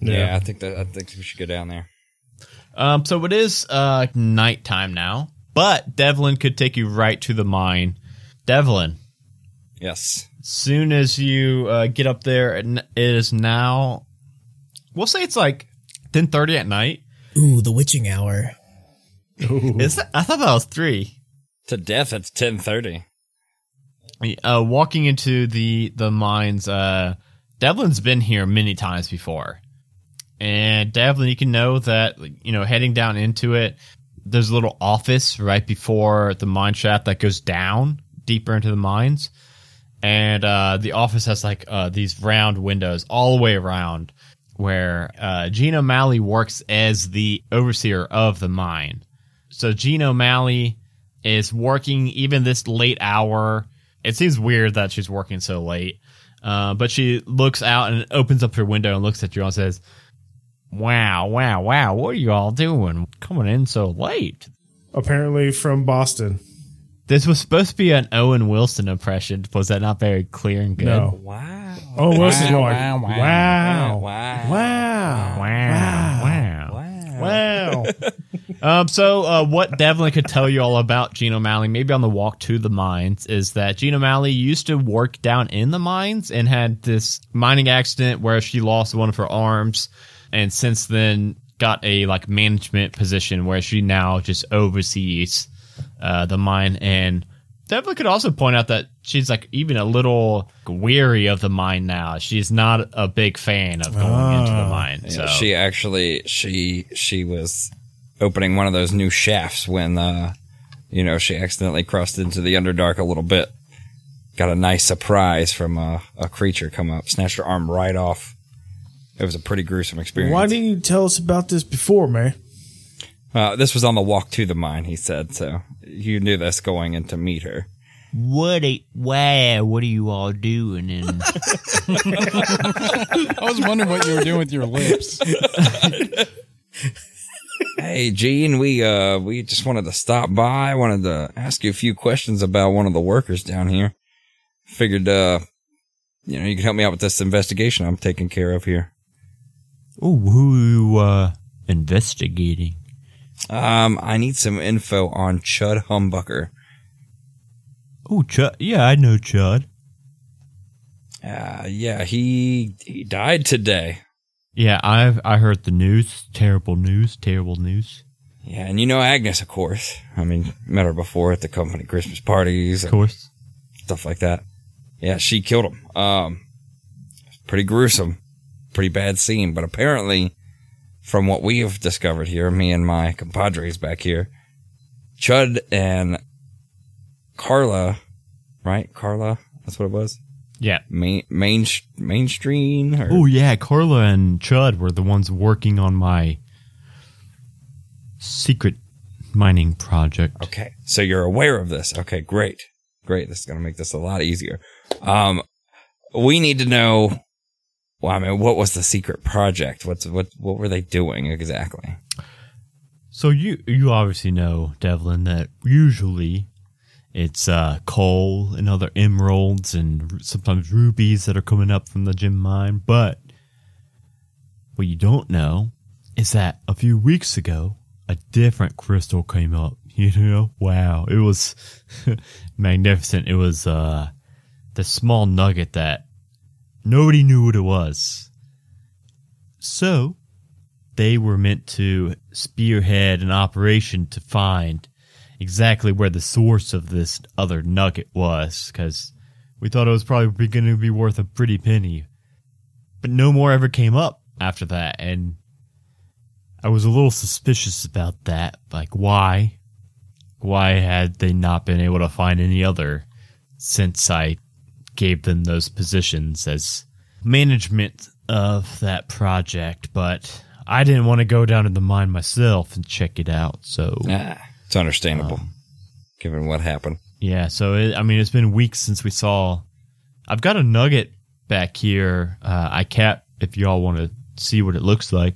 Speaker 7: Yeah, I think that I think we should go down there.
Speaker 1: Um, so it is uh nighttime now, but Devlin could take you right to the mine. Devlin,
Speaker 7: Yes.
Speaker 1: soon as you uh, get up there, and it is now. We'll say it's like ten thirty at night.
Speaker 2: Ooh, the witching hour.
Speaker 1: Is that, I thought that was three.
Speaker 7: To death. It's ten thirty.
Speaker 1: Uh, walking into the the mines, uh, Devlin's been here many times before, and Devlin, you can know that like, you know heading down into it. There's a little office right before the mine shaft that goes down deeper into the mines, and uh, the office has like uh, these round windows all the way around, where uh, Gene O'Malley works as the overseer of the mine. So Gene O'Malley is working even this late hour. It seems weird that she's working so late, uh, but she looks out and opens up her window and looks at you all and says, "Wow, wow, wow! What are you all doing? Coming in so late?
Speaker 4: Apparently from Boston.
Speaker 1: This was supposed to be an Owen Wilson impression. Was that not very clear and good?
Speaker 4: No.
Speaker 7: Wow.
Speaker 4: Oh, Wilson's going,
Speaker 3: wow,
Speaker 4: wow. Wow.
Speaker 7: Wow.
Speaker 4: Wow.
Speaker 1: Wow, wow,
Speaker 7: Wow.
Speaker 4: Wow. now.
Speaker 1: Um, so, uh, what Devlin could tell you all about Gene O'Malley, maybe on the walk to the mines, is that Gene O'Malley used to work down in the mines and had this mining accident where she lost one of her arms, and since then got a like management position where she now just oversees uh, the mine. And Devlin could also point out that she's like even a little weary of the mine now. She's not a big fan of going into the mine.
Speaker 7: Yeah,
Speaker 1: so
Speaker 7: she actually she she was opening one of those new shafts when uh you know she accidentally crossed into the underdark a little bit. Got a nice surprise from a, a creature come up, snatched her arm right off. It was a pretty gruesome experience.
Speaker 4: Why didn't you tell us about this before, man?
Speaker 7: Uh, this was on the walk to the mine, he said. So you knew this going in to meet her.
Speaker 1: what? A, wow! What are you all doing? And
Speaker 3: I was wondering what you were doing with your lips.
Speaker 7: Hey, Gene, we uh we just wanted to stop by. Wanted to ask you a few questions about one of the workers down here. Figured, uh, you know, you could help me out with this investigation I'm taking care of here.
Speaker 1: Oh, who you uh, investigating?
Speaker 7: Um, I need some info on Chud Humbucker.
Speaker 1: Oh, Chud. Yeah, I know Chud.
Speaker 7: Uh, yeah, he he died today.
Speaker 1: Yeah, I've I heard the news. Terrible news. Terrible news.
Speaker 7: Yeah, and you know Agnes, of course. I mean, met her before at the company Christmas parties.
Speaker 1: Of course.
Speaker 7: stuff like that. Yeah, she killed him. Um, pretty gruesome, pretty bad scene. But apparently, from what we have discovered here, me and my compadres back here, Chud and Carla, right? Carla, that's what it was.
Speaker 1: Yeah.
Speaker 7: Main main mainstream. Or,
Speaker 1: Oh yeah, Carla and Chud were the ones working on my secret mining project.
Speaker 7: Okay. So you're aware of this. Okay, great. Great. This is going to make this a lot easier. Um, we need to know. Well, I mean, what was the secret project? What's what? What were they doing exactly?
Speaker 1: So you you obviously know Devlin that usually it's uh, coal and other emeralds and r- sometimes rubies that are coming up from the gem mine. But what you don't know is that a few weeks ago a different crystal came up. You know, wow, it was magnificent. It was uh, the small nugget that nobody knew what it was. So they were meant to spearhead an operation to find exactly where the source of this other nugget was because we thought it was probably going to be worth a pretty penny but no more ever came up after that and i was a little suspicious about that like why why had they not been able to find any other since i gave them those positions as management of that project, but I didn't want to go down to the mine myself and check it out. So
Speaker 7: Ah, it's understandable, given what happened.
Speaker 1: yeah, so it, I mean, it's been weeks since we saw. I've got a nugget back here. Uh, I cap if y'all want to see what it looks like.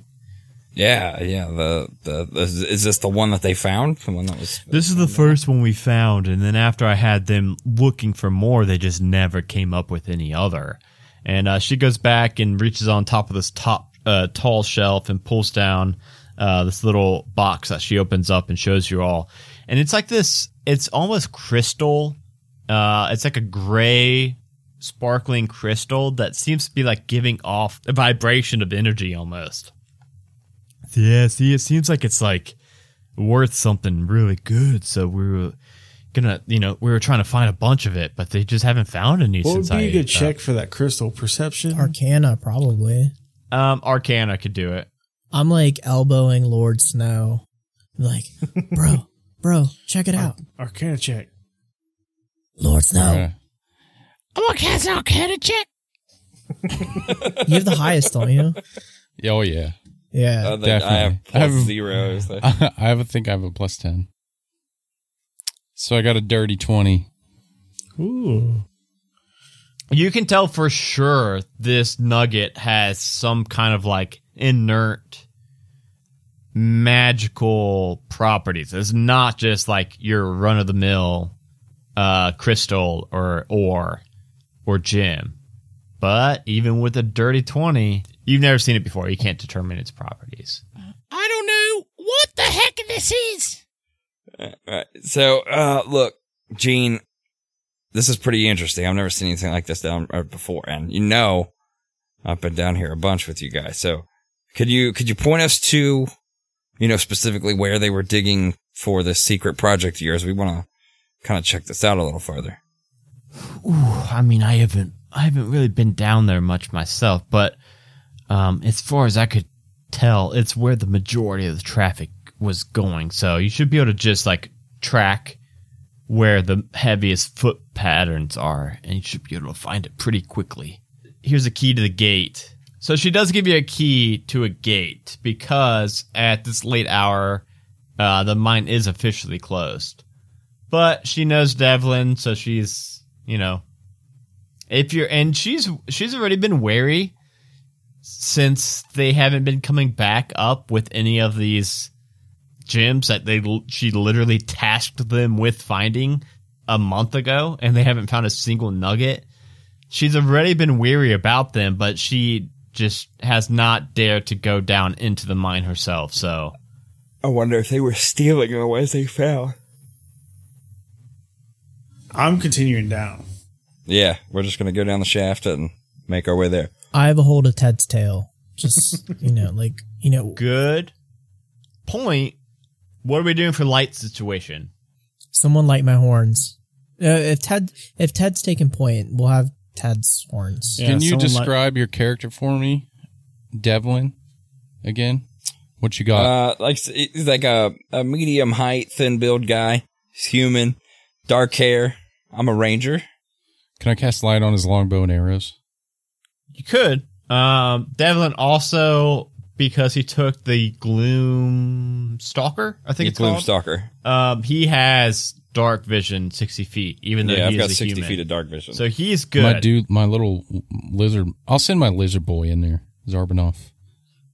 Speaker 7: Yeah, yeah. The, the the is this the one that they found? The one that was
Speaker 1: This is the first one we found, and then after I had them looking for more, they just never came up with any other. And uh, she goes back and reaches on top of this top uh, tall shelf and pulls down uh, this little box that she opens up and shows you all. And it's like this. It's almost crystal. Uh, it's like a gray, sparkling crystal that seems to be like giving off a vibration of energy almost. Yeah, see, it seems like it's like worth something really good. So we were gonna, you know, we were trying to find a bunch of it, but they just haven't found any
Speaker 4: What would
Speaker 1: since
Speaker 4: be
Speaker 1: I
Speaker 4: a good
Speaker 1: uh,
Speaker 4: check for that crystal perception?
Speaker 2: Arcana, probably.
Speaker 1: Um, Arcana could do it.
Speaker 2: I'm like elbowing Lord Snow. I'm like, bro, bro, check it out.
Speaker 4: Arcana check.
Speaker 2: Lord
Speaker 3: Uh,
Speaker 2: Snow.
Speaker 6: I want to cast an arcana check.
Speaker 2: You have the highest, don't you?
Speaker 3: Yeah, Oh yeah,
Speaker 2: Yeah.
Speaker 7: I think uh, I
Speaker 3: Definitely. I
Speaker 7: have plus
Speaker 3: have-
Speaker 7: zero. so-
Speaker 3: I have a, think I have a plus ten. So I got a dirty twenty.
Speaker 4: Ooh.
Speaker 1: You can tell for sure this nugget has some kind of like inert magical properties. It's not just like your run of the mill uh, crystal or ore or gem. But even with a dirty 20, you've never seen it before. You can't determine its properties.
Speaker 6: I don't know what the heck this is?
Speaker 7: Right. So, uh, look, Gene, this is pretty interesting. I've never seen anything like this down uh, before, and you know, I've been down here a bunch with you guys. So, could you could you point us to, you know, specifically where they were digging for this secret project of yours? We want to kind of check this out a little further.
Speaker 1: I mean, I haven't, I haven't really been down there much myself, but um, as far as I could tell, it's where the majority of the traffic was going. So you should be able to just like track where the heaviest foot patterns are, and you should be able to find it pretty quickly. Here's a key to the gate. So she does give you a key to a gate because at this late hour, uh, the mine is officially closed. But she knows Devlin, so she's you know if you're and she's she's already been wary since they haven't been coming back up with any of these gems that they she literally tasked them with finding a month ago and they haven't found a single nugget she's already been weary about them but she just has not dared to go down into the mine herself so
Speaker 7: I wonder if they were stealing the ones they found.
Speaker 4: I'm continuing down.
Speaker 7: Yeah, we're just gonna go down the shaft and make our way there.
Speaker 2: I have a hold of Ted's tail. Just you know, like you know,
Speaker 1: good point what are we doing for light situation
Speaker 2: someone light my horns. Uh, if Ted, if Ted's taking point, we'll have Ted's horns.
Speaker 3: Can you
Speaker 4: someone like-
Speaker 3: describe your character for me, Devlin? Again, what you got?
Speaker 7: Uh, like he's like a, a medium height, thin build guy. He's human, dark hair. I'm a ranger.
Speaker 3: Can I cast light on his longbow and arrows?
Speaker 1: You could. Um, Devlin also because he took the Gloom Stalker, I think
Speaker 7: He's
Speaker 1: it's called.
Speaker 7: gloom stalker.
Speaker 1: um, he has dark vision, sixty feet, even though
Speaker 7: Yeah,
Speaker 1: he
Speaker 7: I've
Speaker 1: is
Speaker 7: got
Speaker 1: a
Speaker 7: 60
Speaker 1: human.
Speaker 7: feet of dark vision.
Speaker 1: so he's good.
Speaker 3: My dude, my little lizard. I'll send my lizard boy in there, Zarbanoff.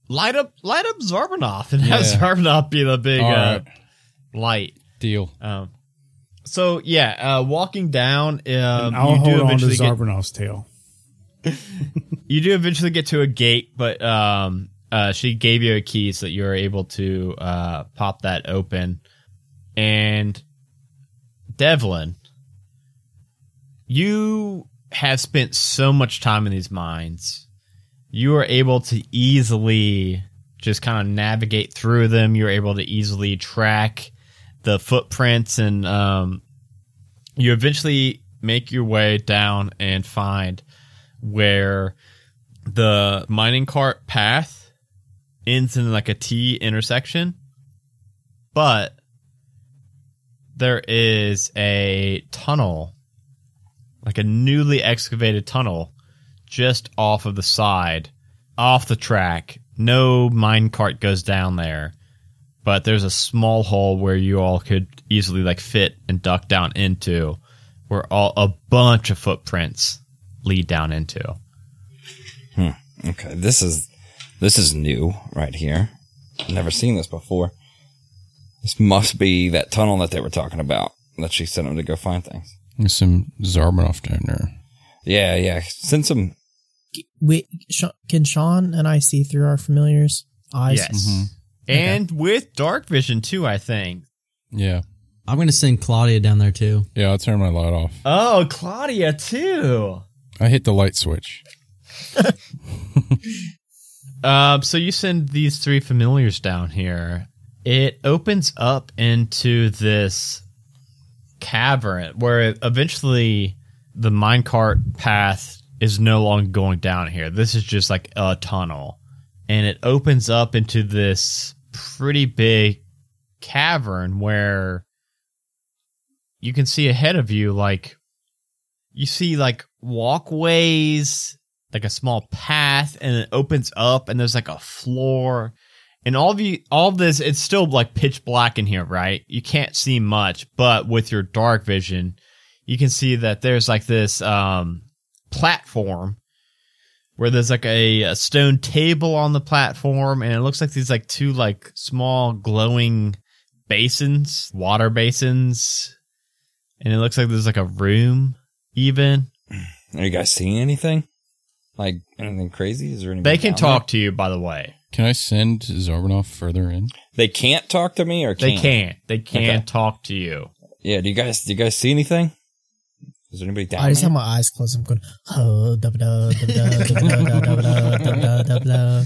Speaker 1: light up, light up Zarbanoff, and have
Speaker 3: Yeah.
Speaker 1: Zarbanoff be the big
Speaker 3: All
Speaker 1: uh,
Speaker 3: right.
Speaker 1: light.
Speaker 3: Deal.
Speaker 1: Um, so yeah, uh, walking down, um,
Speaker 4: I'll
Speaker 1: you
Speaker 4: hold
Speaker 1: do
Speaker 4: on to
Speaker 1: eventually get
Speaker 4: Zarbanov's tail.
Speaker 1: you do eventually get to a gate, but um, uh, she gave you a key so that you're able to uh, pop that open. And Devlin, you have spent so much time in these mines. You are able to easily just kind of navigate through them. You're able to easily track the footprints, and um, you eventually make your way down and find where the mining cart path ends in like a T intersection, but there is a tunnel, like a newly excavated tunnel, just off of the side, off the track. No mine cart goes down there, but there's a small hole where you all could easily like fit and duck down into, where all a bunch of footprints lead down into.
Speaker 7: okay, this is this is new right here. Never seen this before. This must be that tunnel that they were talking about that she sent him to go find things.
Speaker 3: There's some Zarbanoff down there.
Speaker 7: Yeah, yeah. Send some.
Speaker 2: We Sh- can Sean and I see through our familiars' eyes.
Speaker 1: Yes. And with dark vision too, I think.
Speaker 3: Yeah.
Speaker 5: I'm gonna send Claudia down there too.
Speaker 3: Yeah, I'll turn my light off.
Speaker 1: Oh, Claudia too.
Speaker 3: I hit the light switch.
Speaker 1: Um, so you send these three familiars down here. It opens up into this cavern where eventually the minecart path is no longer going down here. This is just like a tunnel. And it opens up into this pretty big cavern where you can see ahead of you like you see like walkways like a small path and it opens up and there's like a floor and all of you all of this it's still like pitch black in here right you can't see much but with your dark vision you can see that there's like this um platform where there's like a, a stone table on the platform and it looks like these like two like small glowing basins water basins and it looks like there's like a room even
Speaker 7: Are you guys seeing anything? Like anything crazy? Is there anything?
Speaker 1: They can
Speaker 7: down there?
Speaker 1: talk to you, by the way.
Speaker 3: Can I send Zarbanoff further in?
Speaker 7: They can't talk to me, or
Speaker 1: They
Speaker 7: can't?
Speaker 1: can't. They can't
Speaker 7: Okay.
Speaker 1: talk to you.
Speaker 7: Yeah. Do you guys? Do you guys see anything? Is there anybody down
Speaker 2: I just
Speaker 7: there?
Speaker 2: have my eyes closed. I'm going, oh, da da da da da da da da da da.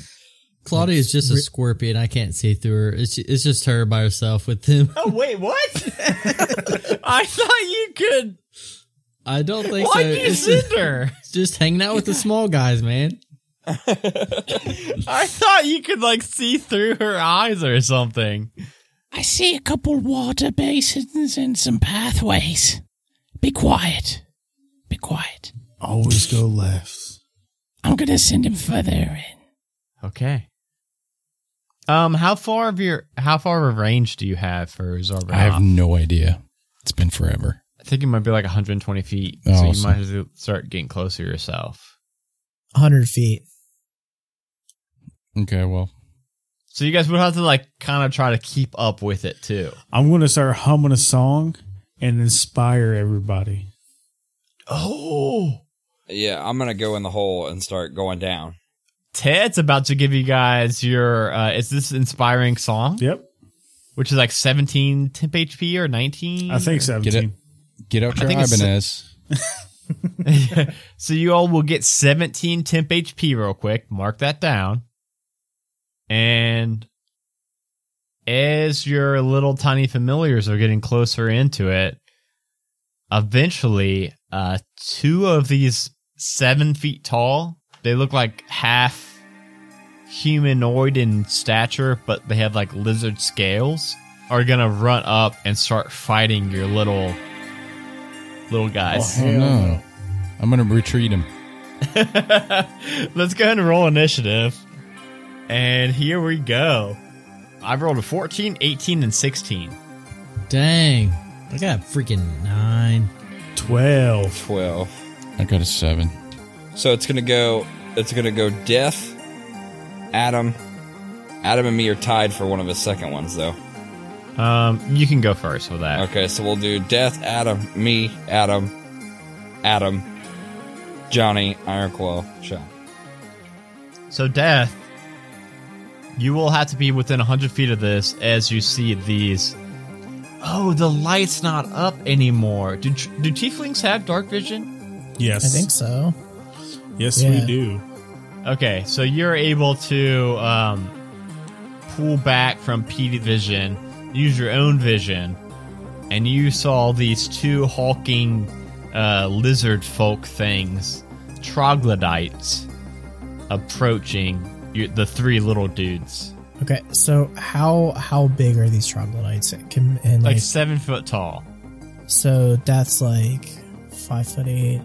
Speaker 5: Claudia is just a
Speaker 2: Re-
Speaker 5: scorpion. I can't see through her. It's it's just her by herself with him.
Speaker 8: Oh wait, what? I thought you could.
Speaker 5: I don't think so.
Speaker 8: Why'd you
Speaker 5: It's
Speaker 8: sit there?
Speaker 5: just hanging out with the small guys, man.
Speaker 1: I thought you could like see through her eyes or something.
Speaker 6: I see a couple water basins and some pathways. Be quiet. Be quiet.
Speaker 4: Always go left.
Speaker 6: I'm gonna send him further in.
Speaker 1: Okay. Um, how far of your how far of a range do you have for Zarbanoff?
Speaker 3: I have no idea. It's been forever.
Speaker 1: I think it might be like 120 feet,
Speaker 3: Oh,
Speaker 1: so you
Speaker 3: so-
Speaker 1: might have to start getting closer yourself.
Speaker 2: 100 feet.
Speaker 3: Okay, well,
Speaker 1: So you guys would have to like kind of try to keep up with it too.
Speaker 4: I'm gonna start humming a song and inspire everybody.
Speaker 1: Oh,
Speaker 7: Yeah, I'm gonna go in the hole and start going down.
Speaker 1: Ted's about to give you guys your uh, is this inspiring song,
Speaker 4: Yep,
Speaker 1: which is like 17 temp HP or 19.
Speaker 4: I think
Speaker 3: get it.
Speaker 4: seventeen.
Speaker 3: Get out your
Speaker 1: think it's-
Speaker 3: Ibanez.
Speaker 1: so you all will get 17 temp HP real quick. Mark that down. And as your little tiny familiars are getting closer into it, eventually, uh, two of these seven feet tall, they look like half humanoid in stature, but they have like lizard scales, are gonna run up and start fighting your little little guys.
Speaker 3: Oh, no. I'm going to retreat him.
Speaker 1: Let's go ahead and roll initiative. And here we go. I've rolled a 14, 18, and 16.
Speaker 5: Dang, I got a freaking nine.
Speaker 4: Twelve.
Speaker 7: Twelve.
Speaker 3: I got a seven.
Speaker 7: So it's gonna go. It's gonna go. Death. Adam. Adam and me are tied for one of his second ones, though.
Speaker 1: Um, you can go first with that.
Speaker 7: Okay, so we'll do Death, Adam, me, Adam, Adam, Johnny, Ironclaw, Sean.
Speaker 1: So, Death, you will have to be within 100 feet of this as you see these. Oh, the light's not up anymore. Do, tr- do tieflings have dark vision?
Speaker 4: Yes,
Speaker 2: I think so.
Speaker 4: Yes,
Speaker 2: Yeah.
Speaker 4: we do.
Speaker 1: Okay, so you're able to um, pull back from PD vision, use your own vision, and you saw these two hulking uh, lizard folk things, troglodytes, approaching you, the three little dudes,
Speaker 2: Okay, so how how big are these troglodytes? It Can, and
Speaker 1: like
Speaker 2: like,
Speaker 1: seven foot tall.
Speaker 2: so that's like five foot eight.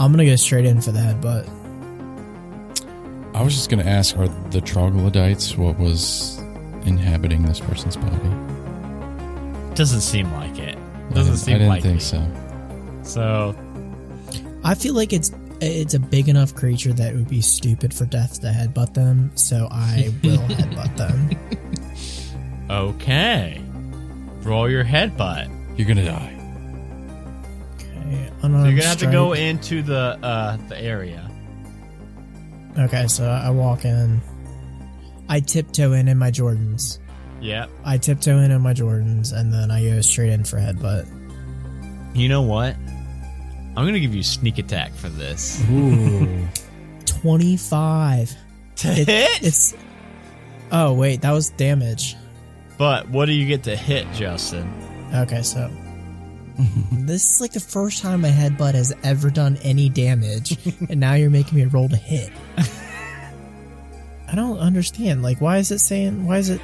Speaker 2: I'm gonna go straight in for the headbutt.
Speaker 3: I was just going to ask are the troglodytes what was inhabiting this person's body?
Speaker 1: Doesn't seem like it.
Speaker 3: I
Speaker 1: Doesn't
Speaker 3: didn't,
Speaker 1: seem
Speaker 3: I didn't
Speaker 1: like
Speaker 3: think
Speaker 1: it.
Speaker 3: so.
Speaker 1: So
Speaker 2: I feel like it's it's a big enough creature that it would be stupid for death to headbutt them. So I will headbutt them.
Speaker 1: okay, roll your headbutt.
Speaker 3: You're going to die.
Speaker 2: Okay,
Speaker 1: So you're gonna have to go into the uh, the area.
Speaker 2: Okay, so I walk in. I tiptoe in in my Jordans.
Speaker 1: Yep.
Speaker 2: I tiptoe in in my Jordans, and then I go straight in for headbutt.
Speaker 1: You know what? I'm gonna give you sneak attack for this.
Speaker 2: Mhm.
Speaker 4: Ooh.
Speaker 2: Twenty five.
Speaker 1: To
Speaker 2: It-
Speaker 1: hit?
Speaker 2: It's. Oh wait, that was damage.
Speaker 1: But what do you get to hit, Justin?
Speaker 2: Okay, so this is like the first time my headbutt has ever done any damage, and now you're making me roll to hit. I don't understand. Like, why is it saying? Why is it?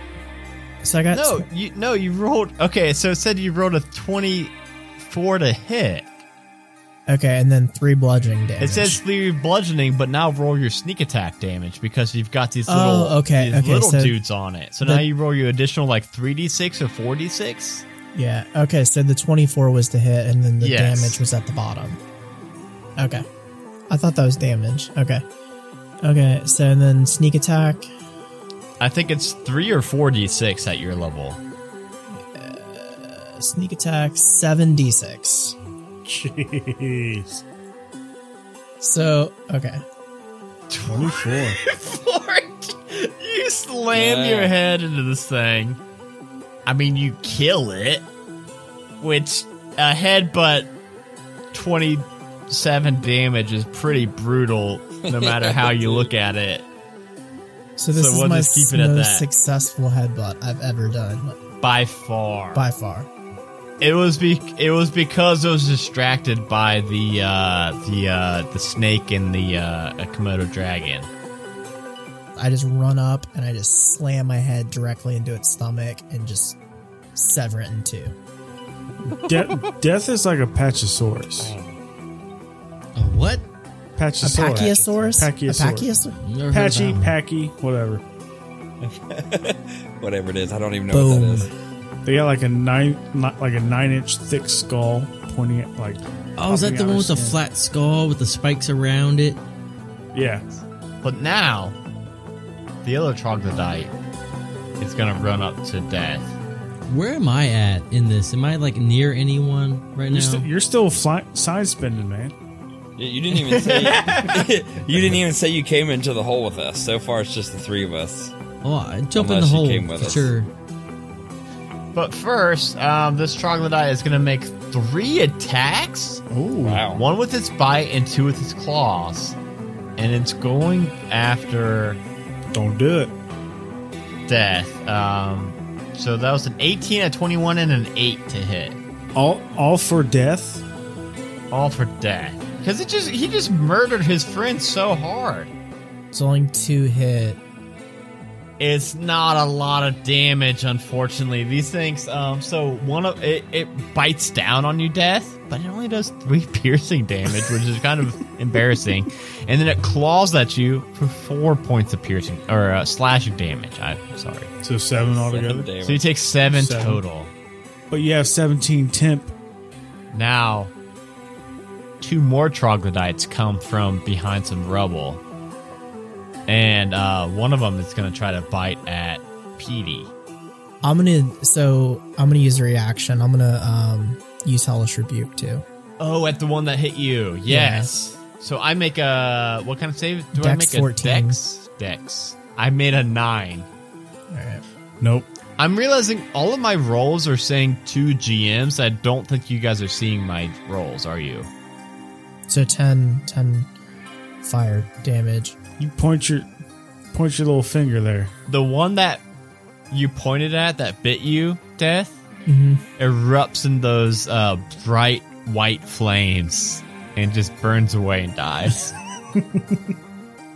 Speaker 2: So I got
Speaker 1: No, you no, you rolled okay, so it said you rolled a twenty-four to hit.
Speaker 2: okay, and then three bludgeoning damage.
Speaker 1: It says three bludgeoning, but now roll your sneak attack damage because you've got these
Speaker 2: Oh,
Speaker 1: little
Speaker 2: okay,
Speaker 1: these
Speaker 2: okay,
Speaker 1: little
Speaker 2: so
Speaker 1: dudes on it. So
Speaker 2: the-
Speaker 1: now you roll your additional like three d six or four d six.
Speaker 2: Yeah. Okay. So the 24 was the hit, and then the
Speaker 1: Yes.
Speaker 2: damage was at the bottom. Okay. I thought that was damage. Okay. Okay. So and then sneak attack.
Speaker 1: I think it's three or four d six at your level.
Speaker 2: Sneak attack 7d6.
Speaker 4: Jeez.
Speaker 2: So, okay.
Speaker 4: 24.
Speaker 1: Fork, you slam your head into this thing. I mean, you kill it, which a headbutt 27 damage is pretty brutal, no matter how you look at it.
Speaker 2: So this
Speaker 1: So
Speaker 2: is
Speaker 1: we'll
Speaker 2: my
Speaker 1: just keep it at
Speaker 2: most
Speaker 1: that.
Speaker 2: successful headbutt I've ever done
Speaker 1: By far,
Speaker 2: by far.
Speaker 1: it was be it was because I was distracted by the uh, the uh, the snake and the uh, a Komodo dragon.
Speaker 2: I just run up and I just slam my head directly into its stomach and just sever it in two.
Speaker 4: De- death is like a pachyosaurus.
Speaker 5: A Oh, what?
Speaker 2: A
Speaker 4: Pachyosaurus.
Speaker 2: pachyosaurus? A
Speaker 4: Pachyosaurus.
Speaker 2: pachyosaur-
Speaker 5: Never heard of
Speaker 4: Pachy,
Speaker 5: that one.
Speaker 4: packy, whatever.
Speaker 7: Whatever it is, I don't even know
Speaker 2: Boom.
Speaker 7: what that is.
Speaker 4: They got like a nine, ni- like a nine-inch thick skull, pointing at like.
Speaker 5: Oh, is that the one with the flat skull with the spikes around it?
Speaker 4: Yeah,
Speaker 1: But now, the other troglodyte is gonna run up to death.
Speaker 5: Where am I at in this? Am I like near anyone right now?
Speaker 4: you're, st- you're still fly- side spinning, man.
Speaker 7: You you didn't even say you didn't even say you came into the hole with us. So far, it's just the three of us.
Speaker 5: oh, I jump in the
Speaker 7: Unless you
Speaker 5: hole.
Speaker 7: came with
Speaker 5: for
Speaker 7: us.
Speaker 5: Sure.
Speaker 1: But first, um, this troglodyte is gonna make three attacks.
Speaker 7: Wow.
Speaker 1: One with its bite and two with its claws. And it's going after
Speaker 4: Don't do it.
Speaker 1: death. Um, so that was an 18, a 21, and an 8 to hit.
Speaker 4: All, all for death.
Speaker 1: All for death. Because it just he just murdered his friend so hard.
Speaker 2: It's only two hit.
Speaker 1: It's not a lot of damage, unfortunately. These things, um, so one of it, it bites down on you, death, but it only does three piercing damage, which is kind of embarrassing. And then it claws at you for four points of piercing or uh, slashing damage. I'm sorry.
Speaker 4: So seven altogether.
Speaker 1: So you take seven,
Speaker 4: Seven.
Speaker 1: total.
Speaker 4: But you have seventeen temp.
Speaker 1: Now, two more troglodytes come from behind some rubble, and uh, one of them is going to try to bite at Petey.
Speaker 2: I'm gonna so I'm gonna use a reaction. I'm gonna um use Hellish Rebuke too.
Speaker 1: Oh, at the one that hit you. Yes. So I make a what kind of save? Do I
Speaker 2: Dex
Speaker 1: make
Speaker 2: 14.
Speaker 1: a dex? Dex. I made a nine.
Speaker 2: Alright.
Speaker 4: Nope.
Speaker 1: I'm realizing all of my rolls are saying two GMs. I don't think you guys are seeing my rolls, are you?
Speaker 2: So 10, 10 fire damage.
Speaker 4: You point your, point your little finger there.
Speaker 1: The one that you pointed at that bit you, Death,
Speaker 2: Mhm.
Speaker 1: erupts in those uh, bright white flames and just burns away and dies.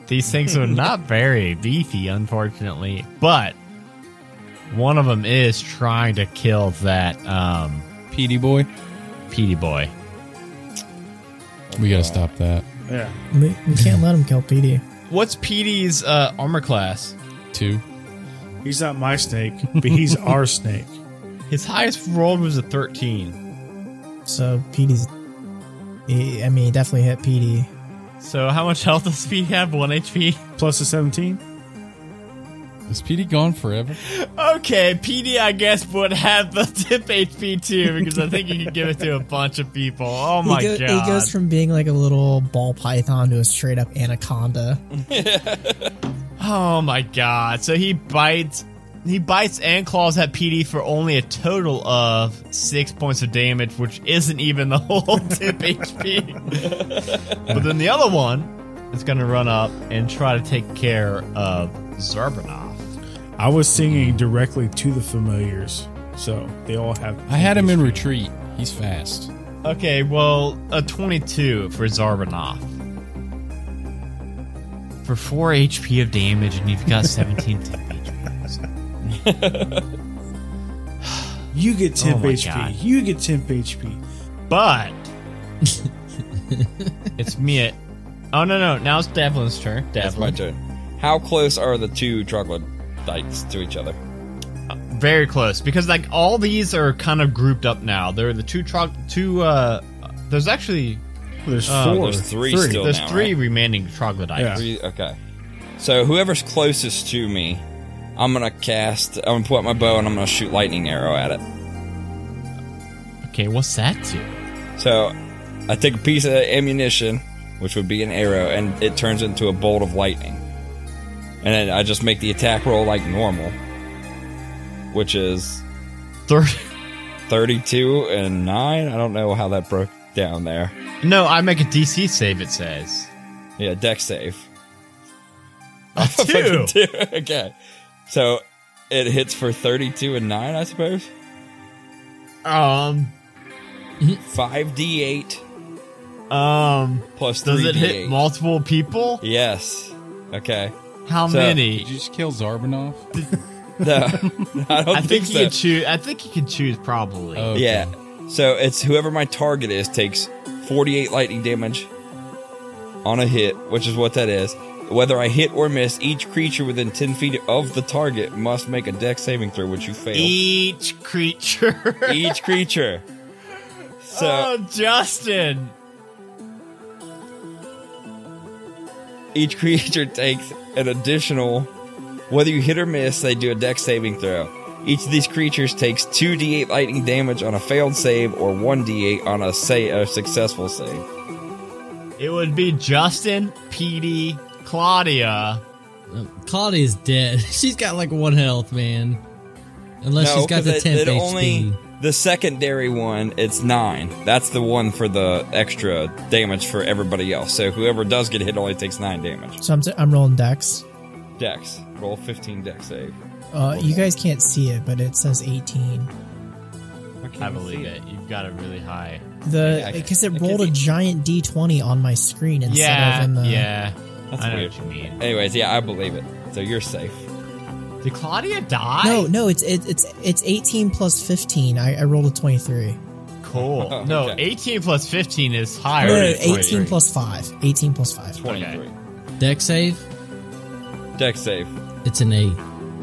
Speaker 1: These things are not very beefy, unfortunately, but one of them is trying to kill that um,
Speaker 3: PD boy.
Speaker 1: Petey boy.
Speaker 3: We gotta stop that.
Speaker 4: Yeah.
Speaker 2: We, we can't let him kill PD.
Speaker 1: What's Petey's uh, armor class?
Speaker 3: Two.
Speaker 4: He's not my snake, but he's our snake.
Speaker 1: His highest rolled was a 13.
Speaker 2: So PD's. He, I mean, he definitely hit PD.
Speaker 1: So how much health does Petey have? 1 HP?
Speaker 4: Plus a seventeen.
Speaker 3: Is PD gone forever?
Speaker 1: Okay, PD, I guess, would have the tip HP too because I think you can give it to a bunch of people. Oh my
Speaker 2: he, go-
Speaker 1: god!
Speaker 2: he goes from being like a little ball python to a straight up anaconda.
Speaker 1: oh my god! So he bites, he bites and claws at PD for only a total of six points of damage, which isn't even the whole tip HP. but then the other one is going to run up and try to take care of Zerbanov.
Speaker 4: I was singing directly to the familiars, so they all have.
Speaker 3: I had him in retreat. He's fast.
Speaker 1: Okay, well, a 22 for Zarbanoff. For 4 HP of damage, and you've got 17 temp HP. So-
Speaker 4: You get temp
Speaker 1: Oh my
Speaker 4: HP.
Speaker 1: God.
Speaker 4: You get temp HP.
Speaker 1: But. it's me. At, oh, no, no. Now it's Devlin's turn.
Speaker 7: That's my
Speaker 1: Devlin.
Speaker 7: turn. How close are the two troglodytes to each other?
Speaker 1: Very close. Because, like, all these are kind of grouped up now. There are the two. Tro- two uh, there's actually.
Speaker 4: There's
Speaker 1: Oh,
Speaker 4: four.
Speaker 7: there's three still.
Speaker 1: There's
Speaker 7: now,
Speaker 1: three
Speaker 7: right?
Speaker 1: remaining troglodytes.
Speaker 4: Yeah.
Speaker 7: Three- Okay. So whoever's closest to me, I'm gonna cast. I'm gonna pull out my bow and I'm gonna shoot lightning arrow at it.
Speaker 1: Okay, what's that to?
Speaker 7: So I take a piece of ammunition which would be an arrow, and it turns into a bolt of lightning. And then I just make the attack roll like normal, which is
Speaker 1: Third.
Speaker 7: 32 and 9. I don't know how that broke down there.
Speaker 1: No, I make a DC save. It says
Speaker 7: Yeah, deck save.
Speaker 1: a two.
Speaker 7: Two. okay. So it hits for 32 and 9, I suppose.
Speaker 1: Um,
Speaker 7: 5d8
Speaker 1: um,
Speaker 7: plus 3d8.
Speaker 1: does it hit multiple people?
Speaker 7: Yes. Okay.
Speaker 1: How
Speaker 7: So-
Speaker 1: many?
Speaker 3: Did you just kill Zarbanov?
Speaker 7: No, I don't
Speaker 1: I
Speaker 7: think,
Speaker 1: think you
Speaker 7: so.
Speaker 1: can choose. I think you can choose probably.
Speaker 3: Oh. Okay.
Speaker 7: Yeah. So it's whoever my target is takes 48 lightning damage on a hit, which is what that is. Whether I hit or miss, each creature within 10 feet of the target must make a deck saving throw, which you fail.
Speaker 1: E- Each creature.
Speaker 7: each creature. So
Speaker 1: oh,
Speaker 7: Uh,
Speaker 1: Justin.
Speaker 7: each creature takes an additional. Whether you hit or miss, they do a deck saving throw. Each of these creatures takes 2d8 lightning damage on a failed save or 1d8 on a, sa- a successful save.
Speaker 1: It would be Justin, Petey, Claudia.
Speaker 5: Claudia's dead. she's got like one health, man. Unless she's got
Speaker 7: 'cause
Speaker 5: the
Speaker 7: it-
Speaker 5: temp
Speaker 7: it
Speaker 5: HP.
Speaker 7: only- the secondary one, it's nine. That's the one for the extra damage for everybody else. So whoever does get hit only takes nine damage.
Speaker 2: So I'm, t- I'm rolling decks.
Speaker 7: Dex, roll fifteen dex save.
Speaker 2: Uh, you guys can't see it, but it says 18.
Speaker 1: I believe it. You've got it really high.
Speaker 2: The
Speaker 7: I-
Speaker 2: because
Speaker 7: I
Speaker 2: it
Speaker 7: can
Speaker 2: rolled a
Speaker 7: be-
Speaker 2: giant d20 on my screen instead
Speaker 1: Yeah,
Speaker 2: of in the.
Speaker 1: yeah. I know
Speaker 7: weird.
Speaker 1: what you mean.
Speaker 7: Anyways, yeah, I believe it. So you're safe.
Speaker 1: Did Claudia die?
Speaker 2: No, no, it's it, it's it's 18 plus 15. I, I rolled a 23.
Speaker 1: Cool.
Speaker 7: Oh,
Speaker 1: No,
Speaker 7: okay.
Speaker 1: 18 plus 15 is
Speaker 2: No,
Speaker 1: higher.
Speaker 2: no, no,
Speaker 1: than
Speaker 2: 18
Speaker 1: 23.
Speaker 2: plus 5. 18 plus 5.
Speaker 7: Twenty-three.
Speaker 5: Deck save.
Speaker 7: Dex save.
Speaker 5: It's an eight.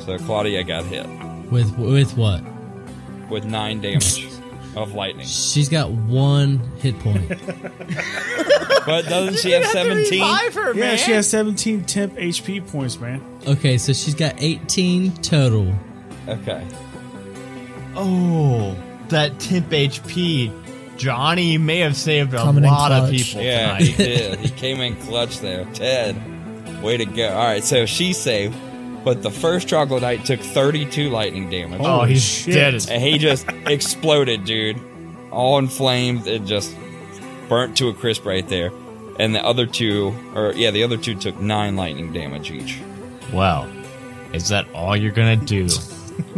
Speaker 7: So Claudia got hit
Speaker 5: With with what?
Speaker 7: with nine damage of lightning.
Speaker 5: She's got one hit point.
Speaker 7: But doesn't she have seventeen?
Speaker 1: Revive her,
Speaker 4: Yeah,
Speaker 1: man.
Speaker 4: she has 17 temp HP points, man.
Speaker 5: okay, so she's got eighteen total.
Speaker 7: Okay.
Speaker 1: Oh, that temp HP. Johnny may have saved a
Speaker 2: Coming in
Speaker 1: lot of
Speaker 2: clutch.
Speaker 1: people
Speaker 7: Yeah, he
Speaker 1: tonight.
Speaker 7: did. He came in clutch there. Ted, way to go. All right, so she saved, but the first troglodyte took 32 lightning damage.
Speaker 1: oh,
Speaker 4: Holy
Speaker 1: he's
Speaker 4: shit.
Speaker 1: dead as
Speaker 7: And he just exploded, dude. All in flames. It just burnt to a crisp right there. And the other two, or yeah, the other two took nine lightning damage each.
Speaker 1: Well, is that all you're gonna do?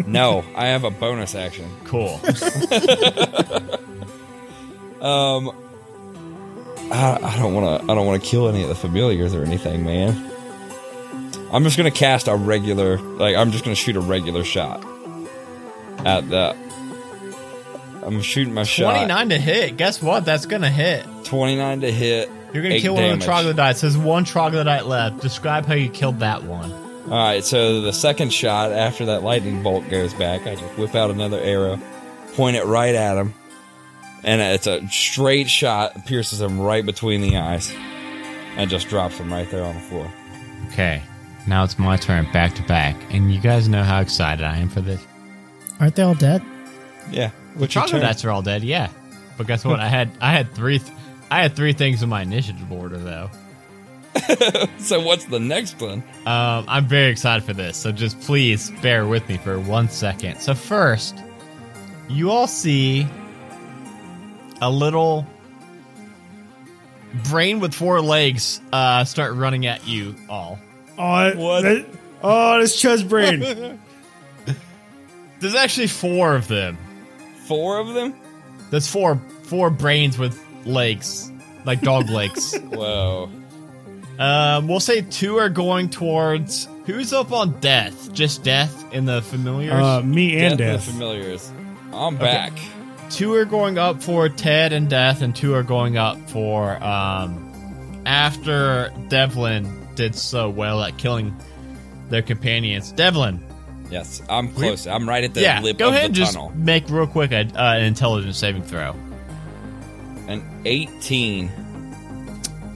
Speaker 7: No, I have a bonus action.
Speaker 1: Cool.
Speaker 7: Um, I, I don't want to. I don't want to kill any of the familiars or anything, man. I'm just gonna cast a regular. Like I'm just gonna shoot a regular shot at that. I'm shooting my shot.
Speaker 1: 29 to hit. Guess what? That's gonna hit.
Speaker 7: 29 to hit.
Speaker 1: You're gonna
Speaker 7: eight
Speaker 1: kill one of
Speaker 7: damage.
Speaker 1: the troglodytes. There's one troglodyte left. Describe how you killed that one.
Speaker 7: All right, so the second shot after that lightning bolt goes back, I just whip out another arrow, point it right at him, and it's a straight shot, pierces him right between the eyes, and just drops him right there on the floor.
Speaker 1: Okay, now it's my turn, back to back, and you guys know how excited I am for this.
Speaker 2: Aren't they all dead?
Speaker 7: Yeah, what's your turn?
Speaker 1: Troglodytes are all dead, yeah. But guess what? I had I had three th- I had three things in my initiative order though.
Speaker 7: So what's the next one?
Speaker 1: Um, I'm very excited for this, so just please bear with me for one second. So first, you all see a little brain with four legs uh, start running at you all.
Speaker 4: Oh,
Speaker 7: What?
Speaker 4: That, oh, this Chuz brain.
Speaker 1: There's actually four of them.
Speaker 7: Four of them?
Speaker 1: There's four four brains with legs, like dog legs.
Speaker 7: Whoa.
Speaker 1: Um, we'll say two are going towards who's up on death, just death in the familiars.
Speaker 4: uh, me and
Speaker 7: Death of
Speaker 4: death.
Speaker 7: the familiars. I'm back.
Speaker 1: two are going up for Ted and Death, and two are going up for um, after Devlin did so well at killing their companions. Devlin,
Speaker 7: Yes, I'm close. I'm right at the
Speaker 1: yeah,
Speaker 7: lip
Speaker 1: go
Speaker 7: of
Speaker 1: ahead
Speaker 7: the
Speaker 1: and just
Speaker 7: tunnel.
Speaker 1: make real quick a, uh, an intelligence saving throw.
Speaker 7: An 18.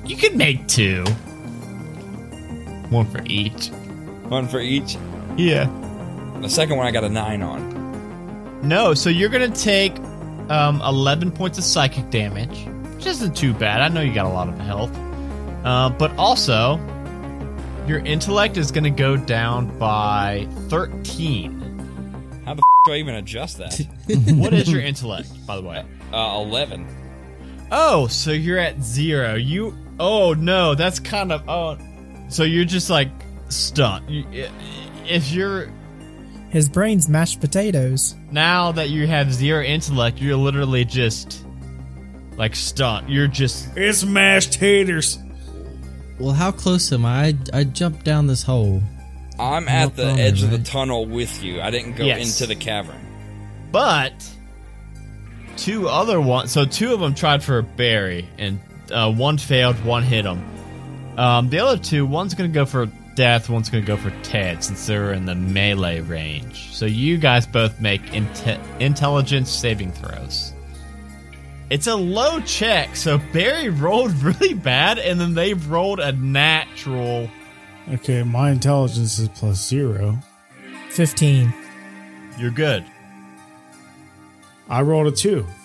Speaker 1: You can make two, one for each.
Speaker 7: One for each.
Speaker 1: Yeah.
Speaker 7: The second one I got a 9 on.
Speaker 1: No, so you're gonna take um, 11 points of psychic damage, which isn't too bad. I know you got a lot of health. Uh, but also, your intellect is going to go down by 13.
Speaker 7: How the f- do I even adjust that?
Speaker 1: what is your intellect, by the way?
Speaker 7: Uh, 11.
Speaker 1: Oh, so you're at zero. You. Oh no, that's kind of. Oh, so you're just like stunned. You- i- If you're
Speaker 2: His brain's mashed potatoes.
Speaker 1: now that you have zero intellect, you're literally just like stunned. You're just
Speaker 4: It's mashed taters.
Speaker 5: Well, how close am I? I, I jumped down this hole.
Speaker 7: I'm at the
Speaker 5: problem,
Speaker 7: edge of the
Speaker 5: right?
Speaker 7: tunnel with you. I didn't go
Speaker 1: Yes.
Speaker 7: into the cavern.
Speaker 1: But two other ones, so two of them tried for a berry, and uh, one failed, one hit him. Um, the other two, one's gonna go for death, one's gonna go for Ted, since they're in the melee range. So you guys both make inte intelligence saving throws. It's a low check, so Barry rolled really bad, and then they rolled a natural.
Speaker 4: Okay, my intelligence is plus zero.
Speaker 2: 15.
Speaker 1: You're good.
Speaker 4: I rolled a two.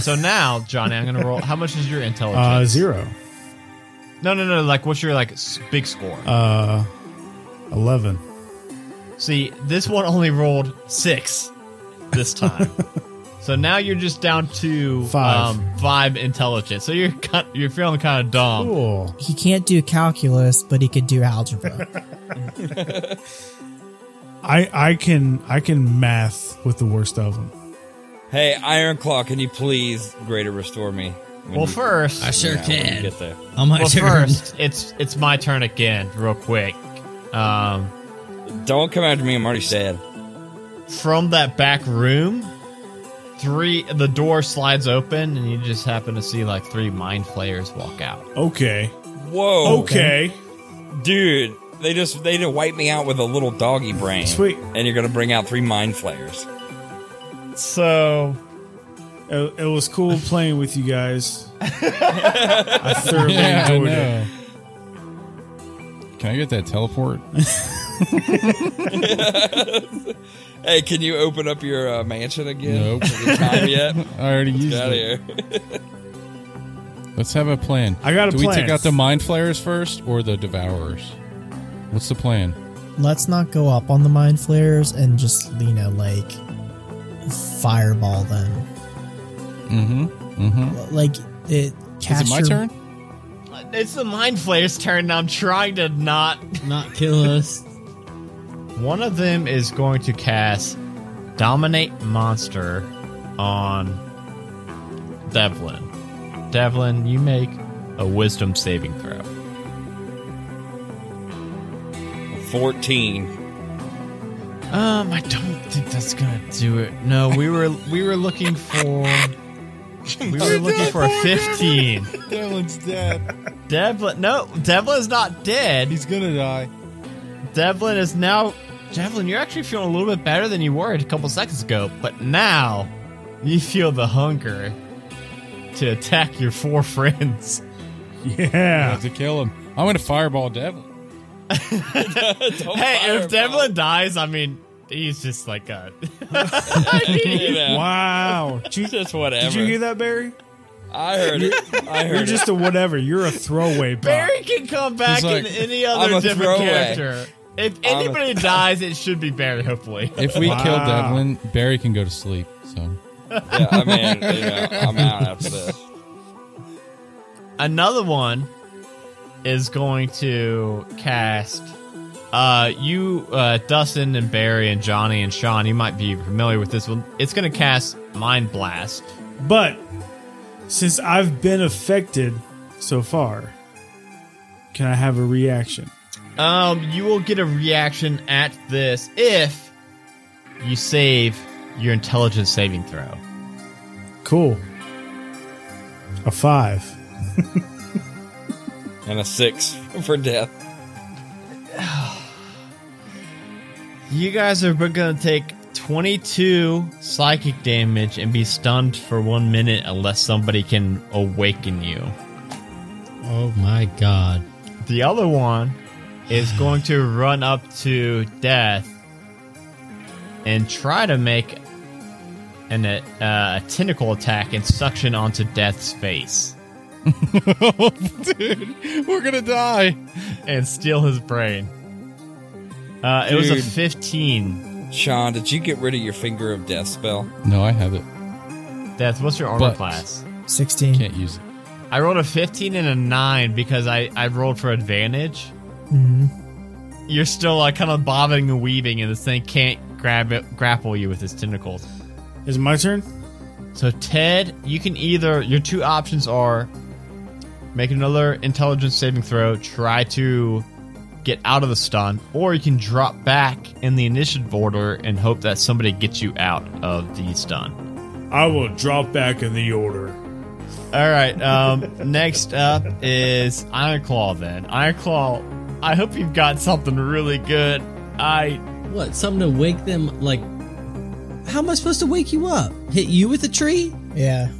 Speaker 1: So now, Johnny, I'm gonna roll. How much is your intelligence?
Speaker 4: Uh, zero.
Speaker 1: No, no, no. Like, what's your like s- big score?
Speaker 4: Uh, 11.
Speaker 1: See, this one only rolled six this time. so now you're just down to um,
Speaker 4: Five.
Speaker 1: five intelligence. So you're kind, you're feeling kind of dumb.
Speaker 4: Cool.
Speaker 2: He can't do calculus, but he could do algebra.
Speaker 4: I I can I can math with the worst of them.
Speaker 7: Hey, Iron Claw, can you please greater restore me? when
Speaker 1: Well,
Speaker 7: you-
Speaker 1: first,
Speaker 5: I sure
Speaker 7: yeah, when you
Speaker 5: can.
Speaker 7: get there.
Speaker 5: On my
Speaker 1: well,
Speaker 5: turn.
Speaker 1: first, it's it's my turn again, real quick. Um,
Speaker 7: Don't come after me. I'm already dead.
Speaker 1: from that back room, three the door slides open, and you just happen to see like three mind players walk out.
Speaker 4: Okay.
Speaker 7: Whoa.
Speaker 4: Okay.
Speaker 7: Dude, they just they just wiped me out with a little doggy brain.
Speaker 4: Sweet.
Speaker 7: And you're gonna bring out three mind flayers.
Speaker 1: So
Speaker 4: It, it was cool playing with you guys. I thoroughly
Speaker 3: Yeah, I
Speaker 4: enjoyed it.
Speaker 3: know. Can I get that teleport?
Speaker 7: Hey, can you open up your uh, mansion again?
Speaker 3: Nope.
Speaker 7: Is it time yet?
Speaker 3: I already used
Speaker 7: Get out of
Speaker 3: it.
Speaker 7: here.
Speaker 3: Let's have a plan.
Speaker 4: I got a
Speaker 3: Do we
Speaker 4: plan.
Speaker 3: take out the mind flayers first or the devourers? What's the plan?
Speaker 2: Let's not go up on the mind flares and just, you know, like fireball them.
Speaker 3: Mm-hmm. Mm-hmm.
Speaker 2: Like it
Speaker 3: Is
Speaker 2: capture
Speaker 3: it my turn?
Speaker 1: it's the mind players' turn. And I'm trying to not
Speaker 5: Not kill us.
Speaker 1: One of them is going to cast Dominate Monster on Devlin. Devlin, you make a wisdom saving throw.
Speaker 7: 14.
Speaker 1: Um, I don't think that's gonna do it. No, we were we were looking for we were looking for a fifteen.
Speaker 3: Devlin's dead.
Speaker 1: Devlin, no, Devlin's not dead.
Speaker 3: He's gonna die.
Speaker 1: Devlin is now. Devlin, you're actually feeling a little bit better than you were a couple seconds ago, but now you feel the hunger to attack your four friends.
Speaker 3: I
Speaker 4: Yeah.
Speaker 3: have to kill him. I'm gonna fireball Devlin.
Speaker 1: hey,
Speaker 7: fireball.
Speaker 1: if Devlin dies, I mean, he's just like a.
Speaker 7: You know,
Speaker 4: Wow. Did you,
Speaker 7: Just whatever.
Speaker 4: did you hear that, Barry?
Speaker 7: I heard it. I
Speaker 4: You're
Speaker 7: heard
Speaker 4: just a whatever. You're a throwaway pal.
Speaker 1: Barry can come back
Speaker 3: He's
Speaker 1: in
Speaker 3: like,
Speaker 1: any
Speaker 7: "I'm
Speaker 1: other
Speaker 7: a
Speaker 1: different
Speaker 7: throwaway."
Speaker 1: character. If
Speaker 7: a-
Speaker 1: anybody dies, it should be Barry, hopefully.
Speaker 3: If we kill
Speaker 4: Wow.
Speaker 3: Devlin, Barry can go to sleep. So
Speaker 7: it. Yeah, I mean, you know, I'm out after this.
Speaker 1: Another one is going to cast. Uh, you, uh, Dustin and Barry and Johnny and Sean, you might be familiar with this one. It's going to cast Mind Blast.
Speaker 4: But since I've been affected so far, can I have a reaction?
Speaker 1: Um, you will get a reaction at this if you save your intelligence saving throw.
Speaker 4: Cool. A five.
Speaker 7: And a six for death.
Speaker 1: You guys are going to take 22 psychic damage and be stunned for one minute unless somebody can awaken you.
Speaker 5: Oh my god.
Speaker 1: The other one is going to run up to death and try to make an, uh, a tentacle attack and suction onto death's face.
Speaker 3: Dude, we're gonna die.
Speaker 1: and steal his brain. Uh, it was a
Speaker 7: Dude.
Speaker 1: 15.
Speaker 7: Sean, did you get rid of your finger of death spell?
Speaker 3: No, I have it.
Speaker 1: Death, what's your armor
Speaker 3: But-
Speaker 1: class?
Speaker 2: 16.
Speaker 3: Can't use it.
Speaker 1: I rolled a 15 and a 9 because I, I rolled for advantage. You're still like kind of bobbing and weaving, and this thing can't grab it, grapple you with its tentacles.
Speaker 4: Is it my turn?
Speaker 1: So, Ted, you can either, your two options are make another intelligence saving throw, try to get out of the stun, or you can drop back in the initiative order and hope that somebody gets you out of the stun.
Speaker 4: I will drop back in the order.
Speaker 1: All right, um, next up is Ironclaw then. Ironclaw, I hope you've got something really good. I.
Speaker 5: What? Something to wake them? Like, how am I supposed to wake you up? Hit you with a tree?
Speaker 2: Yeah.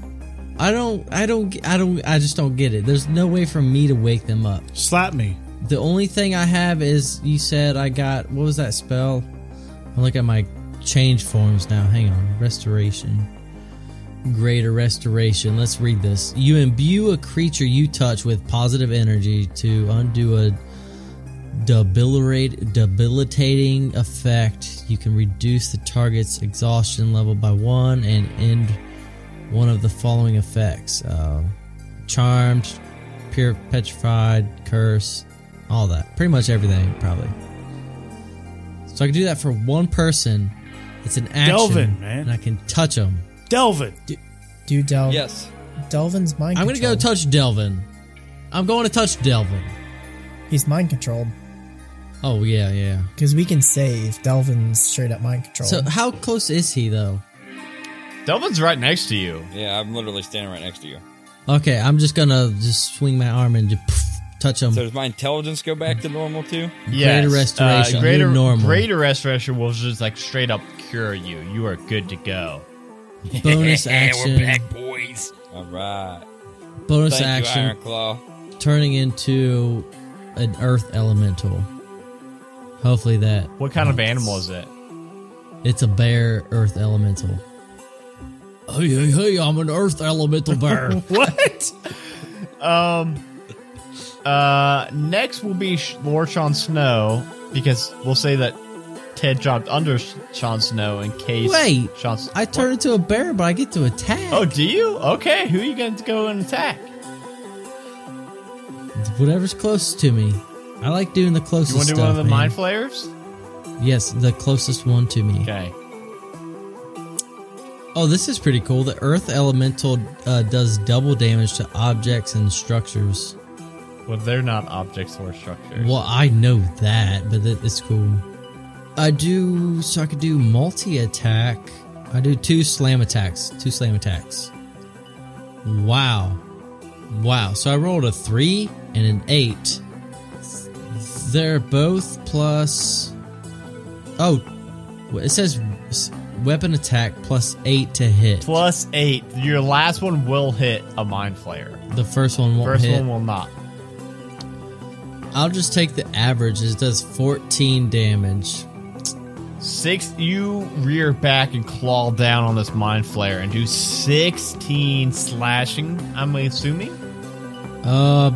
Speaker 5: I don't. I don't. g- I don't. I just don't get it. There's no way for me to wake them up.
Speaker 4: Slap me.
Speaker 5: The only thing I have is you said I got what was that spell? I look at my change forms now. Hang on, restoration. Greater restoration. Let's read this. You imbue a creature you touch with positive energy to undo a debilitate, debilitating effect. You can reduce the target's exhaustion level by one and end one of the following effects: uh, charmed, pure petrified, curse, all that. Pretty much everything, probably. So I can do that for one person. It's an action,
Speaker 4: Delvin, man.
Speaker 5: and I can touch them.
Speaker 4: Delvin.
Speaker 2: Do
Speaker 4: Oh.
Speaker 2: Del-
Speaker 7: Yes.
Speaker 2: Delvin's mind
Speaker 5: I'm gonna
Speaker 2: controlled.
Speaker 5: go touch Delvin. I'm going to touch Delvin.
Speaker 2: He's mind controlled.
Speaker 5: Oh yeah, yeah.
Speaker 2: Because we can save. Delvin's straight up mind controlled.
Speaker 5: So how close is he though?
Speaker 1: Delvin's right next to you.
Speaker 7: Yeah, I'm literally standing right next to you.
Speaker 5: Okay, I'm just gonna just swing my arm and just poof, touch him.
Speaker 7: So does my intelligence go back to normal too?
Speaker 1: Yes,
Speaker 5: restoration,
Speaker 1: Uh, greater,
Speaker 5: new normal.
Speaker 1: greater restoration will just like straight up cure you. You are good to go.
Speaker 5: bonus action.
Speaker 6: boys.
Speaker 7: All right.
Speaker 5: Bonus
Speaker 7: Thank you,
Speaker 5: action.
Speaker 7: Iron Claw.
Speaker 5: Turning into an earth elemental. Hopefully that
Speaker 1: What kind of animal is it?
Speaker 5: it's a bear earth elemental. Hey, hey, hey! I'm an earth elemental bear.
Speaker 1: What? um. Uh. Next will be Sh- Lord Sean Snow because we'll say that Ted dropped under Sh- Sean Snow in case.
Speaker 5: Wait,
Speaker 1: Sean.
Speaker 5: I turn into a bear, but I get to attack.
Speaker 1: Oh, do you? Okay. Who are you going to go and attack?
Speaker 5: Whatever's closest to me. I like doing the closest.
Speaker 1: You want to do
Speaker 5: stuff,
Speaker 1: one of the
Speaker 5: man.
Speaker 1: mind flayers?
Speaker 5: Yes, the closest one to me.
Speaker 1: Okay.
Speaker 5: Oh, this is pretty cool. The Earth Elemental uh, does double damage to objects and structures.
Speaker 1: Well, they're not objects or structures.
Speaker 5: Well, I know that, but it- it's cool. I do, so I could do multi attack. I do two slam attacks. Two slam attacks. Wow. Wow. So I rolled a three and an eight. They're both plus. Oh, it says s- weapon attack plus eight to hit.
Speaker 1: Plus eight. Your last one will hit a mind flayer.
Speaker 5: The first one won't
Speaker 1: First
Speaker 5: hit.
Speaker 1: one will not.
Speaker 5: I'll just take the average. It does 14 damage.
Speaker 1: Six, you rear back and claw down on this mind flare and do 16 slashing, I'm assuming?
Speaker 5: Uh,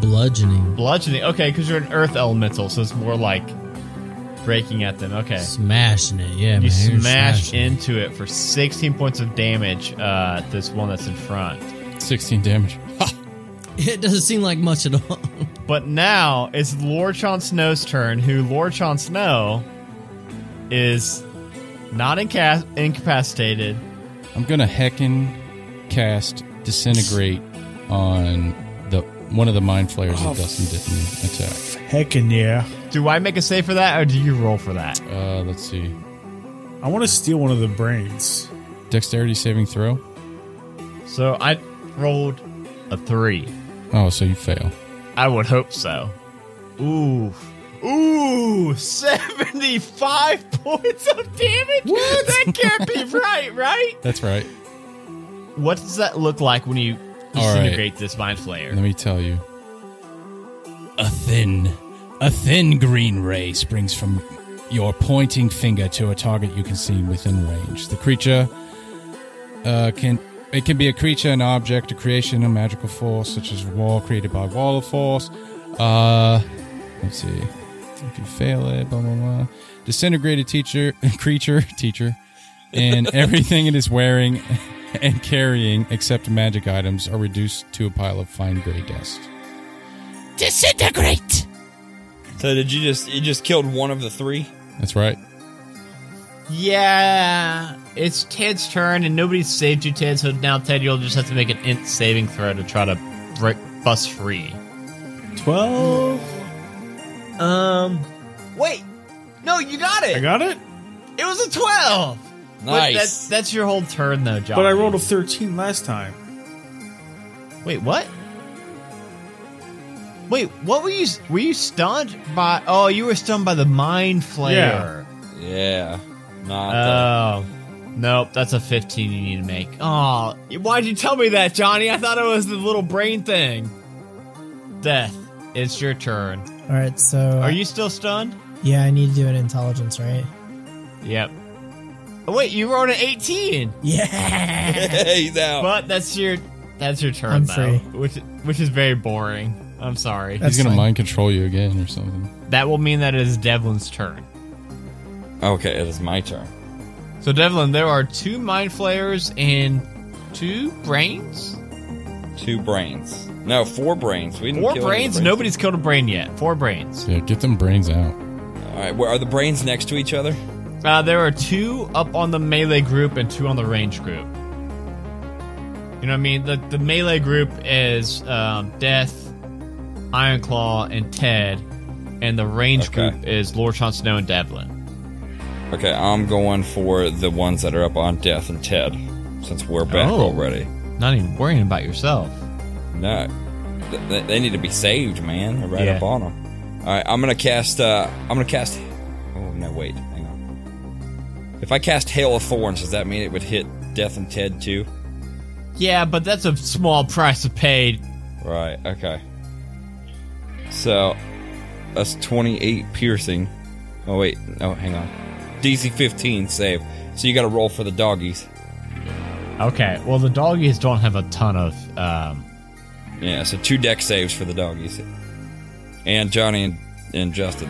Speaker 5: bludgeoning.
Speaker 1: Bludgeoning. Okay, because you're an earth elemental, so it's more like breaking at them. Okay.
Speaker 5: Smashing it, yeah, man.
Speaker 1: You
Speaker 5: you're
Speaker 1: smash
Speaker 5: smashing it.
Speaker 1: into it for 16 points of damage, uh, this one that's in front.
Speaker 3: 16 damage.
Speaker 5: It doesn't seem like much at all.
Speaker 1: But now it's Lord Chon Snow's turn, who Lord Chon Snow is not inca- incapacitated.
Speaker 3: I'm gonna heckin cast disintegrate on the one of the mind flayers that Dustin didn't
Speaker 4: Heckin' yeah.
Speaker 1: Do I make a save for that, or do you roll for that?
Speaker 3: attack. Uh, let's see.
Speaker 4: I want to steal one of the brains.
Speaker 3: Dexterity saving throw.
Speaker 1: So I rolled a three.
Speaker 3: Oh, so you fail.
Speaker 1: I would hope so. Ooh. Ooh, 75 points of damage? What? That can't be right, right?
Speaker 3: That's right.
Speaker 1: What does that look like when you
Speaker 3: All right.
Speaker 1: disintegrate this mind
Speaker 3: Let
Speaker 1: flayer?
Speaker 3: me tell you.
Speaker 6: A thin, a thin green ray springs from
Speaker 3: your pointing finger to a target you can see within range. The creature uh, can It can be a creature, an object, a creation, a magical force, such as a wall created by a wall of force. Uh, let's see. If you fail it, blah blah blah. Disintegrated teacher, creature, teacher, and everything it is wearing and carrying except magic items are reduced to a pile of fine gray dust.
Speaker 6: Disintegrate!
Speaker 7: So did you just you just killed one of the three?
Speaker 3: That's right.
Speaker 1: Yeah, it's Ted's turn, and nobody saved you, Ted. So now, Ted, you'll just have to make an int saving throw to try to break bus free.
Speaker 4: 12.
Speaker 1: Um, wait, no, you got it.
Speaker 4: I got it?
Speaker 1: it was a twelve. But
Speaker 7: Nice.
Speaker 1: that's that's your whole turn, though, John.
Speaker 4: But I rolled a 13 last time.
Speaker 1: Wait, what? Wait, what were you? Were you stunned by? Oh, you were stunned by the mind flare.
Speaker 7: Yeah. Not that.
Speaker 1: Oh, nope. That's a fifteen you need to make. Oh, why'd you tell me that, Johnny? I thought it was the little brain thing. Death, it's your turn.
Speaker 2: All right, so
Speaker 1: Are you still stunned?
Speaker 2: Yeah, I need to do an intelligence, right?
Speaker 1: Yep. Oh, wait, you rolled an eighteen,
Speaker 2: Yeah.
Speaker 7: uh, He's out.
Speaker 1: but that's your that's your turn
Speaker 2: I'm
Speaker 1: though,
Speaker 2: free.
Speaker 1: which which is very boring. I'm sorry.
Speaker 2: That's
Speaker 3: He's gonna
Speaker 2: fine.
Speaker 3: mind control you again or something.
Speaker 1: That will mean that it is Devlin's turn.
Speaker 7: Okay, it is my turn.
Speaker 1: So Devlin, there are two mind flayers and two brains.
Speaker 7: Two brains. No, four brains. We didn't
Speaker 1: Four
Speaker 7: kill any
Speaker 1: brains. Nobody's killed a brain yet. Four brains.
Speaker 3: Yeah, get them brains out.
Speaker 7: All right, where are the brains next to each other?
Speaker 1: Uh, there are two up on the melee group and two on the range group. You know what I mean? The, the melee group is um, Death, Iron Claw, and Ted, and the range
Speaker 7: Okay.
Speaker 1: group is Lord Sean Snow and Devlin.
Speaker 7: Okay, I'm going for the ones that are up on Death and Ted, since we're back
Speaker 1: Oh.
Speaker 7: already.
Speaker 1: Not even worrying about yourself.
Speaker 7: No, Th- th- they need to be saved, man. They're right
Speaker 1: Yeah.
Speaker 7: up on them. All right, I'm gonna cast. uh I'm gonna cast. Oh no, wait, hang on. If I cast Hail of Thorns, does that mean it would hit Death and Ted too?
Speaker 1: Yeah, but that's a small price to pay.
Speaker 7: Right. Okay. So that's 28 piercing. Oh wait. Oh, hang on. DC 15 save. So you got to roll for the doggies.
Speaker 1: Okay, well, the doggies don't have a ton of. Um,
Speaker 7: Yeah. So two deck saves for the doggies. And Johnny and, and Justin,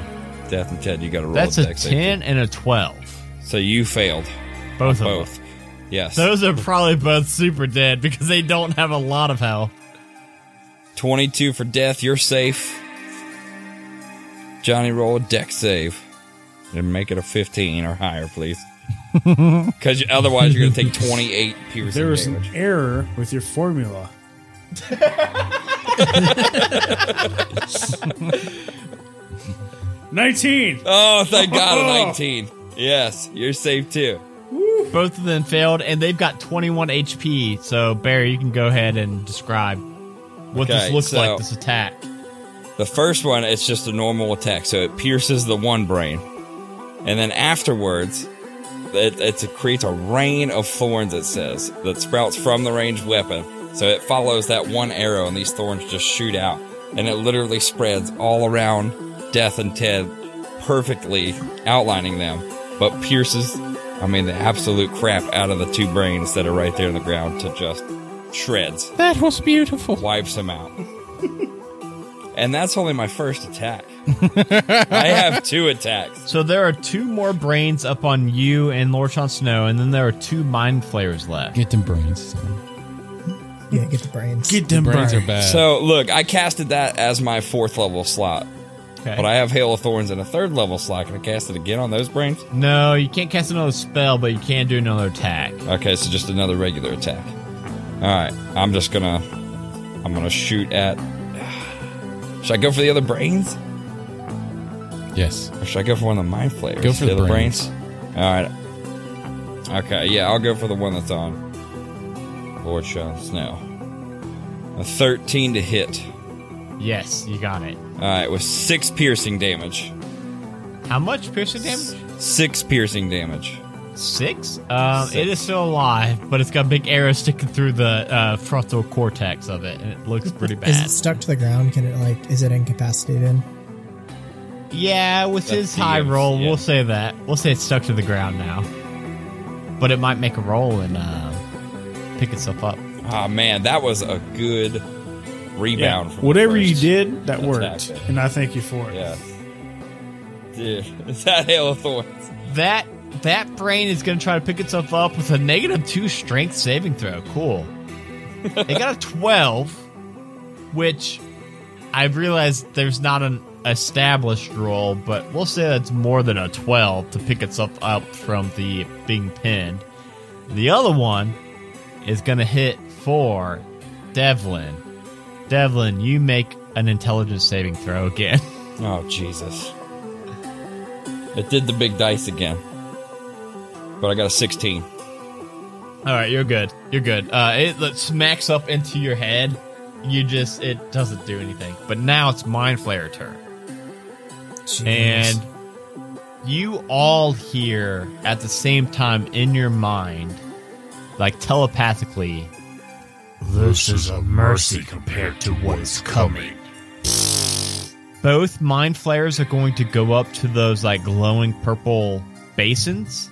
Speaker 7: Death and Ted, you got to roll.
Speaker 1: that's a
Speaker 7: deck save, too.
Speaker 1: 10 and a 12.
Speaker 7: So you failed.
Speaker 1: Both of them.
Speaker 7: Both. Yes.
Speaker 1: Those are probably both super dead because they don't have a lot of health.
Speaker 7: 22 for death. You're safe. Johnny, roll a deck save. And make it a 15 or higher, please. Because otherwise, you're going to take 28 piercing
Speaker 4: There was an
Speaker 7: damage.
Speaker 4: error with your formula. Nineteen.
Speaker 7: Oh, thank God, a 19. Yes, you're safe too.
Speaker 1: Both of them failed, and they've got 21 HP. So, Barry, you can go ahead and describe what this
Speaker 7: Okay,
Speaker 1: looks
Speaker 7: so-
Speaker 1: like, this attack.
Speaker 7: The first one, it's just a normal attack, so it pierces the one brain. And then afterwards, it, it's- it creates a rain of thorns, it says, that sprouts from the ranged weapon. So it follows that one arrow, and these thorns just shoot out. And it literally spreads all around Death and Ted, perfectly outlining them, but pierces, I mean, the absolute crap out of the two brains that are right there in the ground to just shreds
Speaker 3: That was beautiful.
Speaker 7: wipes him out. and that's only my first attack. I have two attacks.
Speaker 1: So, there are two more brains up on you and Lord Sean Snow, and then there are two mind flayers left.
Speaker 3: Get them brains. son.
Speaker 2: yeah, get the brains.
Speaker 4: them
Speaker 3: Brains are bad.
Speaker 7: So look, I casted that as my fourth level slot,
Speaker 1: Okay.
Speaker 7: but I have Hail of Thorns in a third level slot. Can I cast it again on those brains?
Speaker 1: no, you can't cast another spell, but you can do another attack.
Speaker 7: Okay, so just another regular attack. All right, I'm just gonna, I'm gonna shoot at. Should I go for the other brains,
Speaker 3: yes.
Speaker 7: or should I go for one of the mind flavors?
Speaker 3: Go for the
Speaker 7: other
Speaker 3: brains.
Speaker 7: All right. Okay, yeah, I'll go for the one that's on Lord Sean Snow. A 13 to hit.
Speaker 1: Yes, you got it.
Speaker 7: All right, with six piercing damage.
Speaker 1: How much piercing damage?
Speaker 7: Six piercing damage.
Speaker 1: Six? Um,
Speaker 7: Six.
Speaker 1: It is still alive, but it's got big arrows sticking through the uh, frontal cortex of it, and it looks pretty bad.
Speaker 2: Is it stuck to the ground? Can it like? Is it incapacitated?
Speaker 1: Yeah, with
Speaker 7: That's
Speaker 1: his high
Speaker 7: DMs,
Speaker 1: roll,
Speaker 7: yeah.
Speaker 1: we'll say that. We'll say it's stuck to the ground now. But it might make a roll in uh, pick itself up.
Speaker 7: Ah, man, that was a good
Speaker 4: Yeah.
Speaker 7: rebound. from the
Speaker 4: Whatever you
Speaker 7: first
Speaker 4: did, that
Speaker 7: attack
Speaker 4: worked,
Speaker 7: there.
Speaker 4: and I thank you for it.
Speaker 7: Yeah. Dude, is that Hail of Thorns?
Speaker 1: That that brain is going to try to pick itself up with a negative two strength saving throw. Cool. they got a twelve, which I realize there's not an established roll, but we'll say that's more than a twelve to pick itself up from the being pinned. The other one is going to hit for Devlin. Devlin, you make an intelligence saving throw again.
Speaker 7: Oh, Jesus. It did the big dice again. But I got a 16.
Speaker 1: All right, you're good. You're good. Uh, it like, smacks up into your head. You just it doesn't do anything. But now it's mind flayer turn, and you all hear at the same time in your mind, like telepathically,
Speaker 9: This is a mercy compared to what is coming.
Speaker 1: both mind flares are going to go up to those like glowing purple basins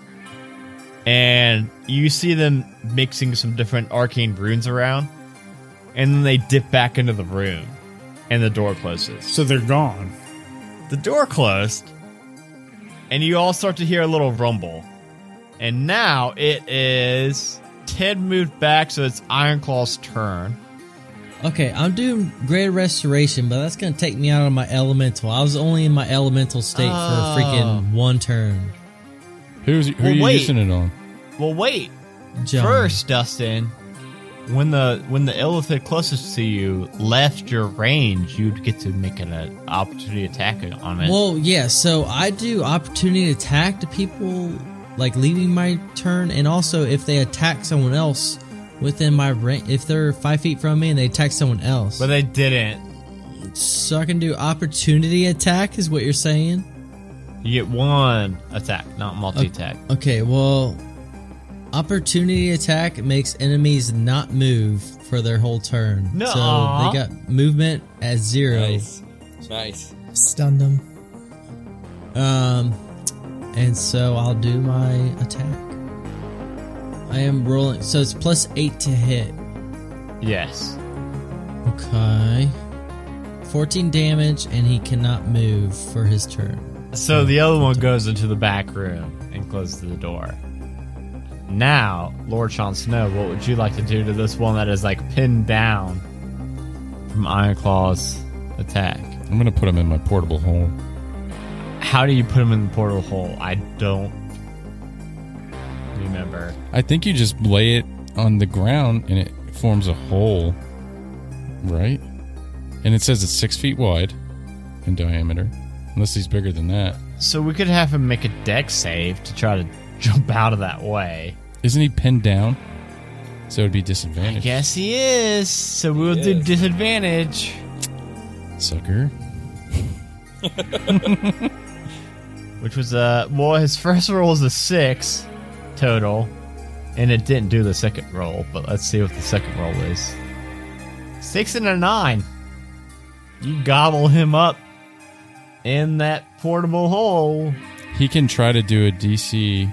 Speaker 1: and you see them mixing some different arcane runes around and then they dip back into the room and the door closes
Speaker 4: So they're gone.
Speaker 1: the door closed and you all start to hear a little rumble and now it is ted moved back so it's ironclaw's turn
Speaker 5: Okay, I'm doing great restoration, but that's gonna take me out of my elemental. I was only in my elemental state for a freaking
Speaker 1: Oh.
Speaker 5: one turn.
Speaker 3: Who's who
Speaker 1: Well,
Speaker 3: are you
Speaker 1: wait.
Speaker 3: using it on?
Speaker 1: well wait
Speaker 5: John.
Speaker 1: First, Dustin, when the when the illithid closest to you left your range, you'd get to make an uh, opportunity attack on it.
Speaker 5: Well, yeah. So I do opportunity attack to people like leaving my turn, and also if they attack someone else within my range, if they're five feet from me and they attack someone else,
Speaker 1: but they didn't.
Speaker 5: so I can do opportunity attack is what you're saying.
Speaker 1: You get one attack, not multi attack.
Speaker 5: Okay, well, opportunity attack makes enemies not move for their whole turn.
Speaker 1: Nuh-uh.
Speaker 5: So they got movement at zero.
Speaker 7: Nice. Nice.
Speaker 2: Stunned him.
Speaker 5: Um, and so I'll do my attack. I am rolling, so it's plus eight to hit.
Speaker 1: Yes.
Speaker 5: Okay, fourteen damage, and he cannot move for his turn.
Speaker 1: So the other one goes into the back room and closes the door. Now, Lord Sean Snow, what would you like to do to this one that is like pinned down from Ironclaw's attack?
Speaker 3: I'm gonna put him in my portable home.
Speaker 1: How do you put him in the portal hole? I don't remember.
Speaker 3: I think you just lay it on the ground and it forms a hole, right? And it says it's six feet wide in diameter, unless he's bigger than that.
Speaker 1: So we could have him make a deck save to try to jump out of that way.
Speaker 3: Isn't he pinned down? So it'd be
Speaker 1: I
Speaker 3: disadvantaged.
Speaker 1: guess he is. So we'll do
Speaker 7: is.
Speaker 1: disadvantage.
Speaker 3: Sucker.
Speaker 1: Which was uh well his first roll was a six total. And it didn't do the second roll, but let's see what the second roll is. Six and a nine. You gobble him up in that portable hole.
Speaker 3: He can try to do a DC.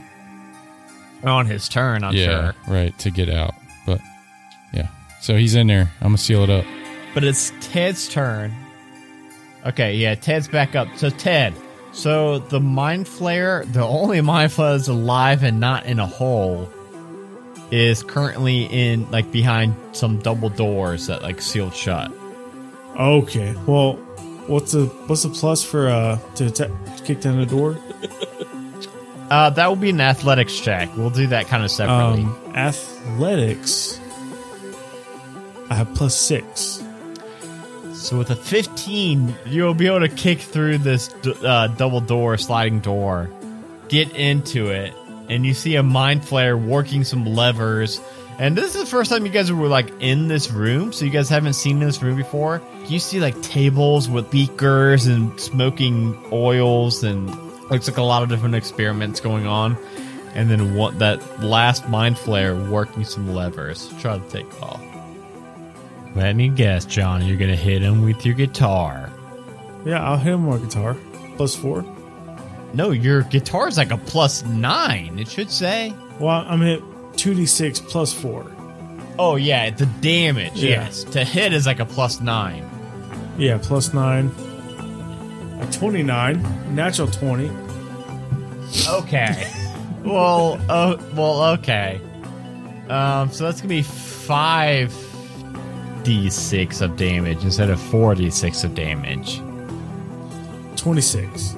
Speaker 1: On his turn, I'm
Speaker 3: yeah,
Speaker 1: sure.
Speaker 3: right, to get out. But yeah. So he's in there. I'm going to seal it up.
Speaker 1: But it's Ted's turn. Okay, yeah, Ted's back up. So Ted, so the mind flayer, the only mind flayer that's alive and not in a hole, is currently in like behind some double doors that like sealed shut.
Speaker 4: Okay. Well, what's the what's the plus for uh to atta- kick down the door?
Speaker 1: Uh, that will be an athletics check. We'll do that kind of separately.
Speaker 4: Um, athletics. I have plus six.
Speaker 1: so with a fifteen, you'll be able to kick through this d- uh, double door, sliding door, get into it, and you see a mind flayer working some levers. And this is the first time you guys were like in this room, so you guys haven't seen this room before. You see like tables with beakers and smoking oils, and looks like a lot of different experiments going on. And then what that last mind flayer working some levers, try to take off. Let me guess, John, you're gonna hit him with your guitar.
Speaker 4: Yeah, I'll hit him with my guitar. Plus four.
Speaker 1: No, your guitar is like a plus nine. It should say.
Speaker 4: Well, I'm hit two d six plus four.
Speaker 1: Oh yeah, the damage.
Speaker 4: Yeah.
Speaker 1: Yes, to hit is like a plus nine.
Speaker 4: Yeah, plus nine. A 29. Natural 20.
Speaker 1: Okay. well, oh, well, okay. Um, so that's gonna be five d six of damage instead of four d six of damage.
Speaker 4: 26.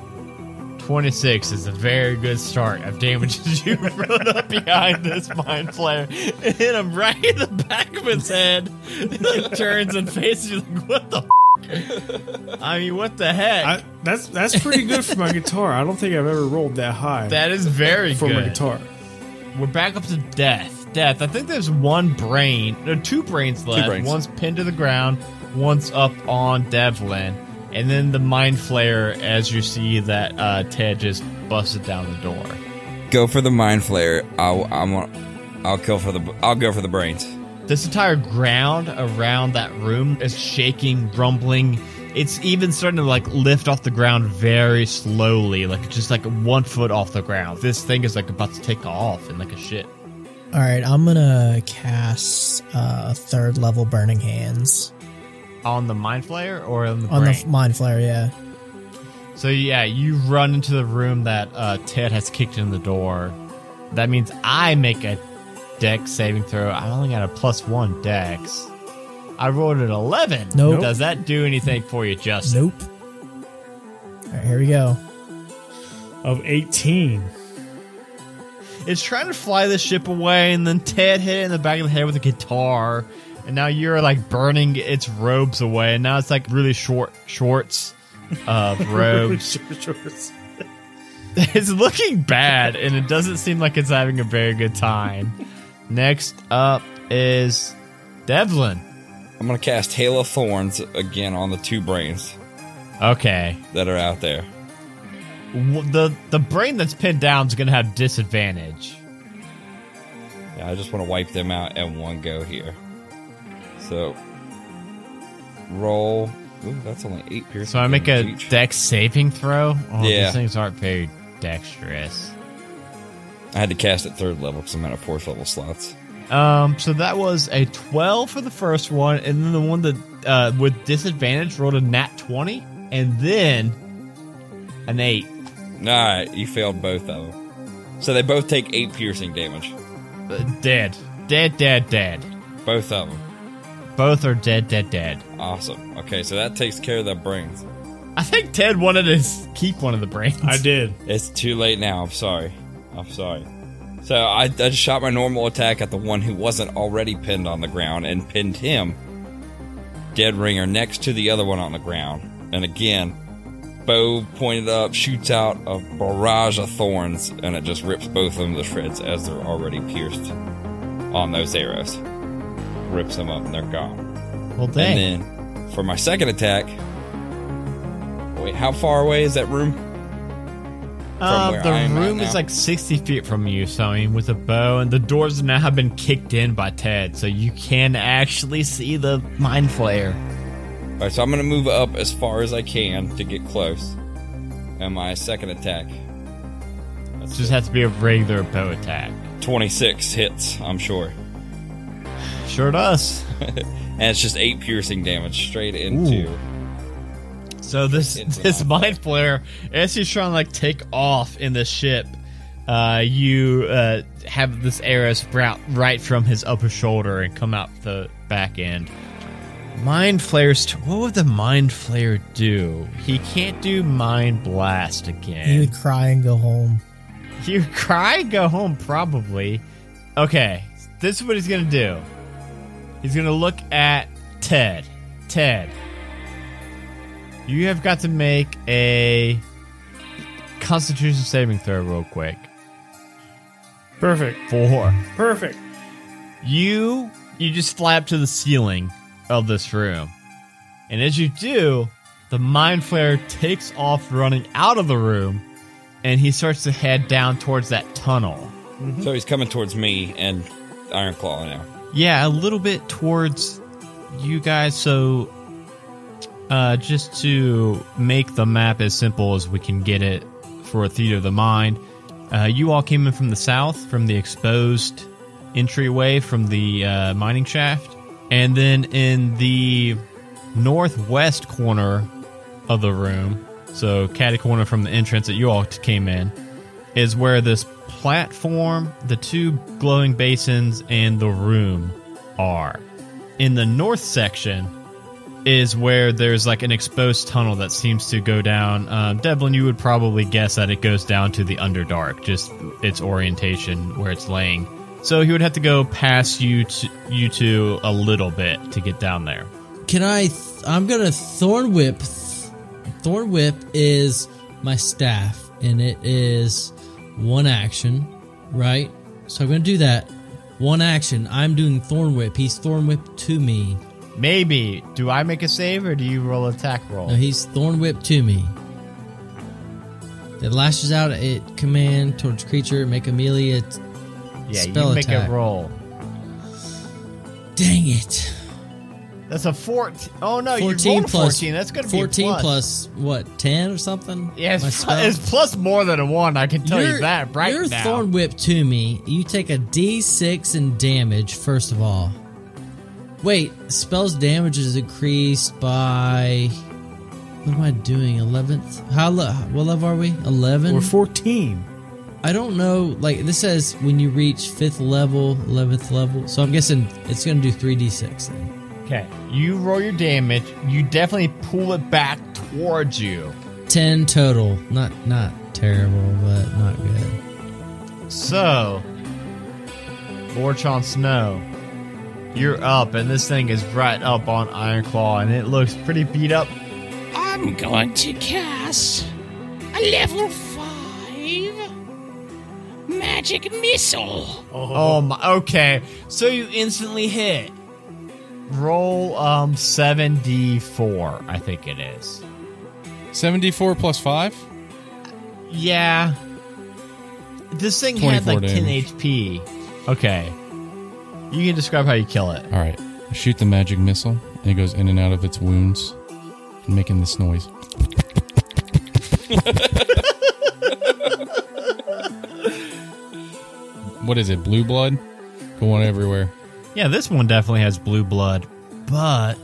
Speaker 1: 26 is a very good start of damage as you run up behind this mind flayer and hit him right in the back of his head. He like turns and faces you like, what the f-? I mean, what the heck?
Speaker 4: I, that's that's pretty good for my guitar. I don't think I've ever rolled that high
Speaker 1: that is very
Speaker 4: for
Speaker 1: good.
Speaker 4: my guitar.
Speaker 1: We're back up to death. Death. I think there's one brain, no, two brains left.
Speaker 7: brains.
Speaker 1: One's pinned to the ground, one's up on Devlin, and then the mind flayer as you see that uh, Ted just busted down the door.
Speaker 7: Go for the mind flare. I'll I'm on, I'll kill for the I'll go for the brains.
Speaker 1: This entire ground around that room is shaking, rumbling. It's even starting to like lift off the ground very slowly, like just like one foot off the ground. This thing is like about to take off and like a shit.
Speaker 2: All right, I'm gonna cast uh, a third level Burning Hands
Speaker 1: On the mind flayer or on the
Speaker 2: on
Speaker 1: brain?
Speaker 2: the Mind Flare. Yeah,
Speaker 1: so yeah, you run into the room that uh, Ted has kicked in the door. That means I make a deck saving throw. I only got a plus one dex. I rolled an eleven.
Speaker 2: Nope.
Speaker 1: Does that do anything for you, Justin?
Speaker 2: nope. All right, here we go.
Speaker 4: Of 18.
Speaker 1: It's trying to fly the ship away, and then Ted hit it in the back of the head with a guitar, and now you're like burning its robes away, and now it's like really short shorts of robes. it's looking bad, and it doesn't seem like it's having a very good time. Next up is Devlin.
Speaker 7: I'm gonna cast Hail of Thorns again on the two brains
Speaker 1: Okay,
Speaker 7: that are out there.
Speaker 1: W- the the brain that's pinned down is gonna have disadvantage.
Speaker 7: Yeah, I just want to wipe them out at one go here. So roll. Ooh, that's only eight piercing.
Speaker 1: So I make a
Speaker 7: damage each.
Speaker 1: dex saving throw. Oh,
Speaker 7: Yeah.
Speaker 1: these things aren't very dexterous.
Speaker 7: I had to cast at third level because I'm out of fourth level slots.
Speaker 1: Um, so that was a 12 for the first one, and then the one that uh, with disadvantage rolled a nat 20, and then an 8.
Speaker 7: All right, you failed both of them. So they both take eight piercing damage.
Speaker 1: Uh, Dead. Dead, dead, dead.
Speaker 7: Both of them.
Speaker 1: Both are dead, dead, dead.
Speaker 7: Awesome. Okay, so that takes care of the brains.
Speaker 1: I think Ted wanted to s- keep one of the brains.
Speaker 4: I did.
Speaker 7: It's too late now. I'm sorry. I'm sorry. So I, I just shot my normal attack at the one who wasn't already pinned on the ground and pinned him. Dead ringer next to the other one on the ground. And again, bow pointed up, shoots out a barrage of thorns, and it just rips both of them to shreds as they're already pierced on those arrows. Rips them up and they're gone.
Speaker 1: Well, dang.
Speaker 7: And then for my second attack. Wait, how far away is that room?
Speaker 1: Uh,
Speaker 7: where
Speaker 1: the
Speaker 7: I am at
Speaker 1: room
Speaker 7: now.
Speaker 1: is like 60 feet from you, so I mean, with a bow, and the doors now have been kicked in by Ted, so you can actually see the mind flare.
Speaker 7: Alright, so I'm gonna move up as far as I can to get close. And my second attack. That's
Speaker 1: Just has to be a regular bow attack.
Speaker 7: 26 hits, I'm sure.
Speaker 1: Sure does.
Speaker 7: And it's just eight piercing damage straight into
Speaker 1: So this
Speaker 7: It's
Speaker 1: this
Speaker 7: not
Speaker 1: mind flare, as he's trying to like take off in the ship, uh, you uh, have this arrow sprout right from his upper shoulder and come out the back end. Mind flares. T- what would the mind flare do? He can't do mind blast
Speaker 2: You
Speaker 1: again.
Speaker 2: would cry and go home.
Speaker 1: You cry, go home, probably. Okay, this is what he's gonna do. He's gonna look at Ted. Ted, you have got to make a Constitution saving throw real quick.
Speaker 4: Perfect.
Speaker 1: Four.
Speaker 4: Perfect.
Speaker 1: You you just fly up to the ceiling of this room, and as you do, the mind flare takes off running out of the room, and he starts to head down towards that tunnel.
Speaker 7: So he's coming towards me and Iron Claw now.
Speaker 1: Yeah, a little bit towards you guys. So, uh, just to make the map as simple as we can get it for a theater of the mind, uh, you all came in from the south, from the exposed entryway from the uh, mining shaft. And then in the northwest corner of the room, so catty corner from the entrance that you all t- came in, is where this platform, the two glowing basins, and the room are. In the north section is where there's like an exposed tunnel that seems to go down. Um, Devlin, you would probably guess that it goes down to the Underdark, just its orientation where it's laying. So he would have to go past you to, you two a little bit to get down there.
Speaker 5: Can I? Th I'm gonna thorn whip. Th thorn whip is my staff, and it is one action, right? So I'm gonna do that. One action. I'm doing thorn whip. He's thorn whip to me.
Speaker 1: Maybe. Do I make a save or do you roll attack roll?
Speaker 5: No, he's thorn whip to me. It lashes out at command towards creature. Make Amelia. T-
Speaker 1: yeah,
Speaker 5: spell
Speaker 1: you make
Speaker 5: attack.
Speaker 1: a roll.
Speaker 5: Dang it.
Speaker 1: That's a 14. Oh no, you
Speaker 5: 14
Speaker 1: rolled a
Speaker 5: plus
Speaker 1: 14. That's going to be a
Speaker 5: 14
Speaker 1: plus.
Speaker 5: plus what 10 or something
Speaker 1: Yeah,
Speaker 5: My
Speaker 1: it's, pl-
Speaker 5: spell?
Speaker 1: it's plus more than a one. I can tell you
Speaker 5: You're-
Speaker 1: that right
Speaker 5: you're
Speaker 1: now.
Speaker 5: thorn whip to me you take a d6 in damage first of all wait spells damage is increased by what am i doing 11th how le- what level are we 11
Speaker 4: We're 14.
Speaker 5: I don't know. Like this says, when you reach fifth level, eleventh level. So I'm guessing it's going to do three d six. then.
Speaker 1: Okay, you roll your damage. You definitely pull it back towards you.
Speaker 5: Ten total. Not not terrible, but not good.
Speaker 1: So, Lord Chon Snow, you're up, and this thing is right up on Ironclaw, and it looks pretty beat up.
Speaker 6: I'm going to cast a level 5 magic missile.
Speaker 1: Oh my. Okay, so you instantly hit. Roll um 7d4, I think it is.
Speaker 3: 74 plus 5?
Speaker 1: Yeah. This thing had
Speaker 3: 24
Speaker 1: like 10
Speaker 3: damage.
Speaker 1: HP. Okay. You can describe how you kill it.
Speaker 3: All right. I shoot the magic missile, and it goes in and out of its wounds, and making this noise. what is it? Blue blood? Going everywhere.
Speaker 1: Yeah, this one definitely has blue blood, but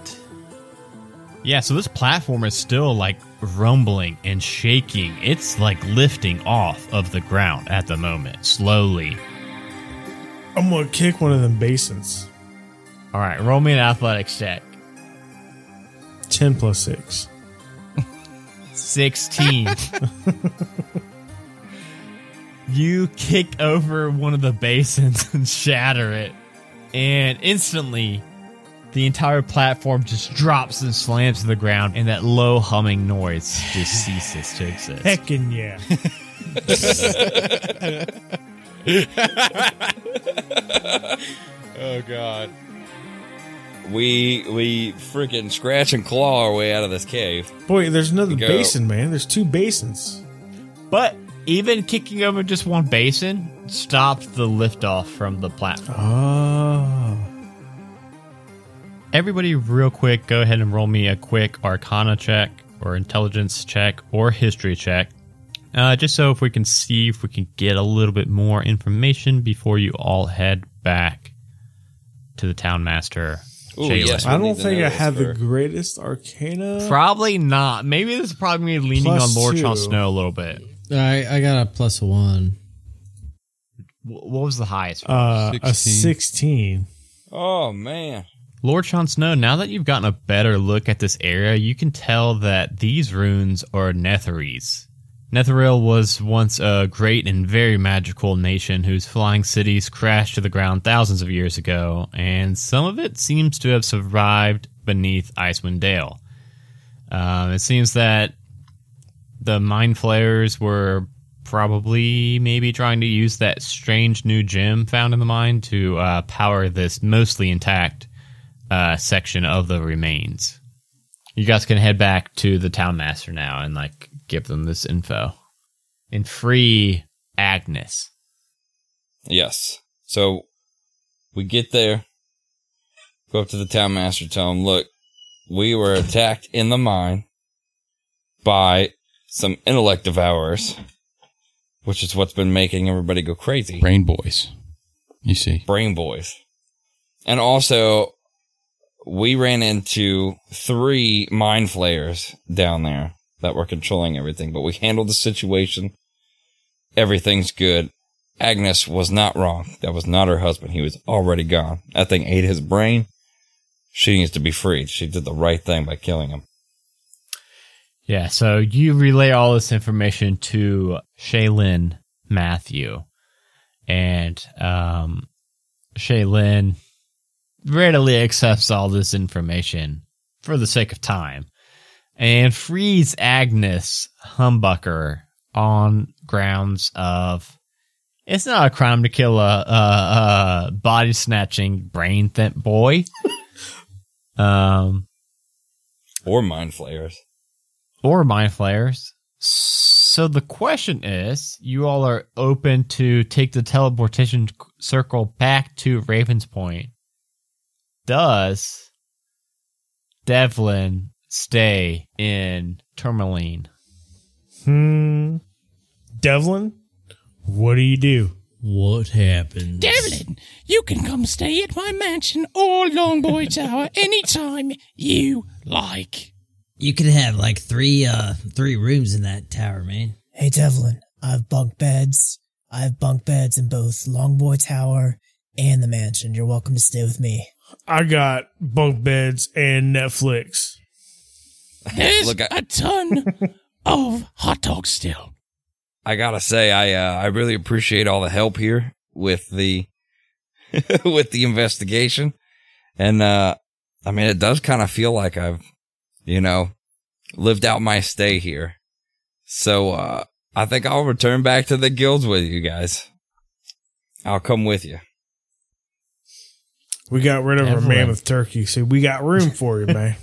Speaker 1: yeah, so this platform is still like rumbling and shaking. It's like lifting off of the ground at the moment, slowly.
Speaker 4: I'm going to kick one of them basins.
Speaker 1: All right, roll me an athletics check.
Speaker 4: 10 plus 6.
Speaker 1: 16. you kick over one of the basins and shatter it. And instantly, the entire platform just drops and slams to the ground, and that low humming noise just ceases to exist.
Speaker 4: Heckin' yeah.
Speaker 3: Oh, God.
Speaker 7: We we freaking scratch and claw our way out of this cave.
Speaker 4: Boy, there's another
Speaker 7: Go.
Speaker 4: basin, man. There's two basins.
Speaker 1: But even kicking over just one basin stopped the liftoff from the platform.
Speaker 4: Oh.
Speaker 1: Everybody, real quick, go ahead and roll me a quick Arcana check, or Intelligence check, or History check. Uh, just so if we can see if we can get a little bit more information before you all head back to the town master.
Speaker 7: Ooh,
Speaker 1: Jalen.
Speaker 7: yes.
Speaker 4: I
Speaker 7: We'll
Speaker 4: don't
Speaker 7: need to
Speaker 4: think
Speaker 7: know
Speaker 4: I
Speaker 7: this
Speaker 4: have the
Speaker 7: for-
Speaker 4: greatest arcana.
Speaker 1: Probably not. Maybe this is probably me leaning
Speaker 4: Plus
Speaker 1: on Lord
Speaker 4: two.
Speaker 1: Chon Snow a little bit.
Speaker 5: I I got a plus one.
Speaker 1: Wh- What was the highest?
Speaker 4: uh, a
Speaker 3: 16.
Speaker 4: 16.
Speaker 7: Oh man.
Speaker 1: Lord Chon Snow, now that you've gotten a better look at this area, you can tell that these runes are Netheries. Netheril was once a great and very magical nation whose flying cities crashed to the ground thousands of years ago, and some of it seems to have survived beneath Icewind Dale. Um, it seems that the mind flayers were probably maybe trying to use that strange new gem found in the mine to uh, power this mostly intact uh, section of the remains. You guys can head back to the town master now and like give them this info and free Agnes.
Speaker 7: Yes. So we get there, go up to the town master, tell him, look, we were attacked in the mine by some intellect devourers, which is what's been making everybody go crazy.
Speaker 3: Brain boys. You see.
Speaker 7: Brain Boys. And also, we ran into three mind flayers down there that were controlling everything, but we handled the situation. Everything's good. Agnes was not wrong. That was not her husband. He was already gone. That thing ate his brain. She needs to be freed. She did the right thing by killing him.
Speaker 1: Yeah, so you relay all this information to Shaylin Matthew. And um, Shaylin readily accepts all this information for the sake of time and frees Agnes Humbucker on grounds of it's not a crime to kill a, a, a body snatching, brain thent boy. um,
Speaker 7: Or mind flayers.
Speaker 1: or mind flayers. So the question is, you all are open to take the teleportation c- circle back to Raven's Point. Does Devlin stay in Tourmaline?
Speaker 4: Hmm. Devlin, what do you do?
Speaker 5: What happened?
Speaker 6: Devlin, you can come stay at my mansion or Longboy Tower anytime you like.
Speaker 5: You could have like three uh three rooms in that tower, man.
Speaker 2: Hey, Devlin, I have bunk beds. I have bunk beds in both Longboy Tower and the mansion. You're welcome to stay with me.
Speaker 4: I got bunk beds and Netflix.
Speaker 6: There's
Speaker 7: Look, I-
Speaker 6: a ton of hot dogs still.
Speaker 7: I gotta say, I uh, I really appreciate all the help here with the with the investigation, and uh, I mean, it does kind of feel like I've, you know, lived out my stay here. So uh, I think I'll return back to the guilds with you guys. I'll come with you.
Speaker 4: We got rid of our
Speaker 1: Devlin.
Speaker 4: mammoth turkey, so we got room for you, man.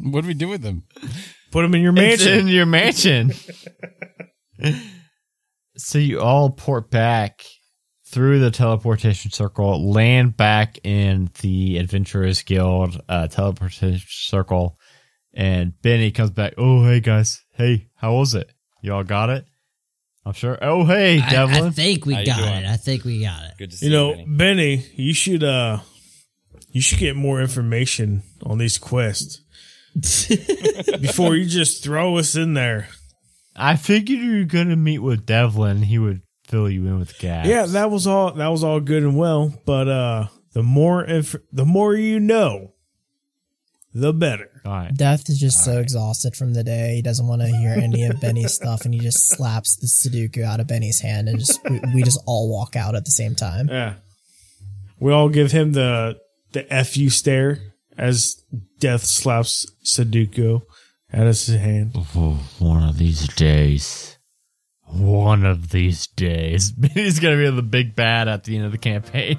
Speaker 3: What do we do with them?
Speaker 4: Put him in your
Speaker 1: It's
Speaker 4: mansion.
Speaker 1: in your mansion. so you all port back through the teleportation circle, land back in the Adventurers Guild uh, teleportation circle, and Benny comes back. Oh, hey guys, hey, how was it? Y'all got it? I'm sure. Oh, hey,
Speaker 5: I-
Speaker 1: Devlin.
Speaker 5: I, think we
Speaker 7: How you
Speaker 5: got
Speaker 7: doing?
Speaker 5: it. I think we got it.
Speaker 7: Good to see
Speaker 4: you
Speaker 7: you.
Speaker 4: know,
Speaker 7: Vinny.
Speaker 4: Benny, you should uh you should get more information on these quests before you just throw us in there.
Speaker 1: I figured you were gonna meet with Devlin. He would fill you in with gas.
Speaker 4: Yeah, that was all that was all good and well, but uh the more inf- the more you know, the better.
Speaker 1: all right.
Speaker 2: Death is just so exhausted from the day. He doesn't want to hear any of Benny's stuff, and he just slaps the Sudoku out of Benny's hand, and just we, we just all walk out at the same time.
Speaker 4: Yeah. We all give him the the fu stare as death slaps Sudoku out of his hand.
Speaker 1: Oh, one of these days. One of these days. He's going to be the big bad at the end of the campaign.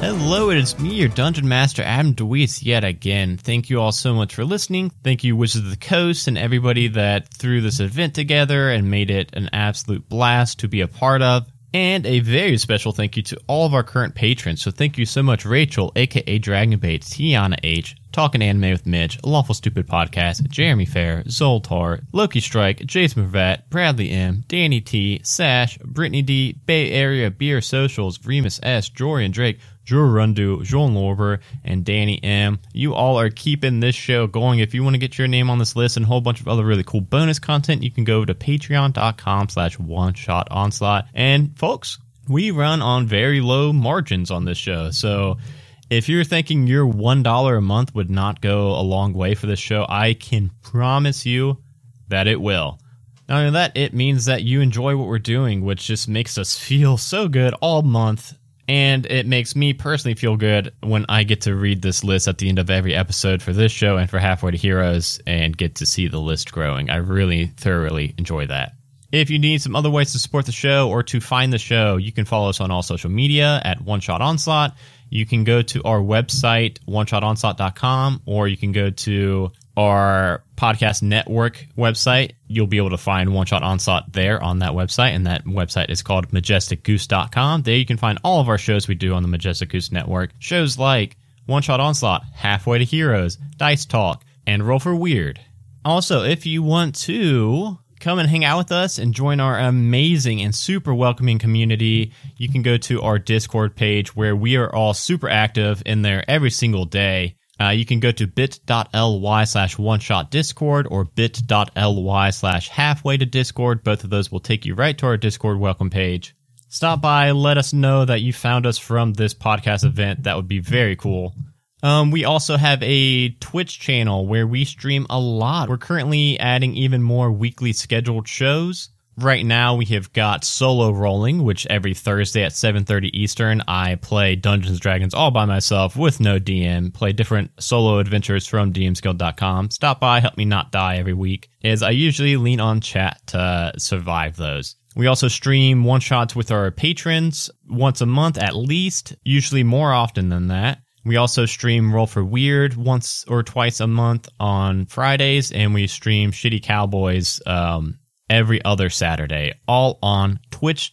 Speaker 1: Hello, it is me, your Dungeon Master, Adam DeWeese, yet again. Thank you all so much for listening. Thank you, Wizards of the Coast, and everybody that threw this event together and made it an absolute blast to be a part of. And a very special thank you to all of our current patrons. So thank you so much, Rachel, aka Dragonbait, Tiana H, Talking Anime with Midge, Lawful Stupid Podcast, Jeremy Fair, Zoltar, Loki Strike, Jason Mervat, Bradley M, Danny T, Sash, Brittany D, Bay Area Beer Socials, Remus S, Jorian Drake, Drew Rundu, Joan Lorber, and Danny M. You all are keeping this show going. If you want to get your name on this list and a whole bunch of other really cool bonus content, you can go to patreon.com slash one shot onslaught. And folks, we run on very low margins on this show. So if you're thinking your $1 a month would not go a long way for this show, I can promise you that it will. Not only that, it means that you enjoy what we're doing, which just makes us feel so good all month And it makes me personally feel good when I get to read this list at the end of every episode for this show and for Halfway to Heroes and get to see the list growing. I really thoroughly enjoy that. If you need some other ways to support the show or to find the show, you can follow us on all social media at One Shot Onslaught. You can go to our website, oneshotonslaught.com, or you can go to our podcast network website. You'll be able to find One Shot Onslaught there on that website, and that website is called majesticgoose.com. There you can find all of our shows we do on the Majestic Goose Network. Shows like One Shot Onslaught, Halfway to Heroes, Dice Talk, and Roll for Weird. Also, if you want to come and hang out with us and join our amazing and super welcoming community, you can go to our Discord page where we are all super active in there every single day. Uh, you can go to bit.ly slash one shot discord or bit.ly slash halfway to discord. Both of those will take you right to our Discord welcome page. Stop by, let us know that you found us from this podcast event. That would be very cool. Um, we also have a Twitch channel where we stream a lot. We're currently adding even more weekly scheduled shows. Right now, we have got solo rolling, which every Thursday at 7:30 Eastern, I play Dungeons and Dragons all by myself with no DM. Play different solo adventures from DMSguild.com. Stop by, help me not die every week, as I usually lean on chat to survive those. We also stream one shots with our patrons once a month at least, usually more often than that. We also stream Roll for Weird once or twice a month on Fridays, and we stream Shitty Cowboys um, every other Saturday, all on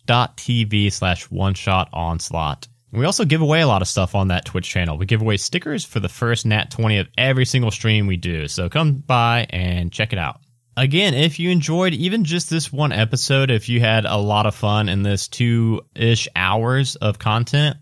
Speaker 1: twitch.tv slash one shot onslaught. And We also give away a lot of stuff on that Twitch channel. We give away stickers for the first Nat 20 of every single stream we do, so come by and check it out. Again, if you enjoyed even just this one episode, if you had a lot of fun in this two ish hours of content,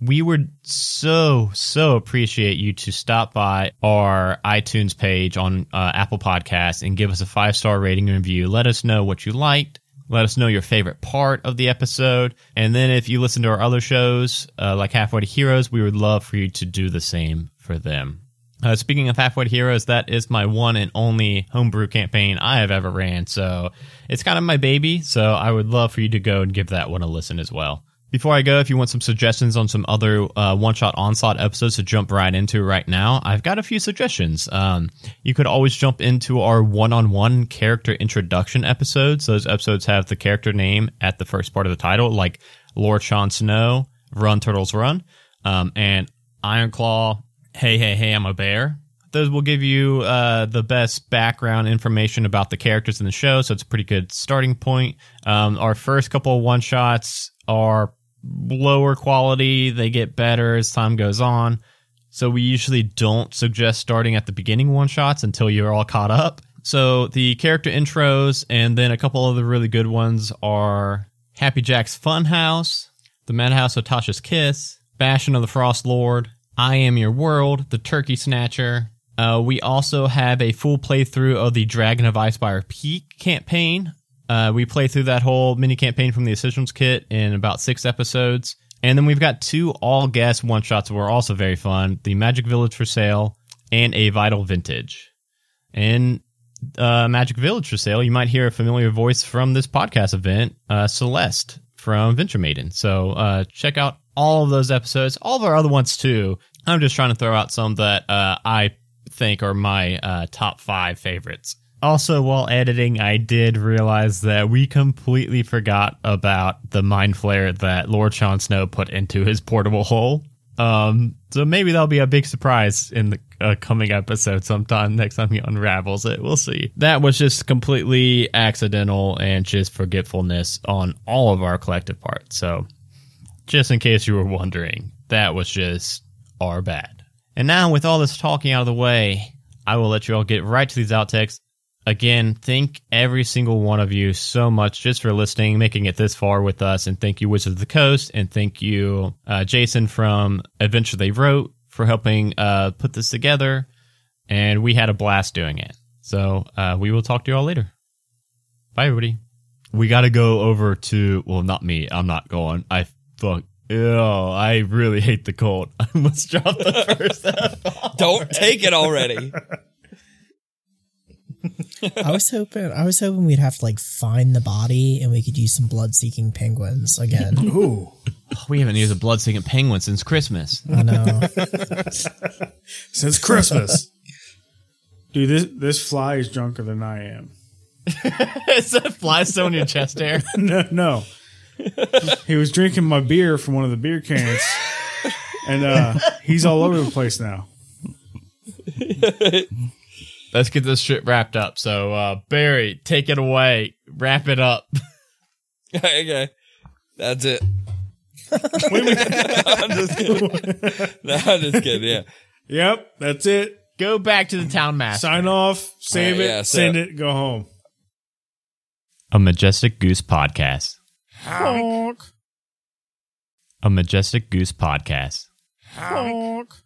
Speaker 1: we would so so appreciate you to stop by our itunes page on uh, apple Podcasts and give us a five star rating and review let us know what you liked let us know your favorite part of the episode and then if you listen to our other shows uh, like halfway to heroes we would love for you to do the same for them uh, speaking of Halfway to Heroes, that is my one and only homebrew campaign I have ever ran, so it's kind of my baby. So I would love for you to go and give that one a listen as well. Before I go, if you want some suggestions on some other uh, one shot onslaught episodes to jump right into right now, I've got a few suggestions. Um, you could always jump into our one on one character introduction episodes. Those episodes have the character name at the first part of the title, like Lord Sean Snow, Run Turtles Run, um, and Iron Claw, Hey, Hey, Hey, I'm a Bear. Those will give you uh, the best background information about the characters in the show, so it's a pretty good starting point. Um, our first couple of one shots are lower quality, they get better as time goes on. So we usually don't suggest starting at the beginning one shots until you're all caught up. So the character intros and then a couple other really good ones are Happy Jack's Funhouse, The Madhouse of Tasha's Kiss, Bastion of the Frost Lord, I Am Your World, The Turkey Snatcher. Uh, we also have a full playthrough of the Dragon of Icefire Peak campaign. Uh, we play through that whole mini campaign from the Essentials Kit in about six episodes. And then we've got two all guest one shots that were also very fun the Magic Village for Sale and a Vital Vintage. In uh, Magic Village for sale, you might hear a familiar voice from this podcast event, uh, Celeste from Venture Maiden. So uh, check out all of those episodes, all of our other ones too. I'm just trying to throw out some that uh, I think are my uh, top five favorites. Also, while editing, I did realize that we completely forgot about the mind flare that Lord Sean Snow put into his portable hole. Um, so maybe that'll be a big surprise in the uh, coming episode sometime next time he unravels it. We'll see. That was just completely accidental and just forgetfulness on all of our collective parts. So, just in case you were wondering, that was just our bad. And now, with all this talking out of the way, I will let you all get right to these outtakes. Again, thank every single one of you so much just for listening, making it this far with us. And thank you, Wizards of the Coast. And thank you, uh, Jason from Adventure They Wrote, for helping uh, put this together. And we had a blast doing it. So uh, we will talk to you all later. Bye, everybody. We got to go over to, well, not me. I'm not going. I fuck. Ew, I really hate the cold. I must drop the first F.
Speaker 7: Don't take it already.
Speaker 2: I was hoping I was hoping we'd have to like find the body and we could use some blood seeking penguins again.
Speaker 4: Ooh,
Speaker 1: Oh, We haven't used a blood-sucking penguin since Christmas.
Speaker 2: I know.
Speaker 4: since Christmas. Dude, this this fly is drunker than I am.
Speaker 1: Is that fly still in your chest hair?
Speaker 4: No, no. he was drinking my beer from one of the beer cans, and uh, he's all over the place now.
Speaker 1: Let's get this shit wrapped up. So, uh, Barry, take it away. Wrap it up.
Speaker 7: okay. That's it. I'm just kidding. No, I'm just kidding. Yeah.
Speaker 4: Yep, that's it.
Speaker 1: Go back to the town master.
Speaker 4: Sign off, save
Speaker 7: Alright,
Speaker 4: it,
Speaker 7: yeah, so-
Speaker 4: send it, go home.
Speaker 1: A Majestic Goose Podcast.
Speaker 4: Honk,
Speaker 1: A Majestic Goose Podcast.
Speaker 4: honk.